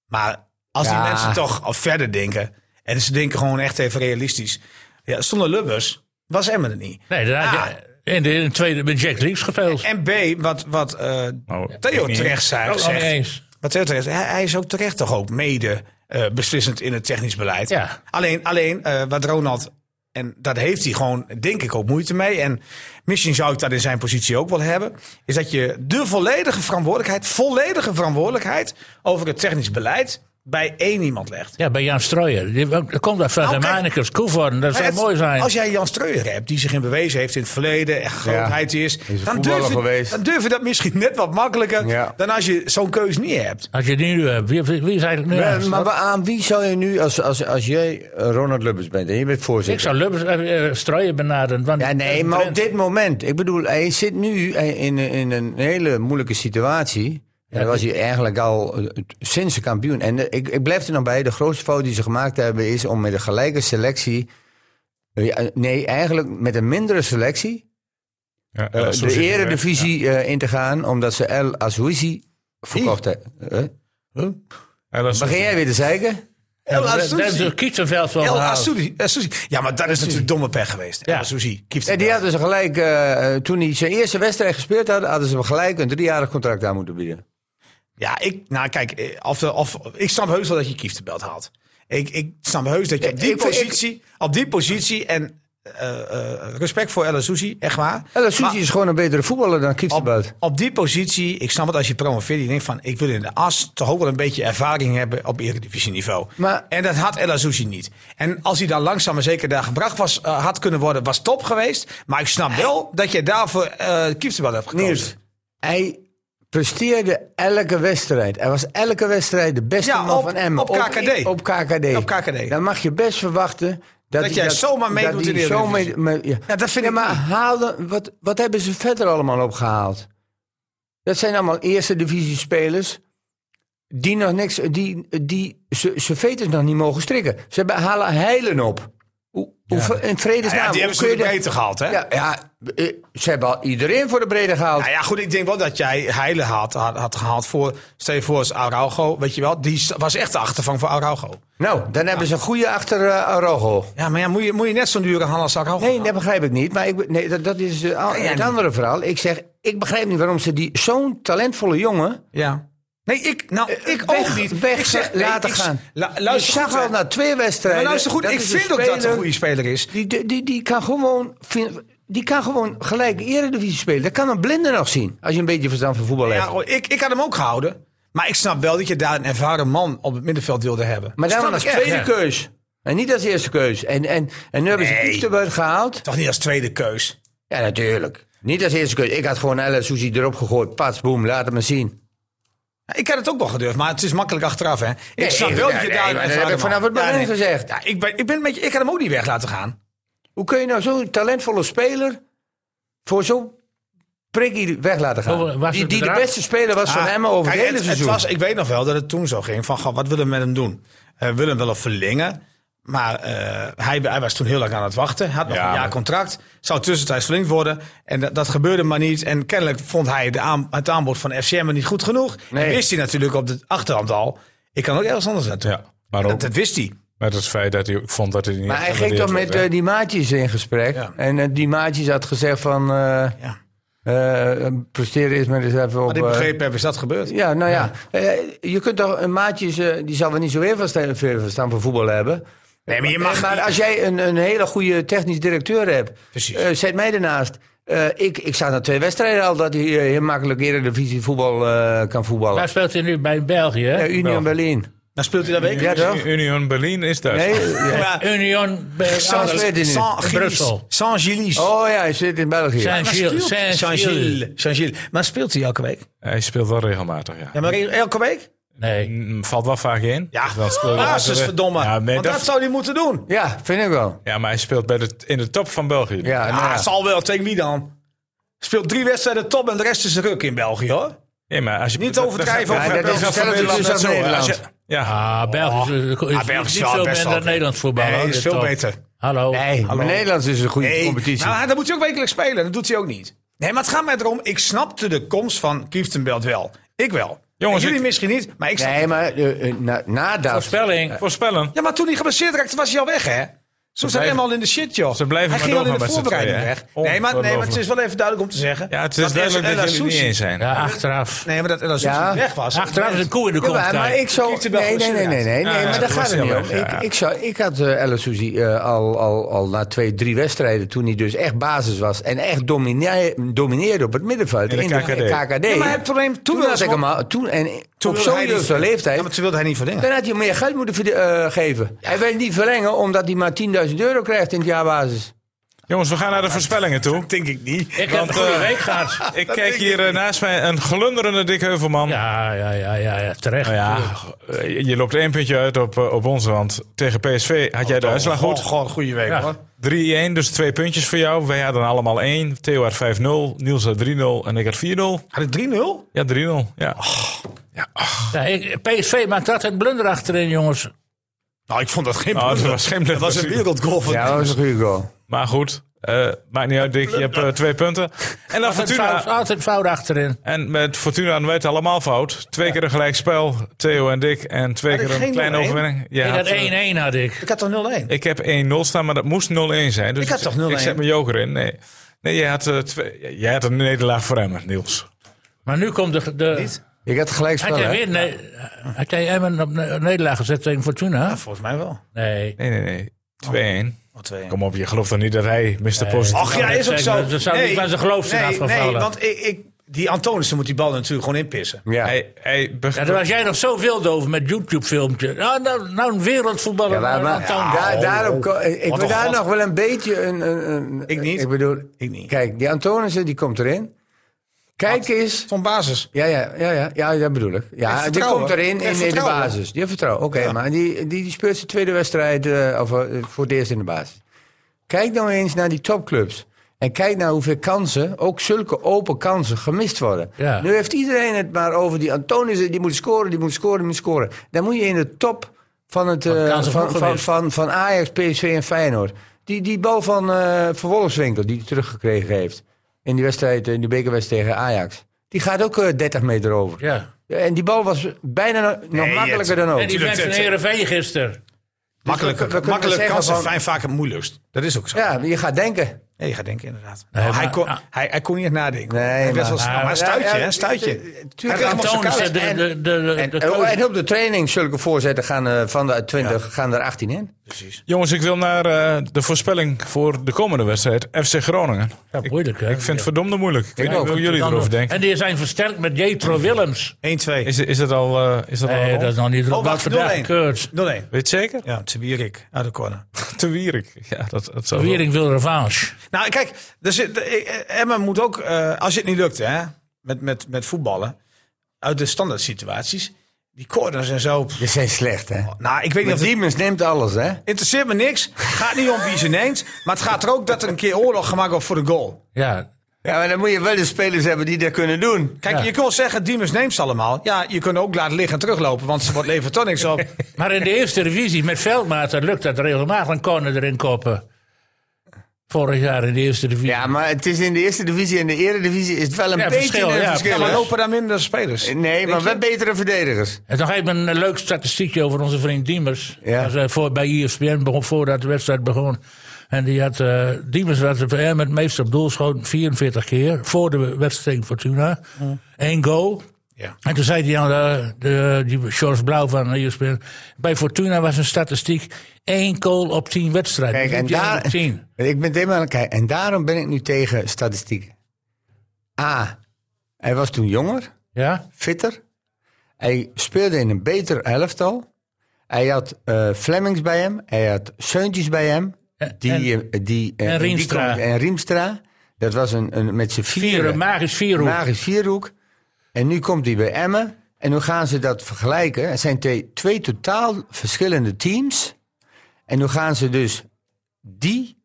Speaker 5: Maar als
Speaker 2: Ja.
Speaker 5: die mensen toch al verder denken, en ze denken gewoon echt even realistisch. Ja, zonder Lubbers was Emmen er niet.
Speaker 4: Nee, daar had
Speaker 5: Ah.
Speaker 4: je in de, in de tweede met Jack Leaks gespeeld.
Speaker 5: En B, wat, wat eh,
Speaker 1: Nou,
Speaker 5: Theo
Speaker 1: ik niet.
Speaker 5: terecht zei,
Speaker 2: Oh,
Speaker 4: Ook al niet
Speaker 5: zegt,
Speaker 4: eens.
Speaker 5: Wat Theo terecht, hij, hij is ook terecht toch ook mede eh, beslissend in het technisch beleid.
Speaker 4: Ja.
Speaker 5: Alleen, alleen eh, wat Ronald, en dat heeft hij gewoon denk ik ook moeite mee. En misschien zou ik dat in zijn positie ook wel hebben. Is dat je de volledige verantwoordelijkheid, volledige verantwoordelijkheid over het technisch beleid bij één iemand legt.
Speaker 4: Ja, bij Jan Strooijer. Die- Dat komt uit
Speaker 5: Nou, kijk.
Speaker 4: Vergemanekers, Koevoorn. Dat zou
Speaker 5: Maar het-
Speaker 4: mooi zijn.
Speaker 5: Als jij Jan Streuer hebt, die zich in bewezen heeft in het verleden, echt grootheid is,
Speaker 2: een
Speaker 5: dan
Speaker 2: voetballer
Speaker 5: durf, je,
Speaker 2: geweest.
Speaker 5: dan durf je dat misschien net wat makkelijker
Speaker 2: Ja.
Speaker 5: dan als je zo'n keus niet hebt.
Speaker 4: Als je die nu hebt. Wie, wie is eigenlijk nu aan de
Speaker 2: maar,
Speaker 4: slag?
Speaker 2: maar aan wie zou je nu, als, als, als jij eh, Ronald Lubbers bent en je bent
Speaker 4: Ik
Speaker 2: voorzitter...
Speaker 4: zou Lubbers eh, eh, Strooijer benaderen. Want
Speaker 2: Ja, nee,
Speaker 4: eh,
Speaker 2: maar op
Speaker 4: Trent-
Speaker 2: dit moment. Ik bedoel, hij zit nu eh, in, in een hele moeilijke situatie. En dat was hij eigenlijk al eh, sinds de kampioen. En eh, ik, ik blijf er nog bij, de grootste fout die ze gemaakt hebben... is om met een gelijke selectie... eh, ja, Nee, eigenlijk met een mindere selectie...
Speaker 1: Ja,
Speaker 2: Eh,
Speaker 1: eh, zo
Speaker 2: de
Speaker 1: zit het
Speaker 2: eredivisie eh, in te gaan, omdat ze El Azouzi verkocht hebben. Huh?
Speaker 1: werk. Ja, dat is-
Speaker 2: Begin jij weer te zeiken?
Speaker 5: El
Speaker 4: Dat-
Speaker 5: Azuzi.
Speaker 4: Dat hebben ze Kietenveld wel
Speaker 5: El
Speaker 4: gehaald.
Speaker 5: Azuzi. Azuzi. Ja, maar dat is natuurlijk domme pech geweest.
Speaker 4: Ja.
Speaker 5: El Azuzi. kieft
Speaker 2: En die
Speaker 5: hem
Speaker 2: hadden
Speaker 5: wel.
Speaker 2: ze gelijk, eh, eh, toen hij zijn eerste wedstrijd gespeeld had, hadden ze hem gelijk een driejarig contract aan moeten bieden.
Speaker 5: Ja, ik, nou kijk, eh, of, de- of, ik snap heus wel dat je Kieftenbelt haalt. Ik, ik snap heus dat je op die
Speaker 2: Ik- ik-
Speaker 5: positie, op die positie en eh, eh, respect voor El Azuzi, echt waar.
Speaker 2: El Azouzi
Speaker 5: Maar-
Speaker 2: is gewoon een betere voetballer dan Kieftenbuit.
Speaker 5: Op, op die positie, ik snap het als je promoveert, je denkt van ik wil in de as toch ook wel een beetje ervaring hebben op eredivisieniveau.
Speaker 2: Maar-
Speaker 5: en dat had El Azouzi niet. En als hij dan langzaam maar zeker daar gebracht was, eh, had kunnen worden, was top geweest. Maar ik snap wel dat je daarvoor eh Kieftenbad hebt gekozen.
Speaker 2: Niels, hij presteerde elke wedstrijd. Hij was elke wedstrijd de beste
Speaker 5: Ja,
Speaker 2: man
Speaker 5: op-
Speaker 2: van Emmen.
Speaker 5: op KKD.
Speaker 2: Op, KKD.
Speaker 5: Op KKD.
Speaker 2: Dan mag je best verwachten... Dat,
Speaker 5: jij zomaar meedoet
Speaker 2: dat hij
Speaker 5: in de
Speaker 2: zomaar-
Speaker 5: Eredivisie.
Speaker 2: maar- ja.
Speaker 5: Ja, dat vind
Speaker 2: Ja,
Speaker 5: ik
Speaker 2: maar
Speaker 5: niet.
Speaker 2: haalde, wat, wat hebben ze verder allemaal opgehaald? Dat zijn allemaal eerste divisie spelers... Die nog niks, die, die ze, ze veters nog niet mogen strikken. Ze hebben, halen heilen op. Hoe, hoe, in
Speaker 5: Nou
Speaker 2: vredesnaam.
Speaker 5: ja, die
Speaker 2: hoe
Speaker 5: hebben ze
Speaker 2: kun je
Speaker 5: natuurlijk
Speaker 2: dat-
Speaker 5: beter gehaald, hè?
Speaker 2: Ja, ja, eh, ze hebben al iedereen voor de brede gehaald.
Speaker 5: Nou ja, goed, ik denk wel dat jij Heile had, had, had gehaald voor, stel je voor, als Araujo, weet je wel. Die s- was echt de achtervang voor Araujo.
Speaker 2: Nou, dan hebben ze een goede achter eh, Araujo.
Speaker 5: Ja, maar ja, moet, je, moet je net zo'n dure halen als Araujo?
Speaker 2: Nee, dat begrijp ik niet. Maar ik, be- nee, dat, dat is eh, al-
Speaker 5: jij
Speaker 2: het
Speaker 5: niet.
Speaker 2: andere verhaal. Ik zeg, ik begrijp niet waarom ze die zo'n talentvolle jongen...
Speaker 5: Ja. Nee, ik, nou, ik
Speaker 2: Eh, weg,
Speaker 5: ook niet.
Speaker 2: weg
Speaker 5: ik zeg, nee,
Speaker 2: laten
Speaker 5: ik s-
Speaker 2: gaan.
Speaker 5: la-
Speaker 2: ik
Speaker 5: luister
Speaker 2: zag
Speaker 5: goed, hè.
Speaker 2: al na twee wedstrijden...
Speaker 5: Maar luister goed,
Speaker 2: dat
Speaker 5: ik
Speaker 2: is een
Speaker 5: vind ook dat het een
Speaker 2: speler
Speaker 5: goede speler is.
Speaker 2: Die, die, die, die kan gewoon... vin- Die kan gewoon gelijk eredivisie spelen. Dat kan een blinde nog zien. Als je een beetje verstand van voetbal hebt.
Speaker 5: Ja, oh, ik, ik had hem ook gehouden. Maar ik snap wel dat je daar een ervaren man op het middenveld wilde hebben.
Speaker 2: maar
Speaker 5: Dat
Speaker 2: daarom
Speaker 5: snap
Speaker 2: als
Speaker 5: ik echt.
Speaker 2: tweede keus. En niet als eerste keus. En, en, en nu hebben ze
Speaker 5: Nee.
Speaker 2: Kieftenbeut gehaald.
Speaker 5: Toch niet als tweede keus.
Speaker 2: Ja, natuurlijk. Niet als eerste keus. Ik had gewoon El Suzy erop gegooid. Pats, boem, laat het maar zien.
Speaker 5: Ik had het ook wel gedurfd, maar het is makkelijk achteraf, hè. Ik
Speaker 2: Nee,
Speaker 5: snap
Speaker 2: nee,
Speaker 5: wel dat je
Speaker 2: nee,
Speaker 5: daar
Speaker 2: maar dat
Speaker 5: een ervaren
Speaker 2: heb ik vanaf
Speaker 5: man-
Speaker 2: het begin
Speaker 5: Ja, nee.
Speaker 2: gezegd.
Speaker 5: Ja, ik, ben, ik, ben met je, ik had hem ook niet weg laten gaan.
Speaker 2: Hoe kun je nou zo'n talentvolle speler voor zo'n prikkie weg laten
Speaker 4: Hoe
Speaker 2: gaan?
Speaker 4: was
Speaker 2: die
Speaker 4: het
Speaker 2: die de
Speaker 4: bedrag?
Speaker 2: beste speler was van
Speaker 5: Ah,
Speaker 2: Emmen over het
Speaker 5: kijk,
Speaker 2: hele
Speaker 5: het- het
Speaker 2: seizoen.
Speaker 5: was, ik weet nog wel dat het toen zo ging van, goh, wat willen we met hem doen? Eh, we willen hem wel verlengen. Maar eh, hij, hij was toen heel lang aan het wachten. Had nog
Speaker 1: Ja,
Speaker 5: een jaar
Speaker 1: maar-
Speaker 5: contract. Zou tussentijds verlengd worden. En dat, dat gebeurde maar niet. En kennelijk vond hij de aan, het aanbod van FCM niet goed genoeg.
Speaker 2: Nee.
Speaker 5: En wist hij natuurlijk op de achterhand al. Ik kan ook ergens anders naartoe.
Speaker 1: Ja, maar
Speaker 5: Dat,
Speaker 1: ook
Speaker 5: dat wist hij.
Speaker 1: met het feit dat hij ook vond dat hij niet.
Speaker 2: maar hij ging toch met eh, die maatjes in gesprek.
Speaker 5: Ja.
Speaker 2: En eh, die maatjes had gezegd van... eh
Speaker 5: Ja.
Speaker 2: eh, presteren is maar eens even op...
Speaker 5: Wat ik
Speaker 2: eh,
Speaker 5: begrepen heb, is dat gebeurd.
Speaker 2: ja, nou ja. Eh, je kunt toch een maatjes... eh, die zal wel niet zo heel veel verstand van voetbal hebben. Eh,
Speaker 5: Nee, maar je mag...
Speaker 2: maar als jij een, een hele goede technisch directeur hebt,
Speaker 5: Precies.
Speaker 2: eh, zet mij ernaast. Eh, ik, ik zag na twee wedstrijden al dat hij eh, heel makkelijk eredivisie voetbal eh, kan voetballen.
Speaker 4: Waar speelt hij nu? Bij België, hè?
Speaker 2: Eh, Union Berlin.
Speaker 5: Dan speelt hij dat week.
Speaker 2: Ja, toch?
Speaker 1: Union Berlin is daar.
Speaker 2: Nee? ja.
Speaker 4: Union Be-
Speaker 2: Sans-
Speaker 4: Anders-
Speaker 2: weet hij niet.
Speaker 4: Brussel.
Speaker 5: Saint-Gilles.
Speaker 2: Oh ja, hij zit in België.
Speaker 4: Saint-Gilles. Saint-Gilles.
Speaker 5: Saint-Gilles. Saint-Gilles. Maar speelt hij elke week?
Speaker 1: Hij speelt wel regelmatig, ja.
Speaker 5: Ja, maar elke week?
Speaker 4: Nee.
Speaker 1: Mm, Valt wel vaak in.
Speaker 5: Ja,
Speaker 1: Dus dan speelt hij
Speaker 5: basis,
Speaker 1: altijd-
Speaker 5: verdomme.
Speaker 1: Ja, nee,
Speaker 5: Want dat,
Speaker 1: dat-
Speaker 5: zou hij moeten doen.
Speaker 2: Ja, vind ik wel.
Speaker 1: ja, maar hij speelt bij de, in de top van België.
Speaker 2: Ja, nou
Speaker 5: Ah,
Speaker 2: ja.
Speaker 5: zal wel. Tegen wie dan? Speelt drie wedstrijden top en de rest is ruk in België, hoor.
Speaker 1: Nee, maar als je,
Speaker 5: Niet
Speaker 1: dat-
Speaker 5: overdrijven
Speaker 1: dat-
Speaker 5: over
Speaker 1: dat- dat-
Speaker 5: België.
Speaker 1: dat- dat-
Speaker 2: Hetzelfde
Speaker 1: dat-
Speaker 2: is
Speaker 1: dat-
Speaker 2: als Nederland.
Speaker 1: als je- Ja,
Speaker 4: Ah, België is, is
Speaker 5: Ah, België
Speaker 4: niet
Speaker 5: wel best
Speaker 4: veel minder
Speaker 5: wel-
Speaker 4: dan Nederlands voetbal.
Speaker 5: Nee,
Speaker 4: hoor,
Speaker 5: is
Speaker 4: dit
Speaker 5: veel
Speaker 4: toch.
Speaker 5: beter.
Speaker 4: Hallo.
Speaker 2: Nee,
Speaker 4: Hallo.
Speaker 2: maar Nederlands is een goede
Speaker 5: Nee,
Speaker 2: competitie.
Speaker 5: Nou, dat moet hij ook wekelijks spelen. Dat doet hij ook niet. Nee, maar het gaat mij erom. Ik snapte de komst van Kieftenbelt wel. Ik wel.
Speaker 1: Jongens,
Speaker 5: En jullie
Speaker 1: ik-
Speaker 5: misschien niet, maar ik snap
Speaker 2: nee, maar eh, eh, na, na dat...
Speaker 4: Voorspelling.
Speaker 1: voorspellen.
Speaker 5: Ja, maar toen hij geblesseerd raakte, was hij al weg, hè? Ze zijn
Speaker 1: blijven-
Speaker 5: helemaal in de shit, joh.
Speaker 1: ze blijven
Speaker 5: Hij
Speaker 1: maar
Speaker 5: ging al in
Speaker 1: doorgaan
Speaker 5: de
Speaker 1: met z'n
Speaker 5: voorbereiding
Speaker 1: tweeën,
Speaker 5: weg.
Speaker 1: hè?
Speaker 5: Nee maar, nee, maar het
Speaker 1: Ongelooflijk.
Speaker 5: is wel even duidelijk om te zeggen.
Speaker 1: Ja, het is
Speaker 5: dat
Speaker 1: duidelijk
Speaker 5: El
Speaker 1: dat jullie het
Speaker 5: Arsouzi-
Speaker 1: niet eens zijn.
Speaker 4: Ja, achteraf.
Speaker 5: Nee, maar dat El Arsouzi
Speaker 2: Ja.
Speaker 5: weg was.
Speaker 4: Achteraf is een koe in de kont.
Speaker 2: Ja, maar, maar
Speaker 4: kijken.
Speaker 2: ik zou...
Speaker 5: Kiekte wel
Speaker 2: Nee, nee, nee,
Speaker 5: geblesseerd.
Speaker 2: nee, nee,
Speaker 1: Ja,
Speaker 2: nee maar daar
Speaker 1: dat
Speaker 2: gaat
Speaker 1: was
Speaker 2: het niet
Speaker 1: heel
Speaker 2: om.
Speaker 1: erg, ja.
Speaker 2: Ik, ik, zou, ik had eh Ellen Suzy eh, al, al, al na twee, drie wedstrijden, toen hij dus echt basis was en echt domine- domineerde op het middenveld
Speaker 1: In
Speaker 2: in
Speaker 1: de
Speaker 2: de,
Speaker 1: KKD.
Speaker 2: KKD.
Speaker 5: Ja, maar het probleem- toen
Speaker 2: toen
Speaker 5: was
Speaker 2: had ik
Speaker 5: wel-
Speaker 2: hem al, toen, en op
Speaker 5: wilde
Speaker 2: zo'n
Speaker 5: hij niet-
Speaker 2: jeugdige leeftijd,
Speaker 5: Ja, maar toen wilde hij niet verlengen.
Speaker 2: dan had hij hem meer geld moeten verde- eh, geven. Hij wil niet verlengen omdat hij maar 10.000 euro krijgt in het jaarbasis.
Speaker 1: Jongens, we gaan naar de voorspellingen toe.
Speaker 5: denk ik niet.
Speaker 4: Ik heb
Speaker 1: Want,
Speaker 4: een goede
Speaker 1: eh,
Speaker 4: week gehad.
Speaker 1: Ik kijk hier eh, naast mij een glunderende Dick Heuvelman.
Speaker 4: Ja, ja, ja, ja, Oh ja, terecht.
Speaker 1: Nou ja, eh, je loopt één puntje uit op, eh, op ons, want tegen PSV had jij de uitslag
Speaker 5: Gewoon,
Speaker 1: goed.
Speaker 5: gewoon een goede week,
Speaker 4: Ja.
Speaker 5: hoor.
Speaker 1: 3-1, dus twee puntjes voor jou. Wij hadden allemaal één. Theo had 5-0, Niels had 3-0 en ik had 4-0.
Speaker 5: Had het 3-0?
Speaker 1: Ja, 3-0. Ja.
Speaker 4: Ja, ik- PSV maakt altijd blunder achterin, jongens.
Speaker 5: Nou, ik vond dat geen
Speaker 1: Nou, dat
Speaker 5: blunder.
Speaker 1: was geen blunder.
Speaker 5: Dat was een wereldgoal van
Speaker 2: Ja, dat was een goede goal.
Speaker 1: Maar goed, eh, maakt niet uit, Dick. Je hebt eh, twee punten. En dan
Speaker 4: Altijd fout,
Speaker 1: Fortuna.
Speaker 4: altijd fout achterin.
Speaker 1: En met Fortuna hadden wij het allemaal fout. Twee keer een gelijkspel, Theo en Dick. En twee
Speaker 5: Had ik
Speaker 1: keer een
Speaker 5: geen
Speaker 1: kleine
Speaker 5: 0-1?
Speaker 1: overwinning. Ja,
Speaker 4: Ik had
Speaker 1: had, eh,
Speaker 4: 1-1 had ik.
Speaker 5: Ik had toch 0-1?
Speaker 1: Ik heb 1-0 staan, maar dat moest 0-1 zijn. Dus
Speaker 5: Ik had toch 0-1?
Speaker 1: Ik zet mijn joker in. Nee, nee jij, had, eh, twee, jij had een nederlaag voor Emmen, Niels.
Speaker 4: Maar nu komt de... de
Speaker 2: Ik had gelijk
Speaker 4: had jij
Speaker 2: spelen.
Speaker 4: weer... Nee, had jij Emmen op ne- nederlaag gezet tegen Fortuna?
Speaker 5: Volgens mij wel.
Speaker 4: Nee.
Speaker 1: Nee, nee, nee. 2-1.
Speaker 5: Of 2-1.
Speaker 1: Kom op, je gelooft toch niet dat hij Mr. Positief...
Speaker 5: Oh. Ach ja,
Speaker 4: dat
Speaker 5: is ook
Speaker 4: zeggen
Speaker 5: zo.
Speaker 4: we. Ze zou niet van zijn geloof zijn
Speaker 5: nee,
Speaker 4: afgevallen.
Speaker 5: nee, want ik, ik, die Antonissen moet die bal natuurlijk gewoon inpissen.
Speaker 2: Ja.
Speaker 1: Hij, hij beg-
Speaker 4: Ja, daar was jij nog zo wild over met YouTube-filmpje. Nou, nou, nou een wereldvoetballer.
Speaker 2: Ja, maar,
Speaker 4: nou,
Speaker 2: maar-
Speaker 4: nou,
Speaker 2: daar-
Speaker 4: nou,
Speaker 2: daarom, ko- ik
Speaker 5: eh, Oh. Wat
Speaker 2: wil
Speaker 5: een
Speaker 2: daar
Speaker 5: god.
Speaker 2: nog wel een beetje een... een, een-
Speaker 5: Ik niet.
Speaker 2: Ik bedoel,
Speaker 5: Ik niet.
Speaker 2: kijk, die Antonissen die komt erin. Kijk eens.
Speaker 5: Van basis.
Speaker 2: Ja, ja, ja, ja, ja, dat bedoel ik.
Speaker 5: Heeft
Speaker 2: Ja, die
Speaker 5: vertrouwen.
Speaker 2: komt erin
Speaker 5: Heeft
Speaker 2: in, in de
Speaker 5: vertrouwen.
Speaker 2: basis. Die heeft vertrouwen. Oké, maar die, die, die speelt zijn tweede wedstrijd eh, of, eh, voor het eerst in de basis. Kijk nou eens naar die topclubs. En kijk nou hoeveel kansen, ook zulke open kansen, gemist worden.
Speaker 4: Ja.
Speaker 2: Nu heeft iedereen het maar over die Antonissen. Die moet scoren, die moet scoren, die moet scoren. Dan moet je in de top van, het, eh,
Speaker 4: kansen
Speaker 2: van,
Speaker 4: vroeg
Speaker 2: van,
Speaker 4: gemist.
Speaker 2: van, van Ajax, PSV en Feyenoord. Die, die bal van eh Van Wolfswinkel die hij teruggekregen heeft. In die wedstrijd, in de bekerwedstrijd tegen Ajax. Die gaat ook eh, 30 meter over.
Speaker 1: Oh,
Speaker 4: ja.
Speaker 2: En die bal was bijna no- nog makkelijker dan
Speaker 4: En
Speaker 2: ook.
Speaker 4: die
Speaker 1: tuurlijk,
Speaker 4: werd van
Speaker 1: tuurlijk.
Speaker 4: Heerenveen gisteren.
Speaker 2: we
Speaker 5: Makkelijk,
Speaker 2: kunnen
Speaker 5: makkelijk
Speaker 2: zeggen
Speaker 5: kansen
Speaker 2: van-
Speaker 5: zijn vaak het moeilijkst. Dat is ook zo.
Speaker 2: Ja, je gaat denken.
Speaker 5: Nee, je gaat denken inderdaad.
Speaker 4: Nee,
Speaker 5: hij,
Speaker 4: maar-
Speaker 5: kon,
Speaker 4: ah.
Speaker 5: hij, hij kon niet echt nadenken.
Speaker 2: Nee,
Speaker 5: hij
Speaker 2: maar-
Speaker 5: was wel snel. Maar een stuitje, hè? een stuitje.
Speaker 2: Tuurlijk,
Speaker 5: Hij
Speaker 2: en,
Speaker 5: mocht
Speaker 4: Toon
Speaker 5: elkaar-
Speaker 4: de, de, de, de,
Speaker 2: en,
Speaker 4: de
Speaker 2: oh,
Speaker 4: coach-
Speaker 2: en op de training zulke voorzetten gaan eh, van de 20 gaan er 18 in.
Speaker 1: Jongens, ik wil naar eh, de voorspelling voor de komende wedstrijd. FC Groningen.
Speaker 4: Ja, moeilijk, hè?
Speaker 1: Ik vind het verdomde moeilijk. Ik weet niet
Speaker 2: ook.
Speaker 1: hoe jullie erover denken.
Speaker 4: En die zijn versterkt met Jetro Willems.
Speaker 5: 1-2.
Speaker 1: Is, is dat al... eh, is dat al
Speaker 4: Nee, dat is nog niet
Speaker 5: Oh,
Speaker 4: wat
Speaker 5: wacht,
Speaker 4: vandaag
Speaker 5: 0-1.
Speaker 4: gekeurd.
Speaker 5: 0-1.
Speaker 1: Weet je het zeker?
Speaker 5: Ja, te Wierik uit de corner.
Speaker 1: Te Wierik. Ja, dat, dat
Speaker 2: Oh.
Speaker 1: zou
Speaker 4: Wiering wil revanche.
Speaker 5: Nou, kijk, dus, Emma moet ook, eh, als het niet lukt hè, met, met, met voetballen, uit de standaard situaties, die corners en zo. pff,
Speaker 2: Die zijn slecht, hè?
Speaker 5: Nou, ik weet niet
Speaker 2: Maar
Speaker 5: of het
Speaker 2: Diemens neemt alles, hè?
Speaker 5: interesseert me niks. Gaat niet om wie ze neemt, maar het gaat er ook dat er een keer oorlog gemaakt wordt voor de goal.
Speaker 4: Ja,
Speaker 2: Ja, maar dan moet je wel de spelers hebben die dat kunnen doen.
Speaker 5: Kijk, je kunt wel zeggen, Diemers neemt ze allemaal. Ja, je kunt ook laten liggen en teruglopen, want ze wordt levert toch niks op.
Speaker 4: Maar in de eerste divisie met veldmaten lukt dat regelmatig een corner erin koppen. Vorig jaar in de eerste divisie.
Speaker 2: Ja, maar het is in de eerste divisie en de eredivisie is het wel een
Speaker 4: Ja,
Speaker 2: beetje
Speaker 4: verschil,
Speaker 2: een
Speaker 4: ja,
Speaker 5: Ja,
Speaker 2: verschil.
Speaker 5: maar
Speaker 2: hè?
Speaker 5: lopen daar minder spelers.
Speaker 2: nee, maar
Speaker 5: je?
Speaker 2: wel betere verdedigers.
Speaker 4: En nog even een eh, leuk statistiekje over onze vriend Diemers.
Speaker 2: Ja.
Speaker 4: Hij was, eh, voor, bij ESPN begon voordat de wedstrijd begon. En die had, eh, Diemers had de VM het meest op doel schoten, 44 keer. Voor de wedstrijd tegen Fortuna. Eén goal.
Speaker 5: Ja.
Speaker 4: En toen zei hij aan de, de, die George Blauw van E ESPN. Bij Fortuna was een statistiek één goal op 10 wedstrijden.
Speaker 2: Kijk, en,
Speaker 4: Die heb je
Speaker 2: daar,
Speaker 4: gezien.
Speaker 2: ik ben het helemaal aan het kijken. en daarom ben ik nu tegen statistieken. A, hij was toen jonger,
Speaker 4: Ja?
Speaker 2: fitter. Hij speelde in een beter elftal. Hij had eh Flemings bij hem, hij had Seuntjes bij hem. Die, eh, die, eh,
Speaker 4: en
Speaker 2: die
Speaker 4: Riemstra.
Speaker 2: kon- en Riemstra. Dat was een, een met z'n
Speaker 4: Vier, een
Speaker 2: vieren.
Speaker 4: magisch vierhoek.
Speaker 2: Magisch vierhoek. En nu komt hij bij Emmen. En nu gaan ze dat vergelijken. Het zijn twee, twee totaal verschillende teams. En nu gaan ze dus die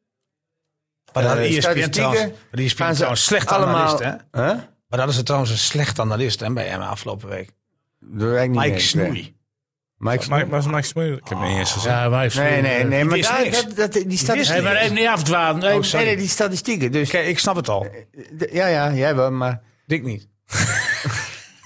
Speaker 5: Maar daar
Speaker 2: eh,
Speaker 5: is ESPN trouwens,
Speaker 2: statistieken...
Speaker 5: maar die ESPN
Speaker 2: gaan ze
Speaker 5: trouwens slecht
Speaker 2: allemaal,
Speaker 5: analist, hè?
Speaker 2: Huh?
Speaker 5: Maar dat is het trouwens een slecht analist hè, bij Emma afgelopen week.
Speaker 2: Dat weet ik niet
Speaker 5: Mike
Speaker 2: meer.
Speaker 5: Snoei.
Speaker 2: Mike Snoei.
Speaker 1: Maar maar ze maakt het moeilijk. Ik heb hem niet eens gezegd.
Speaker 4: Ja, maar hij is-
Speaker 2: Nee, nee, nee. Oh, Maar
Speaker 5: wist Oh,
Speaker 2: daar,
Speaker 5: niks.
Speaker 2: dat, dat, die
Speaker 4: Hey,
Speaker 2: statistieken...
Speaker 4: maar even niet afdwalen. Nee,
Speaker 2: nee, nee, die statistieken. Dus,
Speaker 5: Kijk, ik snap het al.
Speaker 2: ja, ja, jij wel, maar...
Speaker 5: Dik niet.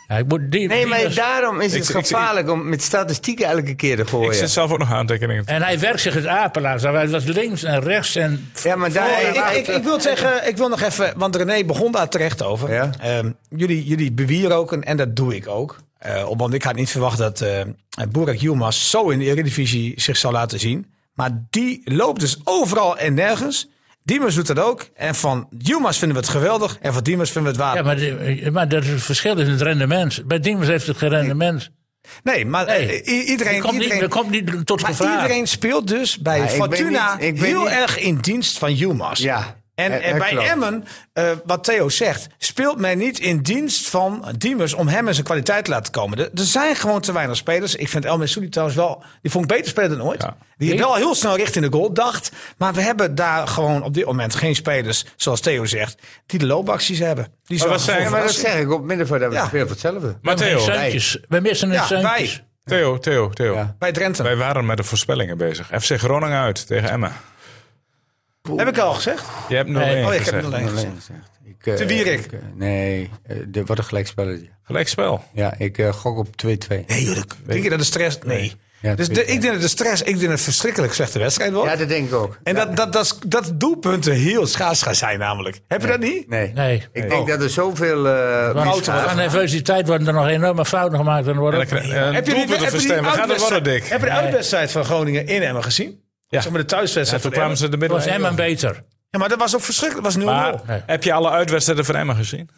Speaker 4: Ja, ik moet die,
Speaker 8: Nee,
Speaker 4: die
Speaker 8: maar
Speaker 4: was-
Speaker 8: daarom is
Speaker 1: Ik-
Speaker 8: het
Speaker 1: ik- ik-
Speaker 8: gevaarlijk om met statistieken elke keer te
Speaker 1: Ik
Speaker 2: Oh,
Speaker 8: gooien.
Speaker 1: zit zelf ook nog aantekeningen.
Speaker 4: En hij werkt zich het apenlaars aan. Het was links en rechts en...
Speaker 8: ja, maar daar...
Speaker 5: Nee, ik, ik, ik wil zeggen, ik wil nog even, want René begon daar terecht over.
Speaker 8: Ja.
Speaker 5: Ehm, jullie, jullie bewieroken en dat doe ik ook. Eh, om- want ik had niet verwacht dat eh Burak Yilmaz zo in de Eredivisie zich zou laten zien. Maar die loopt dus overal en nergens. Diemers doet dat ook. En van Yilmaz vinden we het geweldig en van Diemers vinden we het water.
Speaker 4: Ja, maar, die- maar dat is het verschil is het rendement. Bij Diemers heeft het geen rendement.
Speaker 5: nee, maar eh,
Speaker 4: Nee.
Speaker 5: i- iedereen...
Speaker 4: Die komt, niet,
Speaker 5: iedereen
Speaker 4: die komt niet tot
Speaker 5: maar
Speaker 4: gevaar.
Speaker 5: iedereen speelt dus bij
Speaker 8: Ja, ik ben
Speaker 5: Fortuna
Speaker 8: niet- ik ben
Speaker 5: heel
Speaker 8: niet-
Speaker 5: erg in dienst van Yilmaz.
Speaker 8: Ja,
Speaker 5: En,
Speaker 8: dat-
Speaker 5: en
Speaker 8: dat
Speaker 5: bij
Speaker 8: klopt.
Speaker 5: Emmen, eh, wat Theo zegt, speelt men niet in dienst van Diemers om hem en zijn kwaliteit te laten komen. Er, er zijn gewoon te weinig spelers. Ik vind El Messoudi trouwens wel, die vond ik beter spelen dan ooit. Die wel heel snel richting de goal dacht. Maar we hebben daar gewoon op dit moment geen spelers, zoals Theo zegt, die de loopacties hebben. Die
Speaker 1: Maar wat
Speaker 5: zorgen
Speaker 1: zijn-
Speaker 5: voor
Speaker 8: Ja, maar dat
Speaker 5: verrassing.
Speaker 8: zeg ik op middenveld hebben we
Speaker 5: Ja.
Speaker 8: veel voor hetzelfde.
Speaker 4: We
Speaker 1: Maar
Speaker 4: hebben geen
Speaker 1: Theo,
Speaker 4: centjes. We missen een
Speaker 5: Ja,
Speaker 4: centjes.
Speaker 5: wij.
Speaker 1: Theo, Theo, Theo.
Speaker 8: Ja.
Speaker 5: bij Drenthe.
Speaker 1: Wij waren met de voorspellingen bezig. FC Groningen uit tegen Emmen.
Speaker 5: Heb ik al gezegd?
Speaker 1: Je hebt 0-1
Speaker 4: Nee.
Speaker 5: Oh, ik heb
Speaker 1: gezegd.
Speaker 5: het alleen gezegd.
Speaker 2: Alleen gezegd. Ik, eh,
Speaker 5: Te Wierik.
Speaker 2: ik, eh, nee, eh, dit wordt een gelijkspelletje.
Speaker 1: Gelijk spel.
Speaker 2: Ja, ik eh, gok op 2-2.
Speaker 5: Nee, joh, dat- denk je dat de stress... Nee.
Speaker 2: Ja,
Speaker 5: dus
Speaker 2: dat
Speaker 5: de,
Speaker 2: weet ik.
Speaker 5: ik denk dat de stress, ik denk dat het een verschrikkelijk slechte wedstrijd wordt.
Speaker 8: Ja, dat denk ik ook.
Speaker 5: en dat, dat, dat, is- dat doelpunten heel schaars gaan zijn namelijk. Heb je dat niet?
Speaker 8: Nee.
Speaker 4: Nee.
Speaker 8: Ik denk dat er zoveel... eh,
Speaker 4: Want
Speaker 8: misgaat.
Speaker 4: van nervositeit worden er nog enorme fouten gemaakt. En
Speaker 1: En
Speaker 4: worden
Speaker 1: dan
Speaker 4: ook-
Speaker 1: krijg je een eh, doelpunten verstemmen. Gaat het worden, dik.
Speaker 5: Heb je de uitwedstrijd van Groningen in Emmen gezien?
Speaker 1: Ja.
Speaker 5: Zeg maar de thuiswedstrijd
Speaker 1: toen
Speaker 5: van
Speaker 1: kwamen
Speaker 5: Emmen.
Speaker 1: ze de
Speaker 4: Het was
Speaker 1: midden.
Speaker 4: Emmen beter.
Speaker 5: Ja, maar dat was ook verschrikkelijk. Dat was 0-0.
Speaker 1: Maar
Speaker 4: Nee.
Speaker 1: heb je alle uitwedstrijden van Emmen gezien?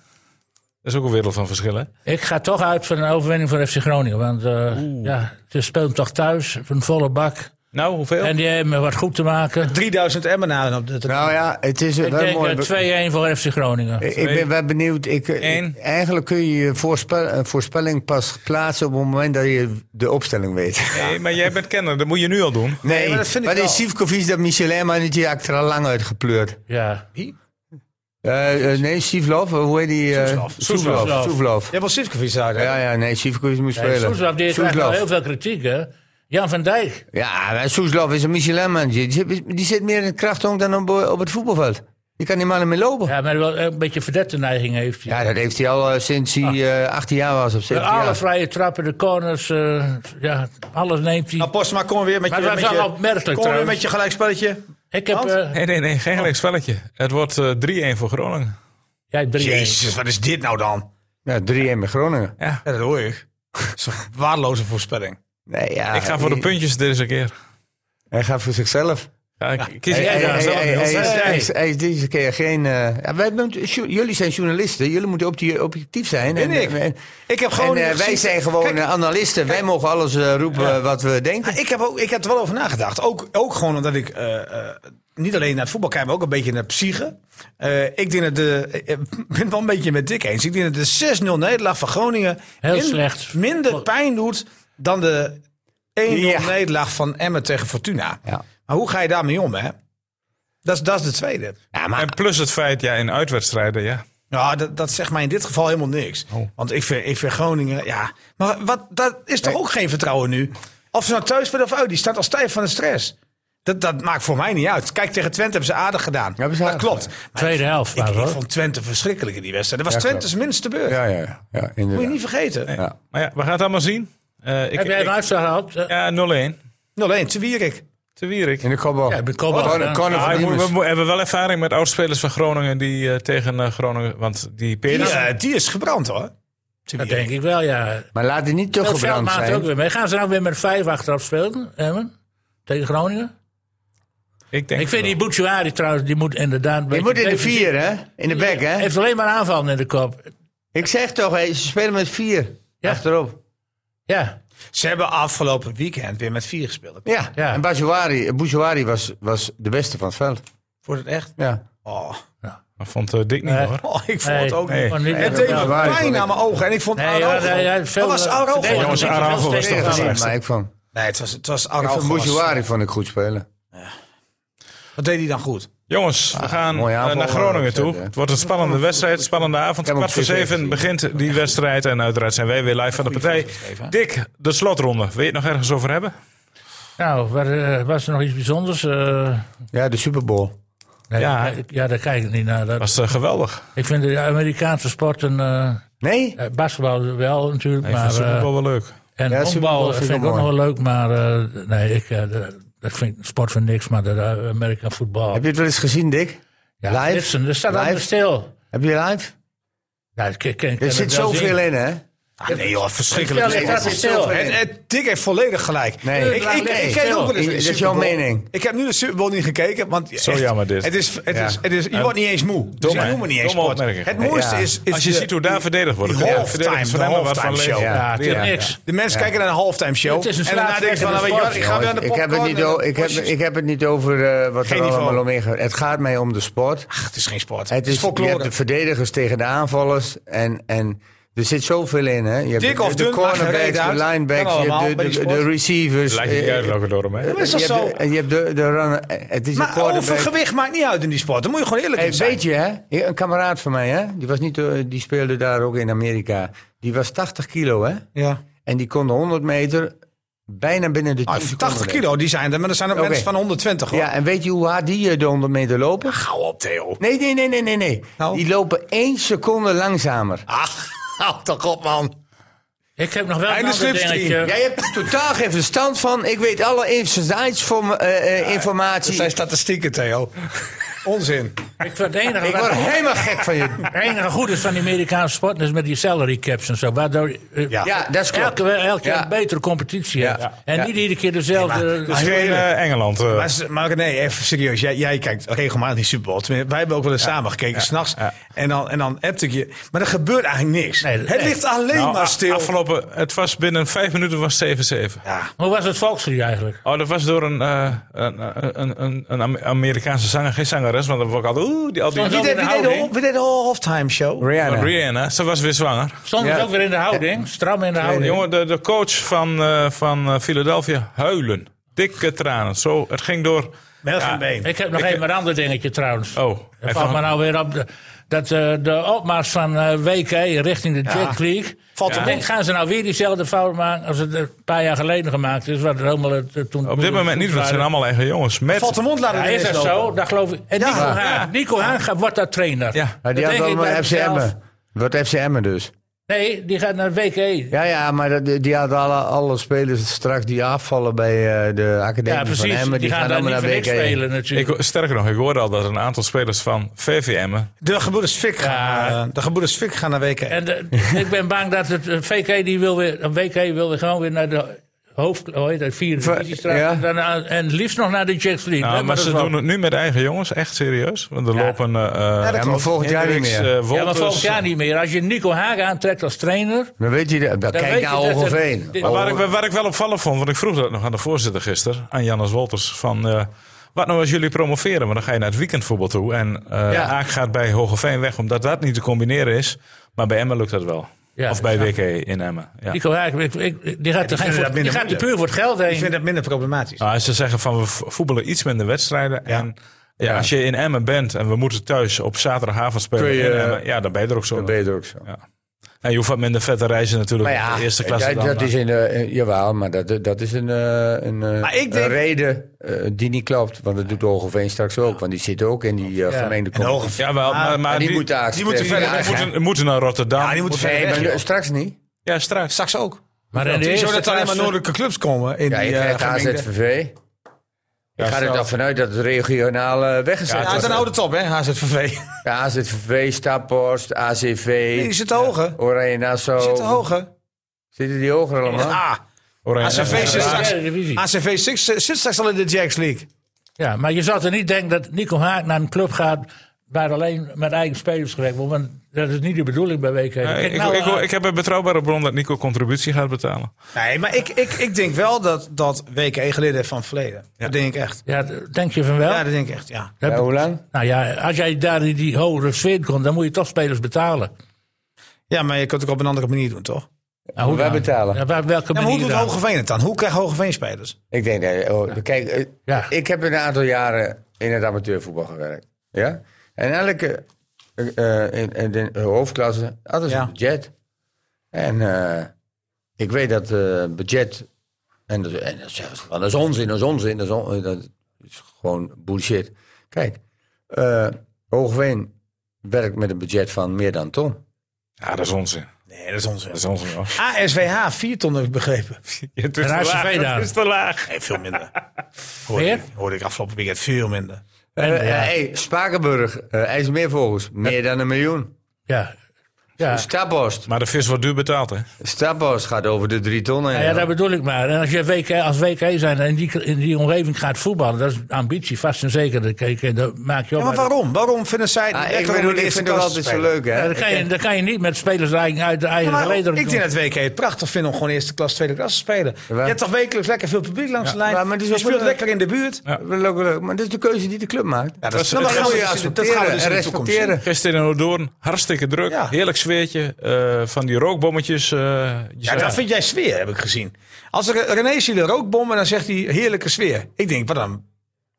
Speaker 1: Dat is ook een wereld van verschillen.
Speaker 4: Ik ga toch uit van een overwinning van FC Groningen. Want eh, ja, ze spelen toch thuis. Een volle bak.
Speaker 1: Nou, hoeveel?
Speaker 4: En die hebben eh, wat goed te maken.
Speaker 5: 3000 Emmenaren op de tribune.
Speaker 2: Nou ja, het is
Speaker 4: Ik
Speaker 2: wel
Speaker 4: denk
Speaker 2: mooi.
Speaker 4: eh, 2-1 voor FC Groningen.
Speaker 2: Ik- Ik ben wel benieuwd. Ik, eh,
Speaker 1: Eén.
Speaker 2: eigenlijk kun je je voorspel- een voorspelling pas plaatsen op het moment dat je de opstelling weet.
Speaker 1: Nee, maar jij bent kenner. Dat moet je nu al doen.
Speaker 2: Nee,
Speaker 5: maar
Speaker 2: maar,
Speaker 5: dat vind ik wel.
Speaker 2: die Sivkovic, dat Michelin, maar niet die act er al lang uitgepleurd.
Speaker 4: Ja.
Speaker 2: Eh, eh, nee, Sivlov, eh, hoe heet die? eh,
Speaker 5: Soeslof.
Speaker 2: Soeslof.
Speaker 4: Soeslof.
Speaker 2: Soeslof.
Speaker 5: Je hebt wel Sivkovic daar. hè?
Speaker 2: Ja, ja, nee, Sivkovic moet
Speaker 4: Nee,
Speaker 2: spelen.
Speaker 4: Soeslof, die krijgt wel
Speaker 2: Soeslof.
Speaker 4: heel veel kritiek, hè? Jan van Dijk.
Speaker 2: Ja, maar Soeslof is een Michelin-manager. Die, zit- die zit meer in het krachthonk dan op, eh, op het voetbalveld. Die kan niet maar meer lopen. Ja.
Speaker 4: Ja, maar wel eh, een beetje verdette neiging heeft hij.
Speaker 2: Oh. dat heeft hij al eh, sinds hij eh, 18 jaar was of 17
Speaker 4: alle
Speaker 2: jaar.
Speaker 4: vrije trappen, de corners, eh, ja, alles neemt hij.
Speaker 5: Nou, Postma, kom weer met
Speaker 4: Maar
Speaker 5: je,
Speaker 4: het
Speaker 5: met
Speaker 4: was
Speaker 5: je,
Speaker 4: wel opmerkelijk,
Speaker 5: kom weer
Speaker 4: trouwens.
Speaker 5: met je gelijkspelletje.
Speaker 4: Ik heb...
Speaker 5: Want?
Speaker 4: eh
Speaker 1: Nee, nee, nee. Geen gelijk spelletje. Het wordt eh, 3-1 voor Groningen.
Speaker 4: ja, 3-1.
Speaker 5: Jezus, wat is dit nou dan?
Speaker 2: Ja, 3-1 met Groningen.
Speaker 1: Ja.
Speaker 5: Ja, dat hoor ik. Dat is een waardeloze voorspelling.
Speaker 2: Nee, ja,
Speaker 1: Ik ga voor de
Speaker 2: hij-
Speaker 1: puntjes deze keer.
Speaker 2: Hij gaat voor zichzelf.
Speaker 1: Ja, ik kies
Speaker 2: Hij-
Speaker 1: jij
Speaker 2: hij-
Speaker 1: dan
Speaker 2: hij-
Speaker 1: zelf,
Speaker 2: hij-
Speaker 1: Niels.
Speaker 2: hij is-
Speaker 4: Nee.
Speaker 2: hij is- Hij is deze keer geen... eh, ja, wij bent- jo- jullie zijn journalisten, jullie moeten opti- objectief zijn. eh,
Speaker 5: Ben ik. Ik heb gewoon.
Speaker 2: en, eh, wij
Speaker 5: gezien-
Speaker 2: zijn gewoon
Speaker 5: Kijk,
Speaker 2: eh, analisten. wij mogen alles eh, roepen eh, wat we denken.
Speaker 5: Ah, ik, heb ook, ik heb er wel over nagedacht. Ook, ook gewoon omdat ik eh, eh, niet alleen naar het voetbal kijk, maar ook een beetje naar psyche. Eh, ik denk dat de, eh, ik ben het wel een beetje met Dick eens. Ik denk dat de 6-0 nederlaag van Groningen
Speaker 4: Heel slecht.
Speaker 5: minder pijn doet dan de 1-0
Speaker 2: Ja.
Speaker 5: nederlaag van Emmen tegen Fortuna.
Speaker 2: Ja.
Speaker 5: Maar hoe ga je daarmee om, hè? Dat is, dat is de tweede.
Speaker 2: Ja,
Speaker 1: En
Speaker 2: maar
Speaker 1: plus het feit, ja, in uitwedstrijden, ja.
Speaker 5: Nou, dat, dat zegt mij in dit geval helemaal niks.
Speaker 2: Oh.
Speaker 5: Want ik vind, ik vind Groningen, ja. Maar wat, dat is toch ook geen vertrouwen nu? Of ze nou thuis spelen of uit, die staat al stijf van de stress. Dat, dat maakt voor mij niet uit. Kijk, tegen Twente hebben ze aardig gedaan.
Speaker 2: hebben ze
Speaker 5: dat
Speaker 2: aardig
Speaker 5: klopt. Maar
Speaker 4: Tweede helft,
Speaker 5: ik,
Speaker 4: maar
Speaker 5: ik
Speaker 4: hoor.
Speaker 5: vond Twente verschrikkelijk in die wedstrijd. Dat was
Speaker 2: Ja,
Speaker 5: Twente's minste beurt.
Speaker 2: ja, ja, ja,
Speaker 5: Moet je
Speaker 2: inderdaad.
Speaker 5: niet vergeten. 0-1,
Speaker 2: Ja.
Speaker 1: Maar ja, we gaan het allemaal zien. Eh, ik,
Speaker 4: Heb jij een
Speaker 1: ik-
Speaker 4: uitslag gehad? Eh,
Speaker 1: Ja, 0-1.
Speaker 5: te Wierik.
Speaker 1: Te Wierik.
Speaker 2: In de kopbal.
Speaker 4: Ja, de kopbal.
Speaker 2: Corner- corner
Speaker 1: Ja,
Speaker 2: van
Speaker 1: we,
Speaker 2: Diemers.
Speaker 1: moeten- we hebben wel ervaring met oudspelers van Groningen die eh, tegen eh, Groningen. Want die
Speaker 5: Die,
Speaker 1: Pedersen.
Speaker 5: eh, die is gebrand hoor. Te
Speaker 4: Dat
Speaker 5: Wierik.
Speaker 4: denk ik wel, ja.
Speaker 2: Maar laat hij niet te
Speaker 4: Dat
Speaker 2: gebrand
Speaker 4: maakt ook
Speaker 2: zijn.
Speaker 4: weer mee. Gaan ze nou weer met vijf achteraf spelen, Emmen? Tegen Groningen?
Speaker 1: ik denk.
Speaker 4: Ik vind die Bouchouari trouwens, die moet inderdaad...
Speaker 2: Je moet in de vier, hè? In de bek, hè?
Speaker 4: heeft alleen maar aanvallen in de kop.
Speaker 2: Ik zeg toch, hè, ze spelen met vier.
Speaker 4: Ja.
Speaker 2: Achterop.
Speaker 4: Ja,
Speaker 5: Ze hebben afgelopen weekend weer met vier gespeeld.
Speaker 2: Ja.
Speaker 4: Ja.
Speaker 2: En Bajouari, Bouchouari was, was de beste van het veld.
Speaker 5: Voor het echt.
Speaker 2: Ja.
Speaker 5: Oh,
Speaker 1: Dat vond eh, Dick niet
Speaker 4: Nee.
Speaker 1: hoor.
Speaker 5: Oh, ik vond
Speaker 4: Nee.
Speaker 5: het ook
Speaker 1: Nee.
Speaker 5: niet.
Speaker 4: maar niet
Speaker 2: Nee,
Speaker 4: met
Speaker 2: dat
Speaker 5: Het
Speaker 4: elkaar.
Speaker 5: deed
Speaker 2: waar,
Speaker 5: pijn
Speaker 2: vond
Speaker 5: naar
Speaker 2: ik-
Speaker 5: mijn ogen. En ik vond
Speaker 4: Nee,
Speaker 5: Araujo-
Speaker 4: ja, ja, ja, veel-
Speaker 5: Wat was Araujo?
Speaker 4: verdedigend.
Speaker 1: Jongens,
Speaker 4: Ik vind
Speaker 1: Araujo
Speaker 4: veel
Speaker 1: was
Speaker 4: steeds
Speaker 1: toch
Speaker 4: te
Speaker 1: wel
Speaker 4: veel.
Speaker 2: Nee,
Speaker 1: slecht.
Speaker 2: maar ik vond,
Speaker 5: Nee, het was, het was
Speaker 2: ik vond
Speaker 5: Araujo.
Speaker 2: Bouchouari vond ik goed spelen.
Speaker 5: Wat deed hij dan goed?
Speaker 1: Jongens, we gaan
Speaker 2: mooie
Speaker 1: eh,
Speaker 2: aanval,
Speaker 1: naar Groningen
Speaker 2: eh,
Speaker 1: toe.
Speaker 2: hè.
Speaker 1: Het wordt een spannende wedstrijd, spannende avond.
Speaker 2: Ik heb hem
Speaker 1: Kwart voor
Speaker 2: op tv
Speaker 1: zeven
Speaker 2: gezien.
Speaker 1: begint die wedstrijd. En uiteraard zijn wij weer live van de partij. Dick, de slotronde. Wil je het nog ergens over hebben?
Speaker 4: Nou, wat, eh, was er nog iets bijzonders? Eh,
Speaker 2: Ja, de Super Bowl.
Speaker 4: nee,
Speaker 1: Ja.
Speaker 4: ja. ja, daar kijk ik niet naar. Dat,
Speaker 1: Was eh, geweldig.
Speaker 4: ik vind de Amerikaanse sporten... eh,
Speaker 2: Nee?
Speaker 4: Eh, basketbal wel natuurlijk,
Speaker 1: Ik
Speaker 4: maar...
Speaker 1: vind
Speaker 4: eh,
Speaker 1: Superbowl wel leuk.
Speaker 4: en
Speaker 2: Ja,
Speaker 4: ja,
Speaker 2: Superbowl vind ik
Speaker 4: vind ik
Speaker 2: wel
Speaker 4: ook nog
Speaker 2: mooi.
Speaker 4: wel leuk, maar... eh, nee, ik, eh, de- dat vind ik sport vind ik niks, maar de eh, American voetbal...
Speaker 2: Heb je het wel eens gezien, Dick?
Speaker 4: ja,
Speaker 2: live?
Speaker 4: Gidsen, er staat
Speaker 2: Live?
Speaker 4: allemaal stil.
Speaker 2: Heb je live?
Speaker 4: Ja, ik, ik, ik- ik
Speaker 2: Er
Speaker 4: heb
Speaker 2: zit
Speaker 4: het wel
Speaker 2: zoveel
Speaker 4: zien.
Speaker 2: in, hè?
Speaker 5: Ah, nee joh, verschrikkelijk.
Speaker 4: Stel, ik
Speaker 5: Nee,
Speaker 4: staat stil.
Speaker 5: Het, het, Dick heeft volledig gelijk.
Speaker 2: Nee.
Speaker 5: ik, ik, ik ken ook wel eens
Speaker 2: Dat
Speaker 5: een
Speaker 2: is
Speaker 5: Super
Speaker 2: jouw
Speaker 5: Bowl.
Speaker 2: mening.
Speaker 5: Ik heb nu de Super Bowl niet gekeken, want
Speaker 1: Zo jammer dit.
Speaker 5: Het is, het
Speaker 2: Ja.
Speaker 5: is, het is, je wordt niet eens moe. Dus
Speaker 1: Domme,
Speaker 5: ik noem het niet eens
Speaker 1: domme
Speaker 5: sport.
Speaker 1: opmerking.
Speaker 5: Het mooiste
Speaker 2: Ja.
Speaker 5: is, is
Speaker 1: Als je
Speaker 5: de-
Speaker 1: ziet hoe daar verdedigd wordt.
Speaker 5: die
Speaker 1: dan kun je
Speaker 5: halftime,
Speaker 1: verdedigers van
Speaker 5: de
Speaker 1: Emmen wat van
Speaker 5: halftime
Speaker 1: lezen.
Speaker 5: show.
Speaker 1: Ja,
Speaker 4: Ja, het is
Speaker 1: ja.
Speaker 4: niks.
Speaker 5: de mensen kijken naar een halftime show.
Speaker 4: Het is een
Speaker 5: en daarna
Speaker 4: slaaf-
Speaker 5: denken ze van, nou, weet je wat, ik ga weer aan de
Speaker 2: ik, heb het
Speaker 5: popcorn
Speaker 2: niet
Speaker 5: en
Speaker 2: o-
Speaker 5: de
Speaker 2: ik, heb,
Speaker 5: postjes.
Speaker 2: ik heb het niet over eh, wat
Speaker 5: Geen
Speaker 2: er
Speaker 5: niveau.
Speaker 2: allemaal omheen gaat. Het gaat mij om de sport.
Speaker 5: Ach, het is geen sport.
Speaker 2: Het is, je hebt
Speaker 5: folklore.
Speaker 2: de verdedigers tegen de aanvallers. En, en er zit zoveel in, hè? Je hebt
Speaker 5: Dik
Speaker 2: de,
Speaker 5: of
Speaker 2: de
Speaker 5: dun, maakt geen reet
Speaker 2: cornerbacks, de
Speaker 5: uit.
Speaker 2: linebacks,
Speaker 5: Kan
Speaker 2: je
Speaker 5: allemaal
Speaker 2: hebt de,
Speaker 5: bij die
Speaker 2: de,
Speaker 5: sport.
Speaker 2: de receivers.
Speaker 1: Lijkt niet
Speaker 2: eh,
Speaker 1: uit welke door hem heen.
Speaker 5: is
Speaker 2: je
Speaker 5: dat
Speaker 2: hebt
Speaker 5: zo?
Speaker 2: de- En je hebt de, de runner. Het is een
Speaker 5: Maar
Speaker 2: quarterback.
Speaker 5: overgewicht maakt niet uit in die sport. Daar moet je gewoon eerlijk
Speaker 2: Hey,
Speaker 5: in zijn.
Speaker 2: weet je, hè? Een kameraad van mij, hè? Die, was niet, eh, die speelde daar ook in Amerika. Die was 80 kilo, hè?
Speaker 5: Ja.
Speaker 2: En die kon de 100 meter bijna binnen de 10
Speaker 5: Nou,
Speaker 2: seconden
Speaker 5: 80
Speaker 2: rennen.
Speaker 5: kilo, die zijn er. Maar er zijn ook
Speaker 2: Oké.
Speaker 5: mensen van 120 hoor.
Speaker 2: Ja, en weet je hoe hard die eh, de 100 meter lopen?
Speaker 5: Gauw op Theo.
Speaker 2: Nee, nee, nee, nee, nee. nee.
Speaker 5: Nou?
Speaker 2: Die lopen één seconde langzamer.
Speaker 5: Ach, hou Ah, toch op man.
Speaker 4: Ik heb nog wel een
Speaker 5: Einde
Speaker 4: ander
Speaker 5: schriftstien.
Speaker 4: dingetje.
Speaker 2: Jij hebt er totaal geen verstand van. Ik weet alle insights voor, me- eh, eh,
Speaker 5: Dat
Speaker 2: informatie.
Speaker 5: zijn statistieken Theo. Onzin.
Speaker 4: Ik vind het enige
Speaker 2: Ik
Speaker 4: wat-
Speaker 2: word helemaal gek van je.
Speaker 4: Het enige goede is van die Amerikaanse sport is met die salary caps en zo. Waardoor eh,
Speaker 5: Ja.
Speaker 2: Ja, dat is klopt.
Speaker 4: elke, elk jaar
Speaker 2: Ja.
Speaker 4: een betere competitie hebt.
Speaker 2: Ja.
Speaker 4: En
Speaker 2: Ja.
Speaker 4: niet iedere keer dezelfde. Ah,
Speaker 1: Dat is geen eh, Engeland. eh.
Speaker 5: Maar, ze- maar nee, even serieus. Jij, jij kijkt regelmatig die Super Bowl. Tenminste, Wij hebben ook wel eens samen gekeken, s'nachts. En dan, en dan appt ik je. Maar er gebeurt eigenlijk niks.
Speaker 4: Nee, dat-
Speaker 5: het
Speaker 4: nee.
Speaker 5: ligt alleen
Speaker 1: Nou,
Speaker 5: maar
Speaker 1: a-
Speaker 5: stil.
Speaker 1: Afgelopen, het was binnen vijf minuten was 7-7.
Speaker 5: Ja.
Speaker 4: Hoe was het volkslied eigenlijk?
Speaker 1: Oh, dat was door een, eh, een, een, een, een Am- Amerikaanse zanger, geen zangeres, want dan word ik altijd, oeh, die al die.
Speaker 4: Stond
Speaker 5: Wie
Speaker 4: ook in
Speaker 5: deed,
Speaker 4: de
Speaker 5: wie deed de,
Speaker 4: houding.
Speaker 5: hal- wie deed de halftime show?
Speaker 1: Maar
Speaker 2: Rihanna.
Speaker 1: Rihanna, ze was weer zwanger.
Speaker 5: Oh,
Speaker 4: Stond het ook weer in de houding? Stram in de houding.
Speaker 1: Jongen, de, de coach van, eh, van eh, Philadelphia, huilen. Dikke tranen. Zo, het ging door.
Speaker 5: Melk
Speaker 1: Ja.
Speaker 5: en been.
Speaker 4: Ik heb nog even een ander dingetje trouwens.
Speaker 1: Oh,
Speaker 4: Het
Speaker 1: even-
Speaker 4: valt me nou weer op de- dat eh, de opmars van eh, WK richting de Jack League.
Speaker 5: Valt
Speaker 4: Ik
Speaker 5: er
Speaker 4: denk, gaan ze nou weer diezelfde fout maken als het een paar jaar geleden gemaakt is? Wat er helemaal, eh, toen,
Speaker 1: Op dit moment niet, want het zijn allemaal eigen jongens. Met,
Speaker 5: Valt de mond laten
Speaker 4: Ja,
Speaker 5: ineens
Speaker 4: is dat
Speaker 5: lopen.
Speaker 4: zo? Dat geloof ik. En Nico
Speaker 5: Ja.
Speaker 4: Haan, Nico Haan gaat- wordt daar trainer.
Speaker 1: ja,
Speaker 2: Maar die
Speaker 4: Dat
Speaker 2: had
Speaker 4: denk ik bij
Speaker 2: allemaal FC
Speaker 4: mezelf.
Speaker 2: Emmen. Wat FC Emmen dus.
Speaker 4: Nee, die gaat naar E. WK. Ja,
Speaker 2: Ja, ja, maar dat, die hadden alle, alle spelers straks die afvallen bij eh, de academie van
Speaker 4: precies.
Speaker 2: Emmen.
Speaker 4: die, gaan, daar niet
Speaker 2: allemaal
Speaker 4: voor niks
Speaker 2: WK.
Speaker 4: spelen
Speaker 1: ik,
Speaker 4: natuurlijk.
Speaker 1: sterker nog, ik hoorde al dat een aantal spelers van VVM'en
Speaker 5: De gebroeders Fik gaan, eh, de gebroeders Fik gaan naar weken.
Speaker 4: en de- ik ben bang dat het eh, VK die wil weer, eh, WK wil weer gewoon weer naar de hoofd, hoe heet dat, vierde
Speaker 2: Ver-
Speaker 4: divisiestraat.
Speaker 2: ja.
Speaker 4: En daarna- En liefst nog naar de Jacks League.
Speaker 1: Nou,
Speaker 4: Lijkt me
Speaker 1: maar
Speaker 4: dat
Speaker 1: ze
Speaker 4: wel.
Speaker 1: doen het nu met eigen jongens, echt serieus. Want er
Speaker 4: Ja.
Speaker 1: lopen. eh, eh,
Speaker 2: Ja, maar volgend jaar niet
Speaker 1: Hendricks,
Speaker 2: meer.
Speaker 1: eh,
Speaker 4: Ja, maar
Speaker 1: Wolters.
Speaker 4: volgend jaar niet meer. Als je Nico Hagen aantrekt als trainer.
Speaker 2: Dan weet je, dat- dan
Speaker 4: weet
Speaker 2: kijk nou
Speaker 4: je
Speaker 2: naar
Speaker 4: dat er-
Speaker 2: Hogeveen.
Speaker 4: dit-
Speaker 1: Maar waar,
Speaker 2: Oh.
Speaker 1: ik, waar ik wel opvallend vond, want ik vroeg dat nog aan de voorzitter gisteren, aan Jannes Wolters. Van, eh, wat nou als jullie promoveren? Want dan ga je naar het weekendvoetbal toe. En eh,
Speaker 2: Ja.
Speaker 1: Aak gaat bij Hogeveen weg, omdat dat niet te combineren is. Maar bij Emmen lukt dat wel.
Speaker 4: Ja,
Speaker 1: of bij WK in Emmen. Ja.
Speaker 4: Nico Hagen, ik- ik- die gaat, er geen
Speaker 5: dat
Speaker 4: voor,
Speaker 5: minder
Speaker 4: die gaat er
Speaker 5: moeilijk.
Speaker 4: puur voor het geld heen.
Speaker 5: Ik vind dat minder problematisch.
Speaker 1: Nou, ze zeggen van we vo- voetballen iets minder wedstrijden. En ja, als je in Emmen bent en we moeten thuis op zaterdagavond spelen.
Speaker 2: Kun je,
Speaker 1: in Emmen, ja, dan ben je er ook zo.
Speaker 2: Dat weet eh, je ook zo.
Speaker 1: En je hoeft wat minder vette reizen natuurlijk.
Speaker 2: Maar ja,
Speaker 1: de eerste klasse
Speaker 2: dat,
Speaker 1: dan,
Speaker 2: dat is een, eh, jawel, maar dat, dat is een, eh, een, eh,
Speaker 5: Maar ik
Speaker 2: een
Speaker 5: denk-
Speaker 2: reden eh, die niet klopt. Want dat doet Hogeveen straks ook. Want die zit ook in die eh, gemeende
Speaker 5: En de
Speaker 2: kom-
Speaker 5: hoge
Speaker 1: Ja, wel, maar, maar
Speaker 2: Ah, en die moeten daar-
Speaker 5: die moeten
Speaker 2: eh,
Speaker 5: verder
Speaker 2: ja,
Speaker 5: weg,
Speaker 2: ja.
Speaker 5: hè?
Speaker 1: moeten, moeten naar Rotterdam.
Speaker 5: Ja, die moeten verder
Speaker 2: Nee,
Speaker 5: weg,
Speaker 2: maar
Speaker 5: joh.
Speaker 2: eh, straks niet.
Speaker 1: Ja, straks.
Speaker 5: Straks ook.
Speaker 4: maar in de eerste
Speaker 5: Zodat er alleen maar
Speaker 4: klasse-
Speaker 5: noordelijke clubs komen. In
Speaker 2: Ja, je
Speaker 5: die, eh,
Speaker 2: krijgt
Speaker 5: gemengde-
Speaker 2: AZVV. Ik ga er
Speaker 1: straks.
Speaker 2: dan vanuit dat het regionaal eh, weggezet
Speaker 5: Ja,
Speaker 2: wordt.
Speaker 5: dan houdt het op, hè, HZVV.
Speaker 2: De AZVV, Staphorst, ACV,
Speaker 5: Nee, die zitten hoger.
Speaker 2: Oranje Nassau.
Speaker 5: Die zitten hoger.
Speaker 2: Zitten die hoger allemaal?
Speaker 5: Ah,
Speaker 1: Oranje.
Speaker 5: ACV zit
Speaker 4: Ja,
Speaker 5: straks,
Speaker 4: derde divisie.
Speaker 5: ACV zit- zit straks al in de Jacks League.
Speaker 4: Ja, maar je zou er niet denken dat Nico Haak naar een club gaat waar alleen met eigen spelers gewerkt wordt. Want dat is niet de bedoeling bij WK.
Speaker 1: Ja,
Speaker 4: Kijk
Speaker 1: ik,
Speaker 4: nou,
Speaker 1: ik,
Speaker 4: eh,
Speaker 1: hoor- ik heb een betrouwbare bron dat Nico contributie gaat betalen.
Speaker 5: Nee, maar ik, ik, ik denk wel dat, dat weken geleden van het verleden. Dat denk ik echt.
Speaker 4: ja, d- denk je van wel?
Speaker 5: Ja, dat denk ik echt, ja.
Speaker 4: Dat-
Speaker 2: Ja, hoe lang?
Speaker 4: Nou ja, als jij daar in die hogere sfeer komt, dan moet je toch spelers betalen.
Speaker 5: Ja, maar je kunt het ook op een andere manier doen, toch?
Speaker 4: Nou, hoe
Speaker 2: wij
Speaker 4: dan?
Speaker 2: betalen.
Speaker 4: Ja, waar- welke
Speaker 5: Ja, maar hoe
Speaker 4: manier
Speaker 5: doet
Speaker 4: dan?
Speaker 5: Hogeveen het dan? Hoe krijgt Hogeveen spelers?
Speaker 2: Ik denk, dat- oh, kijk, eh,
Speaker 4: Ja.
Speaker 2: ik heb een aantal jaren in het amateurvoetbal gewerkt. Ja? En elke eh, eh, in, in de hoofdklasse had ze
Speaker 5: Ja.
Speaker 2: een budget. En eh, ik weet dat eh, budget, en dat, en dat zeggen ze van, dat is onzin, dat is onzin, dat is, on- eh, dat is gewoon bullshit. Kijk, eh Hoogveen werkt met een budget van meer dan ton.
Speaker 1: Ja, dat is onzin.
Speaker 5: Nee, dat is onzin.
Speaker 1: Dat is onzin, hoor.
Speaker 5: ASWH, 4 ton heb ik begrepen.
Speaker 1: Het is
Speaker 4: En HCV daar.
Speaker 1: Het is te laag.
Speaker 5: Nee, veel minder. hoorde,
Speaker 4: Meer?
Speaker 5: ik, hoorde ik afgelopen weekend veel minder.
Speaker 4: En,
Speaker 2: Eh,
Speaker 4: ja,
Speaker 2: hey, Spakenburg, eh, IJsselmeervogels, meer dan een miljoen.
Speaker 4: ja. Ja.
Speaker 2: Staphorst,
Speaker 1: Maar de vis wordt duur betaald, hè?
Speaker 2: Staphorst gaat over de drie ton heen.
Speaker 4: Ja, ja, dat bedoel ik maar. En als je WK, als WK zijn en in die, in die omgeving gaat voetballen, dat is ambitie, vast en zeker. Dat, kan je- dat maak je op.
Speaker 5: Ja, maar waarom? Waarom vinden zij
Speaker 2: Ah, ik
Speaker 5: lekker om in de
Speaker 2: bedoel, ik
Speaker 5: eerste
Speaker 2: vind het wel
Speaker 5: klasse te
Speaker 2: altijd zo
Speaker 5: spelen?
Speaker 2: leuk, hè?
Speaker 4: Ja, dat, kan Eh, je, dat kan je niet met spelers eigen- uit de eigen
Speaker 5: Maar
Speaker 4: gelederen
Speaker 5: ik
Speaker 4: doen.
Speaker 5: denk dat WK het prachtig vinden om gewoon eerste klas, tweede klas te spelen.
Speaker 2: Ja.
Speaker 5: Je hebt toch wekelijks lekker veel publiek langs de lijn.
Speaker 2: Ja, maar dus het is
Speaker 5: je
Speaker 2: ook
Speaker 5: speelt
Speaker 2: wel-
Speaker 5: lekker in de buurt. Ja,
Speaker 2: Dat is ook leuk, maar dat is de keuze die de club maakt.
Speaker 5: dat, is-
Speaker 2: Nou,
Speaker 5: dat
Speaker 2: dat
Speaker 5: gaan
Speaker 2: moet
Speaker 5: we
Speaker 2: je
Speaker 5: dus in de- dat gaan we
Speaker 2: accepteren
Speaker 5: dus
Speaker 2: en
Speaker 5: in de toekomst zien.
Speaker 2: respecteren.
Speaker 1: Gisteren in Hoorn, hartstikke druk.
Speaker 5: Ja.
Speaker 1: Heerlijk sfeertje. eh, van die rookbommetjes. eh, je
Speaker 5: Ja,
Speaker 1: zei-
Speaker 5: dat vind jij sfeer, heb ik gezien. Als er, René ziet een rookbom en dan zegt hij heerlijke sfeer. Ik denk, wat dan? Wat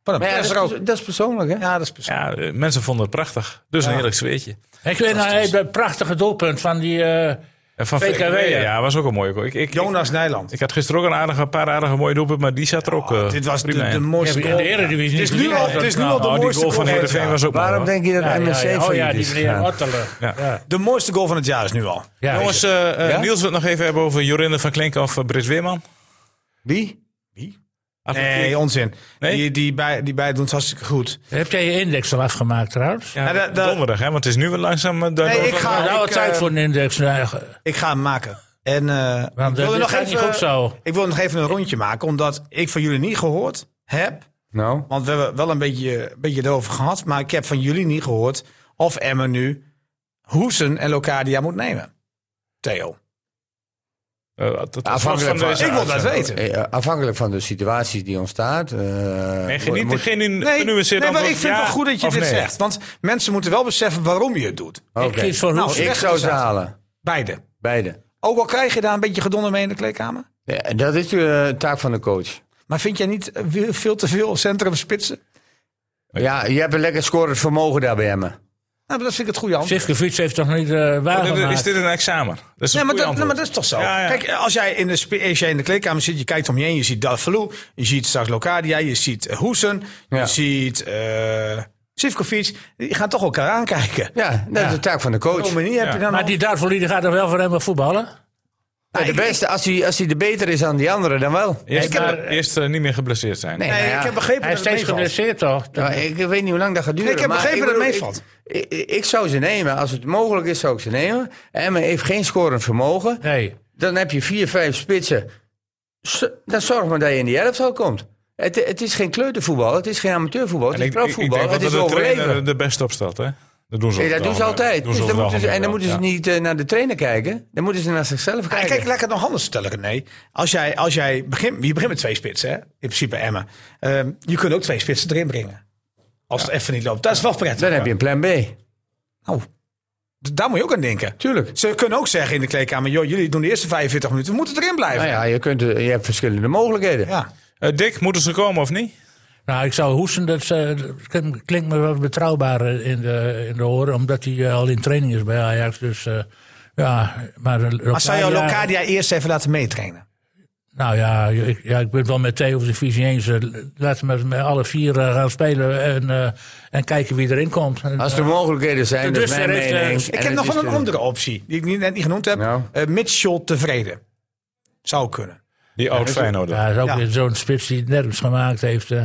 Speaker 5: dan?
Speaker 2: Maar ja,
Speaker 5: Ja,
Speaker 2: dat,
Speaker 5: is
Speaker 2: is,
Speaker 5: rook.
Speaker 2: perso- dat is persoonlijk, hè?
Speaker 5: Ja, dat is precies.
Speaker 1: Ja, eh, mensen vonden het prachtig. Dus een heerlijk sfeertje.
Speaker 4: Ik weet nou even dat prachtige doelpunt van die. eh,
Speaker 1: En van
Speaker 4: VKW, hè?
Speaker 1: ja, was ook een mooie goal. Ik, ik, ik,
Speaker 5: Jonas Nijland.
Speaker 1: ik had gisteren ook een, aardige, een paar aardige mooie doelpunten, maar die zat er ook eh,
Speaker 5: Oh, Dit was de,
Speaker 1: prima
Speaker 5: de
Speaker 1: in.
Speaker 5: mooiste
Speaker 4: Ja, in de
Speaker 5: goal.
Speaker 4: Eredivisie
Speaker 5: Het is
Speaker 4: niet
Speaker 5: nu al,
Speaker 4: gezien,
Speaker 5: het is nu
Speaker 4: dat
Speaker 5: al de
Speaker 1: Oh, die
Speaker 5: mooiste
Speaker 1: goal
Speaker 5: goal
Speaker 1: van
Speaker 5: van het
Speaker 1: Heerenveen
Speaker 5: jaar.
Speaker 1: was ook
Speaker 2: Waarom
Speaker 1: mooi, hoor.
Speaker 2: denk je dat
Speaker 4: ja,
Speaker 2: MSC
Speaker 4: ja, ja. Oh ja,
Speaker 2: failliet
Speaker 4: die
Speaker 2: is
Speaker 4: meneer
Speaker 2: gegaan?
Speaker 4: Otterle.
Speaker 1: Ja.
Speaker 4: Ja.
Speaker 5: De mooiste goal van het jaar is nu al.
Speaker 4: Ja.
Speaker 1: Jongens, eh, eh,
Speaker 2: Ja?
Speaker 1: Niels wil het nog even hebben over Jorinne van Klink of eh, Britt Weerman.
Speaker 2: Wie?
Speaker 5: Nee, onzin.
Speaker 1: Nee?
Speaker 5: Die, die, bij, die bij doen het hartstikke goed.
Speaker 4: Heb jij je index al afgemaakt trouwens?
Speaker 1: Ja,
Speaker 5: eh, Ja, Nou, dat- dat-
Speaker 1: donderdag, hè? Want het is nu weer langzaam... eh, daar-
Speaker 5: Nee, ik ga,
Speaker 4: Nou, nou,
Speaker 5: ik,
Speaker 4: het tijd
Speaker 5: eh,
Speaker 4: voor een index. Nou, ge-
Speaker 5: ik ga hem maken. En, eh,
Speaker 4: Want
Speaker 5: ik,
Speaker 4: dit
Speaker 5: wilde nog
Speaker 4: gaat niet
Speaker 5: even,
Speaker 4: goed zo.
Speaker 5: ik wil nog even een rondje maken, omdat ik van jullie niet gehoord heb.
Speaker 2: Nou,
Speaker 5: Want we hebben wel een beetje, een beetje erover gehad. Maar ik heb van jullie niet gehoord of Emmen nu Hoesen en Locadia moet nemen. Theo.
Speaker 1: eh, dat- dat-
Speaker 2: afhankelijk
Speaker 1: van
Speaker 2: van,
Speaker 1: deze
Speaker 5: Ik wil dat weten.
Speaker 2: eh, afhankelijk van de situatie die ontstaat. eh,
Speaker 1: Nee, geen, niet,
Speaker 2: moet-
Speaker 1: geen nu-
Speaker 5: Nee, nee,
Speaker 1: genuanceerd
Speaker 5: maar
Speaker 1: antwoord.
Speaker 5: ik vind
Speaker 1: Ja
Speaker 5: het wel goed dat je
Speaker 1: of
Speaker 5: dit
Speaker 1: nee.
Speaker 5: zegt. Want mensen moeten wel beseffen waarom je het doet.
Speaker 2: Oh, Oké.
Speaker 4: Ik kies voor
Speaker 5: Nou,
Speaker 4: Hoes.
Speaker 2: Ik zou ze halen,
Speaker 5: Beide.
Speaker 2: beide.
Speaker 5: Ook al krijg je daar een beetje gedonder mee in de kleedkamer.
Speaker 2: Ja, en dat is de eh, taak van de coach.
Speaker 5: Maar vind jij niet eh, we- veel te veel centrum spitsen?
Speaker 2: Ja, je hebt een lekker scorend vermogen daar bij Emmen.
Speaker 5: Nou, dat vind ik het goede antwoord.
Speaker 4: Sivkovic heeft toch niet eh
Speaker 1: Oh, dit-
Speaker 4: waargemaakt?
Speaker 1: Is dit een examen? Dat is een
Speaker 5: Nee,
Speaker 1: goede
Speaker 5: maar dat, nee,
Speaker 1: antwoord.
Speaker 5: maar dat is toch zo?
Speaker 1: Ja, ja.
Speaker 5: Kijk, als jij, in de, spe- als jij in de kleedkamer zit, je kijkt om je heen, je ziet Dalfalou, je ziet straks Locadia, je ziet eh, Hoesen, je
Speaker 2: Ja.
Speaker 5: ziet eh Sivkovic. Die gaan toch elkaar aankijken.
Speaker 2: Ja, dat is de taak van de
Speaker 5: Op
Speaker 2: coach.
Speaker 5: zo'n manier heb
Speaker 1: Ja.
Speaker 5: je dan
Speaker 4: Maar
Speaker 5: al-
Speaker 4: die Darvolie die gaat er wel voor hem voetballen?
Speaker 2: Ja, Nou, de beste, als hij, als hij de beter is dan die andere, dan wel.
Speaker 1: Eerst,
Speaker 4: Nee, maar-
Speaker 1: eerst eh, niet meer geblesseerd zijn.
Speaker 2: Nee,
Speaker 5: Nee,
Speaker 2: nou ja.
Speaker 5: ik heb begrepen
Speaker 4: Hij is
Speaker 5: dat het
Speaker 4: steeds
Speaker 5: meevalt.
Speaker 4: geblesseerd toch?
Speaker 2: Ja, ik weet niet hoe lang dat gaat duren.
Speaker 5: Ik heb
Speaker 2: maar
Speaker 5: begrepen dat het
Speaker 2: bedoel,
Speaker 5: meevalt.
Speaker 2: Ik, ik- ik zou ze nemen. Als het mogelijk is, zou ik ze nemen. Emmen heeft geen scorend vermogen.
Speaker 4: Nee.
Speaker 2: Dan heb je vier, vijf spitsen. Z- Dan zorg maar dat je in die elftal komt. Het, het is geen kleutervoetbal. Het is geen amateurvoetbal. Het
Speaker 1: En
Speaker 2: is
Speaker 1: ik, ik, ik
Speaker 2: profvoetbal.
Speaker 1: denk
Speaker 2: Het
Speaker 1: dat
Speaker 2: is
Speaker 1: de trainer
Speaker 2: overleven.
Speaker 1: de beste op staat, hè? Dat doen ze,
Speaker 2: Nee,
Speaker 1: over
Speaker 2: dat
Speaker 1: het
Speaker 2: doen ze
Speaker 1: algemeen.
Speaker 2: altijd.
Speaker 1: Doen ze
Speaker 2: Dus
Speaker 1: over het
Speaker 2: dan moeten
Speaker 1: algemeen
Speaker 2: ze, en
Speaker 1: wel,
Speaker 2: dan moeten ze
Speaker 1: ja.
Speaker 2: niet eh, naar de trainer kijken. Dan moeten ze naar zichzelf
Speaker 5: Ah,
Speaker 2: kijken.
Speaker 5: Kijk, laat ik het nog anders vertellen, René. Als jij, als jij begint, je begint met twee spitsen, hè? in principe Emmen. Ehm, je kunt ook twee spitsen erin brengen. Als het even niet loopt. Dat is wel prettig.
Speaker 2: Dan heb je een plan B.
Speaker 5: Nou, d- daar moet je ook aan denken.
Speaker 2: Tuurlijk.
Speaker 5: Ze kunnen ook zeggen in de kleedkamer, joh, jullie doen de eerste 45 minuten, we moeten erin blijven.
Speaker 2: Nou ja, je, kunt, eh, je hebt verschillende mogelijkheden.
Speaker 5: Ja.
Speaker 1: Eh, Dick, moeten ze komen of niet?
Speaker 4: Nou, ik zou hoesten, dat is, eh, dat klink- klinkt me wel betrouwbaar eh, in de, in de oren, omdat hij eh, al in training is bij Ajax. Dus eh, ja, maar. eh,
Speaker 5: Maar zou je
Speaker 4: Locadia-
Speaker 5: Locadia eerst even laten meetrainen?
Speaker 4: Nou ja ik, ja, ik ben het wel met Theo of de visie eens. Eh, Laten we met, met alle vier eh, gaan spelen en, eh, en kijken wie erin komt. En, eh,
Speaker 2: Als er mogelijkheden zijn,
Speaker 4: tot
Speaker 2: dat is mijn
Speaker 4: dusver heeft, eh,
Speaker 2: mening.
Speaker 4: ik
Speaker 5: Ik
Speaker 2: En
Speaker 5: heb
Speaker 2: het
Speaker 5: nog wel
Speaker 2: is
Speaker 5: een
Speaker 2: te-
Speaker 5: andere optie, die ik niet, net niet genoemd heb.
Speaker 2: Nou.
Speaker 5: Eh, Mitchell tevreden. Zou kunnen.
Speaker 1: Die oud Feyenoord.
Speaker 4: ja, dat is ook
Speaker 5: Ja.
Speaker 4: weer zo'n spits die het nergens gemaakt heeft. eh.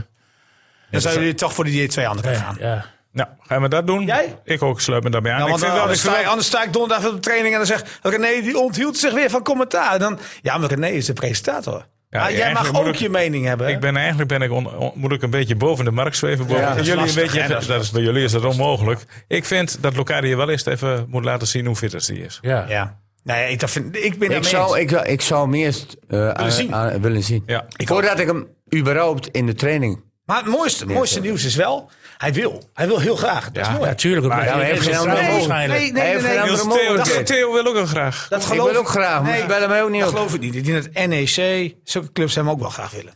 Speaker 5: Dan zouden jullie toch voor die twee anderen gaan.
Speaker 4: ja.
Speaker 1: Nou, gaan we dat doen?
Speaker 5: Jij?
Speaker 1: Ik ook, sluit me daarbij aan.
Speaker 5: Ja,
Speaker 1: ik
Speaker 5: want
Speaker 1: vind wel, ik
Speaker 5: anders,
Speaker 1: vind
Speaker 5: sta,
Speaker 1: wel-
Speaker 5: ik- anders sta ik donderdag op de training en dan zegt René, die onthield zich weer van commentaar. En Dan, ja, maar René is de presentator.
Speaker 1: Ja,
Speaker 5: maar jij
Speaker 1: eigenlijk
Speaker 5: mag
Speaker 1: moet
Speaker 5: ook
Speaker 1: ik-
Speaker 5: je mening hebben. hè?
Speaker 1: ik ben eigenlijk ben ik on- on- moet ik een beetje boven de markt zweven. Boven
Speaker 2: Ja,
Speaker 1: en
Speaker 2: dat is
Speaker 1: jullie
Speaker 5: lastig,
Speaker 1: een beetje,
Speaker 5: hè, dat
Speaker 1: dat
Speaker 5: is
Speaker 1: is bij jullie is dat onmogelijk. Ik vind dat Locadia wel eens even moet laten zien hoe fit het die is.
Speaker 4: ja.
Speaker 5: ja. Nee, ik, dat vind, ik ben
Speaker 2: Ik
Speaker 5: daarmee
Speaker 2: zou,
Speaker 5: eens.
Speaker 2: ik, zou- ik zou hem eerst eh, aan-
Speaker 5: zien.
Speaker 2: aan- willen zien.
Speaker 1: Ja. Ik
Speaker 2: Voordat ik hem überhaupt in de training...
Speaker 5: Maar het mooiste, mooiste nieuws is wel, hij wil. Hij wil heel graag. Dat is mooi.
Speaker 4: Natuurlijk, maar
Speaker 2: ja,
Speaker 4: hij
Speaker 2: maar
Speaker 4: heeft
Speaker 2: heeft
Speaker 4: geen
Speaker 2: geen
Speaker 4: vertrouwen
Speaker 2: andere
Speaker 4: waarschijnlijk.
Speaker 5: Nee, nee,
Speaker 2: Hij
Speaker 5: nee,
Speaker 2: heeft
Speaker 5: nee.
Speaker 2: geen
Speaker 1: Niels
Speaker 2: andere
Speaker 1: Theo,
Speaker 2: mogelijkheid.
Speaker 1: Theo wil ook heel graag.
Speaker 5: Dat
Speaker 2: Ik
Speaker 5: geloof
Speaker 2: wil ook graag, maar
Speaker 5: Nee.
Speaker 2: ze bellen mij ook niet
Speaker 5: Dat
Speaker 2: op.
Speaker 5: geloof ik niet. In het NEC, zulke clubs hem ook wel graag willen.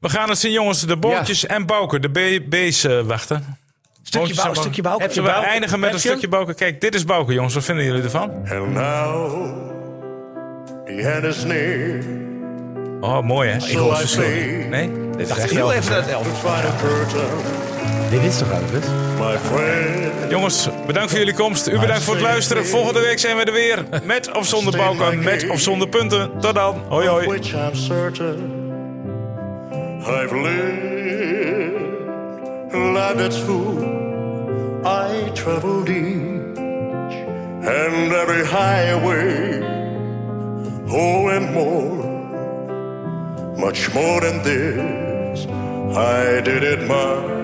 Speaker 1: We gaan het zien, jongens. De bootjes en Bouke, de B- B's eh, wachten.
Speaker 5: Stukje bouw, stukje bouw.
Speaker 1: Heb je we eindigen met een stukje Bouke. Kijk, dit is Bouke, jongens. Wat vinden jullie ervan?
Speaker 9: And now he had us near,
Speaker 1: Oh, mooi hè?
Speaker 9: so I say
Speaker 1: Nee? Dit is
Speaker 5: Dacht ik
Speaker 1: echt
Speaker 5: heel
Speaker 1: wel-
Speaker 5: even dat elf.
Speaker 9: the final curtain
Speaker 8: Dit is toch alles?
Speaker 9: my friend.
Speaker 1: Jongens, bedankt voor jullie komst. U bedankt voor het luisteren. Volgende week zijn we er weer. Met of zonder Bouke, met of zonder punten. Tot dan. Hoi hoi.
Speaker 9: Which I'm certain I've lived a life that's full. I traveled each and every highway. Oh, and more, much more than this. I did it my